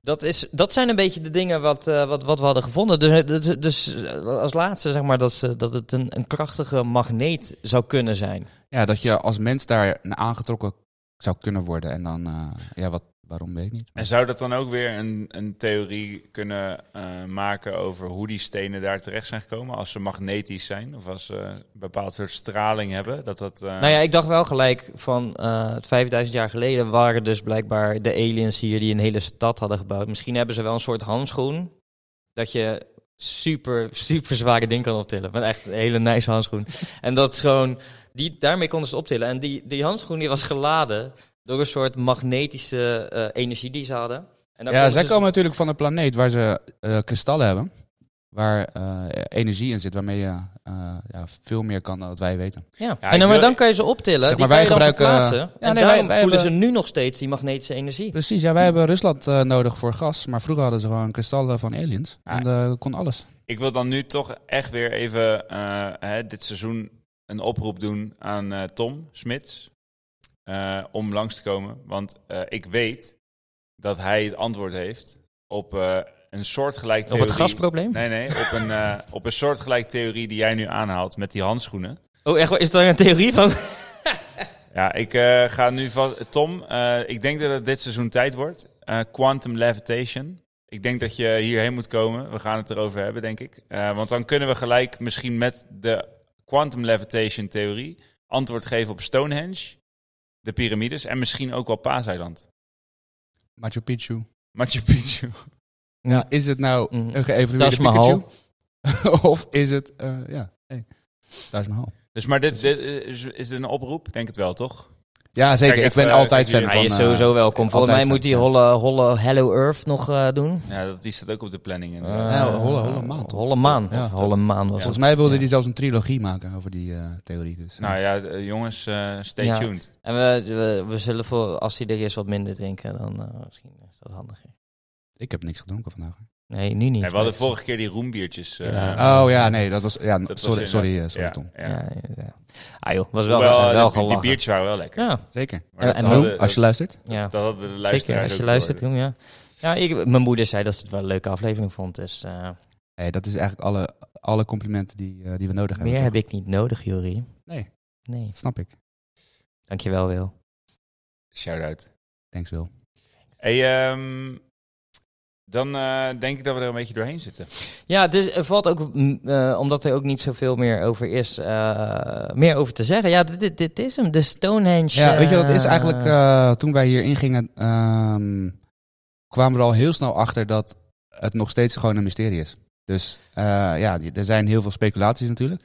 [SPEAKER 1] dat, is, dat zijn een beetje de dingen wat, eh, wat, wat we hadden gevonden. Dus, eh, dus, dus eh, als laatste zeg maar dat, ze, dat het een, een krachtige magneet zou kunnen zijn.
[SPEAKER 2] ja, dat je als mens daar naar aangetrokken zou kunnen worden. En dan, eh, ja, wat, waarom weet ik niet.
[SPEAKER 3] En zou dat dan ook weer een, een theorie kunnen eh, maken over hoe die stenen daar terecht zijn gekomen? Als ze magnetisch zijn of als ze een bepaald soort straling hebben? Dat dat, eh,
[SPEAKER 1] Nou ja, ik dacht wel gelijk van eh, het 5000 jaar geleden waren dus blijkbaar de aliens hier die een hele stad hadden gebouwd. Misschien hebben ze wel een soort handschoen dat je super, super zware ding kan optillen. Maar echt een hele nice handschoen. en dat is gewoon, die, daarmee konden ze het optillen. En die, die handschoen die was geladen door een soort magnetische eh, energie die ze hadden. En daar
[SPEAKER 3] nou,
[SPEAKER 2] Ja,
[SPEAKER 1] konden
[SPEAKER 2] zij
[SPEAKER 1] ze-
[SPEAKER 2] komen
[SPEAKER 3] dus-
[SPEAKER 2] natuurlijk van een planeet waar ze eh, kristallen hebben. Waar eh, energie in zit, waarmee je eh, ja, veel meer kan dan wat wij weten.
[SPEAKER 1] Ja.
[SPEAKER 3] Ja,
[SPEAKER 1] en dan,
[SPEAKER 3] ik
[SPEAKER 1] maar
[SPEAKER 3] wil-
[SPEAKER 1] dan kan je ze optillen,
[SPEAKER 2] Zeg
[SPEAKER 1] die
[SPEAKER 2] maar,
[SPEAKER 1] kan
[SPEAKER 2] wij
[SPEAKER 1] je dan
[SPEAKER 2] gebruiken- eh,
[SPEAKER 1] verplaatsen.
[SPEAKER 2] Ja,
[SPEAKER 1] en
[SPEAKER 2] nee, wij-
[SPEAKER 1] daarom
[SPEAKER 2] wij
[SPEAKER 1] voelen
[SPEAKER 2] hebben-
[SPEAKER 1] ze nu nog steeds die magnetische energie.
[SPEAKER 2] Precies, ja, wij hebben Rusland eh, nodig voor gas. Maar vroeger hadden ze gewoon kristallen van aliens.
[SPEAKER 3] Ja.
[SPEAKER 2] En eh, kon alles.
[SPEAKER 3] Ik wil dan nu toch echt weer even eh, hè, dit seizoen een oproep doen aan eh, Tom Smits. eh, om langs te komen. Want eh, ik weet dat hij het antwoord heeft op eh, een soortgelijk
[SPEAKER 1] Op
[SPEAKER 3] theorie.
[SPEAKER 1] het gasprobleem?
[SPEAKER 3] Nee, nee. Op een, eh, op een soortgelijk theorie die jij nu aanhaalt met die handschoenen.
[SPEAKER 1] Oh, echt? waar? Is daar een theorie van?
[SPEAKER 3] Ja, ik eh, ga nu vast... Tom, eh, ik denk dat het dit seizoen tijd wordt. Eh, quantum levitation. Ik denk dat je hierheen moet komen. We gaan het erover hebben, denk ik. Eh, want dan kunnen we gelijk misschien met de quantum levitation theorie antwoord geven op Stonehenge, de piramides en misschien ook wel Paaseiland.
[SPEAKER 2] Machu Picchu.
[SPEAKER 3] Machu Picchu.
[SPEAKER 1] Ja.
[SPEAKER 2] Is het nou
[SPEAKER 1] Mhm.
[SPEAKER 2] een
[SPEAKER 1] Taj
[SPEAKER 2] geëvalueerde
[SPEAKER 1] Mahal.
[SPEAKER 2] Pikachu? of is het, eh, ja, hey, Taj Mahal.
[SPEAKER 3] Dus maar dit, dit is, is dit een oproep? Denk het wel, toch?
[SPEAKER 2] Ja, zeker.
[SPEAKER 3] Kijk
[SPEAKER 2] ik ben
[SPEAKER 3] even,
[SPEAKER 2] altijd
[SPEAKER 3] eh,
[SPEAKER 2] fan
[SPEAKER 3] hier.
[SPEAKER 1] Ja,
[SPEAKER 2] van...
[SPEAKER 1] je is
[SPEAKER 2] eh,
[SPEAKER 1] sowieso welkom. Volgens mij
[SPEAKER 2] altijd
[SPEAKER 1] moet die
[SPEAKER 2] wel,
[SPEAKER 1] holle, holle Hello Earth nog eh, doen. Eh,
[SPEAKER 3] Ja, dat, die staat ook op de planning. In. eh.
[SPEAKER 2] Ja,
[SPEAKER 1] Ah.
[SPEAKER 2] holle- holle maan, toch?
[SPEAKER 1] Holle maan.
[SPEAKER 2] Ja.
[SPEAKER 1] Of holle maan was
[SPEAKER 2] Volgens
[SPEAKER 1] het.
[SPEAKER 2] mij wilde
[SPEAKER 1] Ja.
[SPEAKER 2] die zelfs een trilogie maken over die eh, theorie. Dus,
[SPEAKER 3] nou ja, eh, jongens, eh, stay
[SPEAKER 1] Ja.
[SPEAKER 3] tuned.
[SPEAKER 1] En we, we, we zullen voor, als hij er is, wat minder drinken. Dan eh, misschien is dat handiger.
[SPEAKER 2] Ik heb niks gedronken vandaag.
[SPEAKER 1] Nee, nu niet.
[SPEAKER 3] Ja, we hadden vorige keer die roembiertjes. eh,
[SPEAKER 1] Ja.
[SPEAKER 3] dat
[SPEAKER 2] Oh ja, nee, dat was... Ja,
[SPEAKER 3] was
[SPEAKER 2] sorry,
[SPEAKER 3] inderdaad-
[SPEAKER 2] sorry, eh, sorry
[SPEAKER 3] ja,
[SPEAKER 2] Tom.
[SPEAKER 1] Ja,
[SPEAKER 3] ja.
[SPEAKER 1] ja, ja. Ah joh, was wel,
[SPEAKER 3] Hoewel,
[SPEAKER 1] wel,
[SPEAKER 3] eh, die, die
[SPEAKER 1] gelachen.
[SPEAKER 3] biertjes waren wel lekker.
[SPEAKER 1] Ja,
[SPEAKER 2] Zeker.
[SPEAKER 3] Maar
[SPEAKER 1] En-
[SPEAKER 3] dat
[SPEAKER 1] en
[SPEAKER 3] hadden-
[SPEAKER 1] Roem,
[SPEAKER 2] Als je luistert.
[SPEAKER 1] ja.
[SPEAKER 3] Dat hadden de
[SPEAKER 1] zeker.
[SPEAKER 3] luisteraars
[SPEAKER 1] Als je
[SPEAKER 3] ook
[SPEAKER 1] luistert,
[SPEAKER 3] door.
[SPEAKER 1] Roem, ja. Ja, ik, mijn moeder zei dat ze het wel een leuke aflevering vond. Dus eh,
[SPEAKER 2] Hey, dat is eigenlijk alle, alle complimenten die, eh, die we nodig hebben.
[SPEAKER 1] meer
[SPEAKER 2] toch?
[SPEAKER 1] heb ik niet nodig, Jury.
[SPEAKER 2] Nee,
[SPEAKER 1] Nee.
[SPEAKER 2] dat snap ik.
[SPEAKER 1] Dankjewel, Wil.
[SPEAKER 3] Shout-out.
[SPEAKER 2] Thanks, Will.
[SPEAKER 3] Hey, ehm, dan eh, denk ik dat we er een beetje doorheen zitten.
[SPEAKER 1] Ja, dus er valt ook, mm, eh, omdat er ook niet zoveel meer over is, eh, meer over te zeggen. Ja, dit, dit, dit is hem, de Stonehenge.
[SPEAKER 2] Ja, weet je, dat is
[SPEAKER 1] eh,
[SPEAKER 2] eigenlijk eh, toen wij hier ingingen, ehm, kwamen we er al heel snel achter dat het nog steeds gewoon een mysterie is. Dus eh, ja, die- er zijn heel veel speculaties natuurlijk.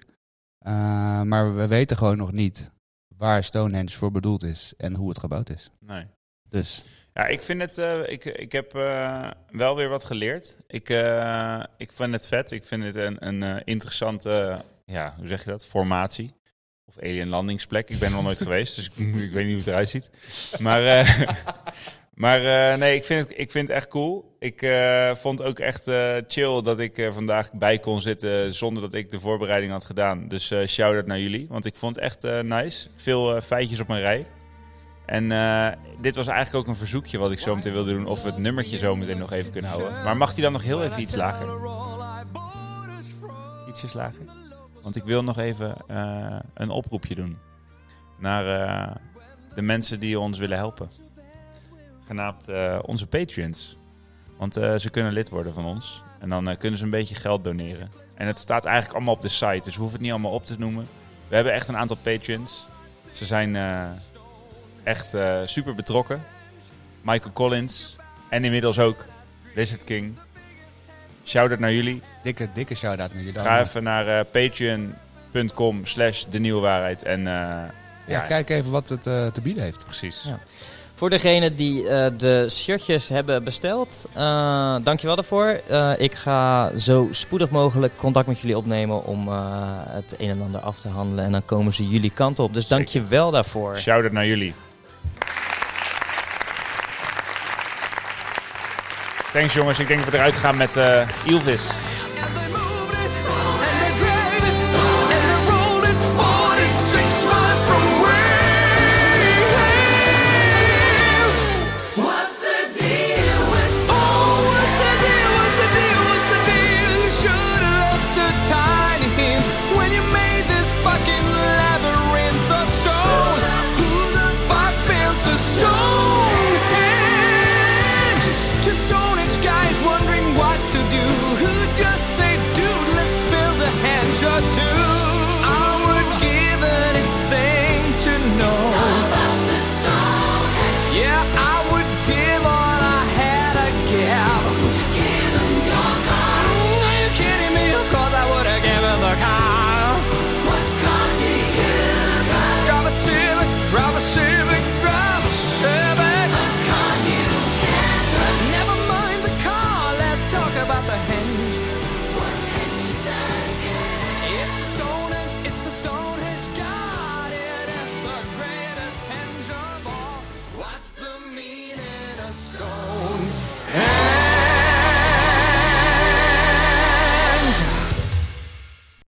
[SPEAKER 2] Eh, maar we weten gewoon nog niet waar Stonehenge voor bedoeld is en hoe het gebouwd is.
[SPEAKER 3] Nee.
[SPEAKER 2] Dus
[SPEAKER 3] Ja, ik vind het. eh, ik, ik heb eh, wel weer wat geleerd. Ik, eh, ik vind het vet. Ik vind het een, een eh, interessante. eh, ja, hoe zeg je dat? Formatie. Of alien landingsplek. Ik ben er nog nooit geweest, dus ik, ik weet niet hoe het eruit ziet. Maar. eh, maar eh, nee, ik vind, het, ik vind het echt cool. Ik eh, vond ook echt eh, chill dat ik eh, vandaag bij kon zitten zonder dat ik de voorbereiding had gedaan. Dus eh shout-out naar jullie, want ik vond het echt eh, nice. Veel eh, feitjes op mijn rij. En eh, dit was eigenlijk ook een verzoekje wat ik zo meteen wilde doen. Of we het nummertje zo meteen nog even kunnen houden. Maar mag die dan nog heel even iets lager? Ietsjes lager. Want ik wil nog even eh, een oproepje doen. Naar eh, de mensen die ons willen helpen. Genaamd eh, onze Patreons. Want eh, ze kunnen lid worden van ons. En dan eh, kunnen ze een beetje geld doneren. En het staat eigenlijk allemaal op de site. Dus we hoeven het niet allemaal op te noemen. We hebben echt een aantal Patreons. Ze zijn... eh, echt eh, super betrokken. Michael Collins en inmiddels ook Lizard King. Shout-out naar jullie.
[SPEAKER 2] dikke, dikke shout-out naar jullie.
[SPEAKER 3] Ga even naar eh, patreon.com slash de nieuwe waarheid. En eh,
[SPEAKER 2] Ja, kijk even wat het eh, te bieden heeft.
[SPEAKER 3] precies.
[SPEAKER 1] Ja. Voor degenen die eh, de shirtjes hebben besteld, eh dankjewel daarvoor. Eh, ik ga zo spoedig mogelijk contact met jullie opnemen om eh, het een en ander af te handelen. En dan komen ze jullie kant op. Dus
[SPEAKER 3] Zeker.
[SPEAKER 1] dankjewel daarvoor.
[SPEAKER 3] Shout-out naar jullie. Thanks jongens, ik denk dat we eruit gaan met eh Ilvis.
[SPEAKER 4] Mm,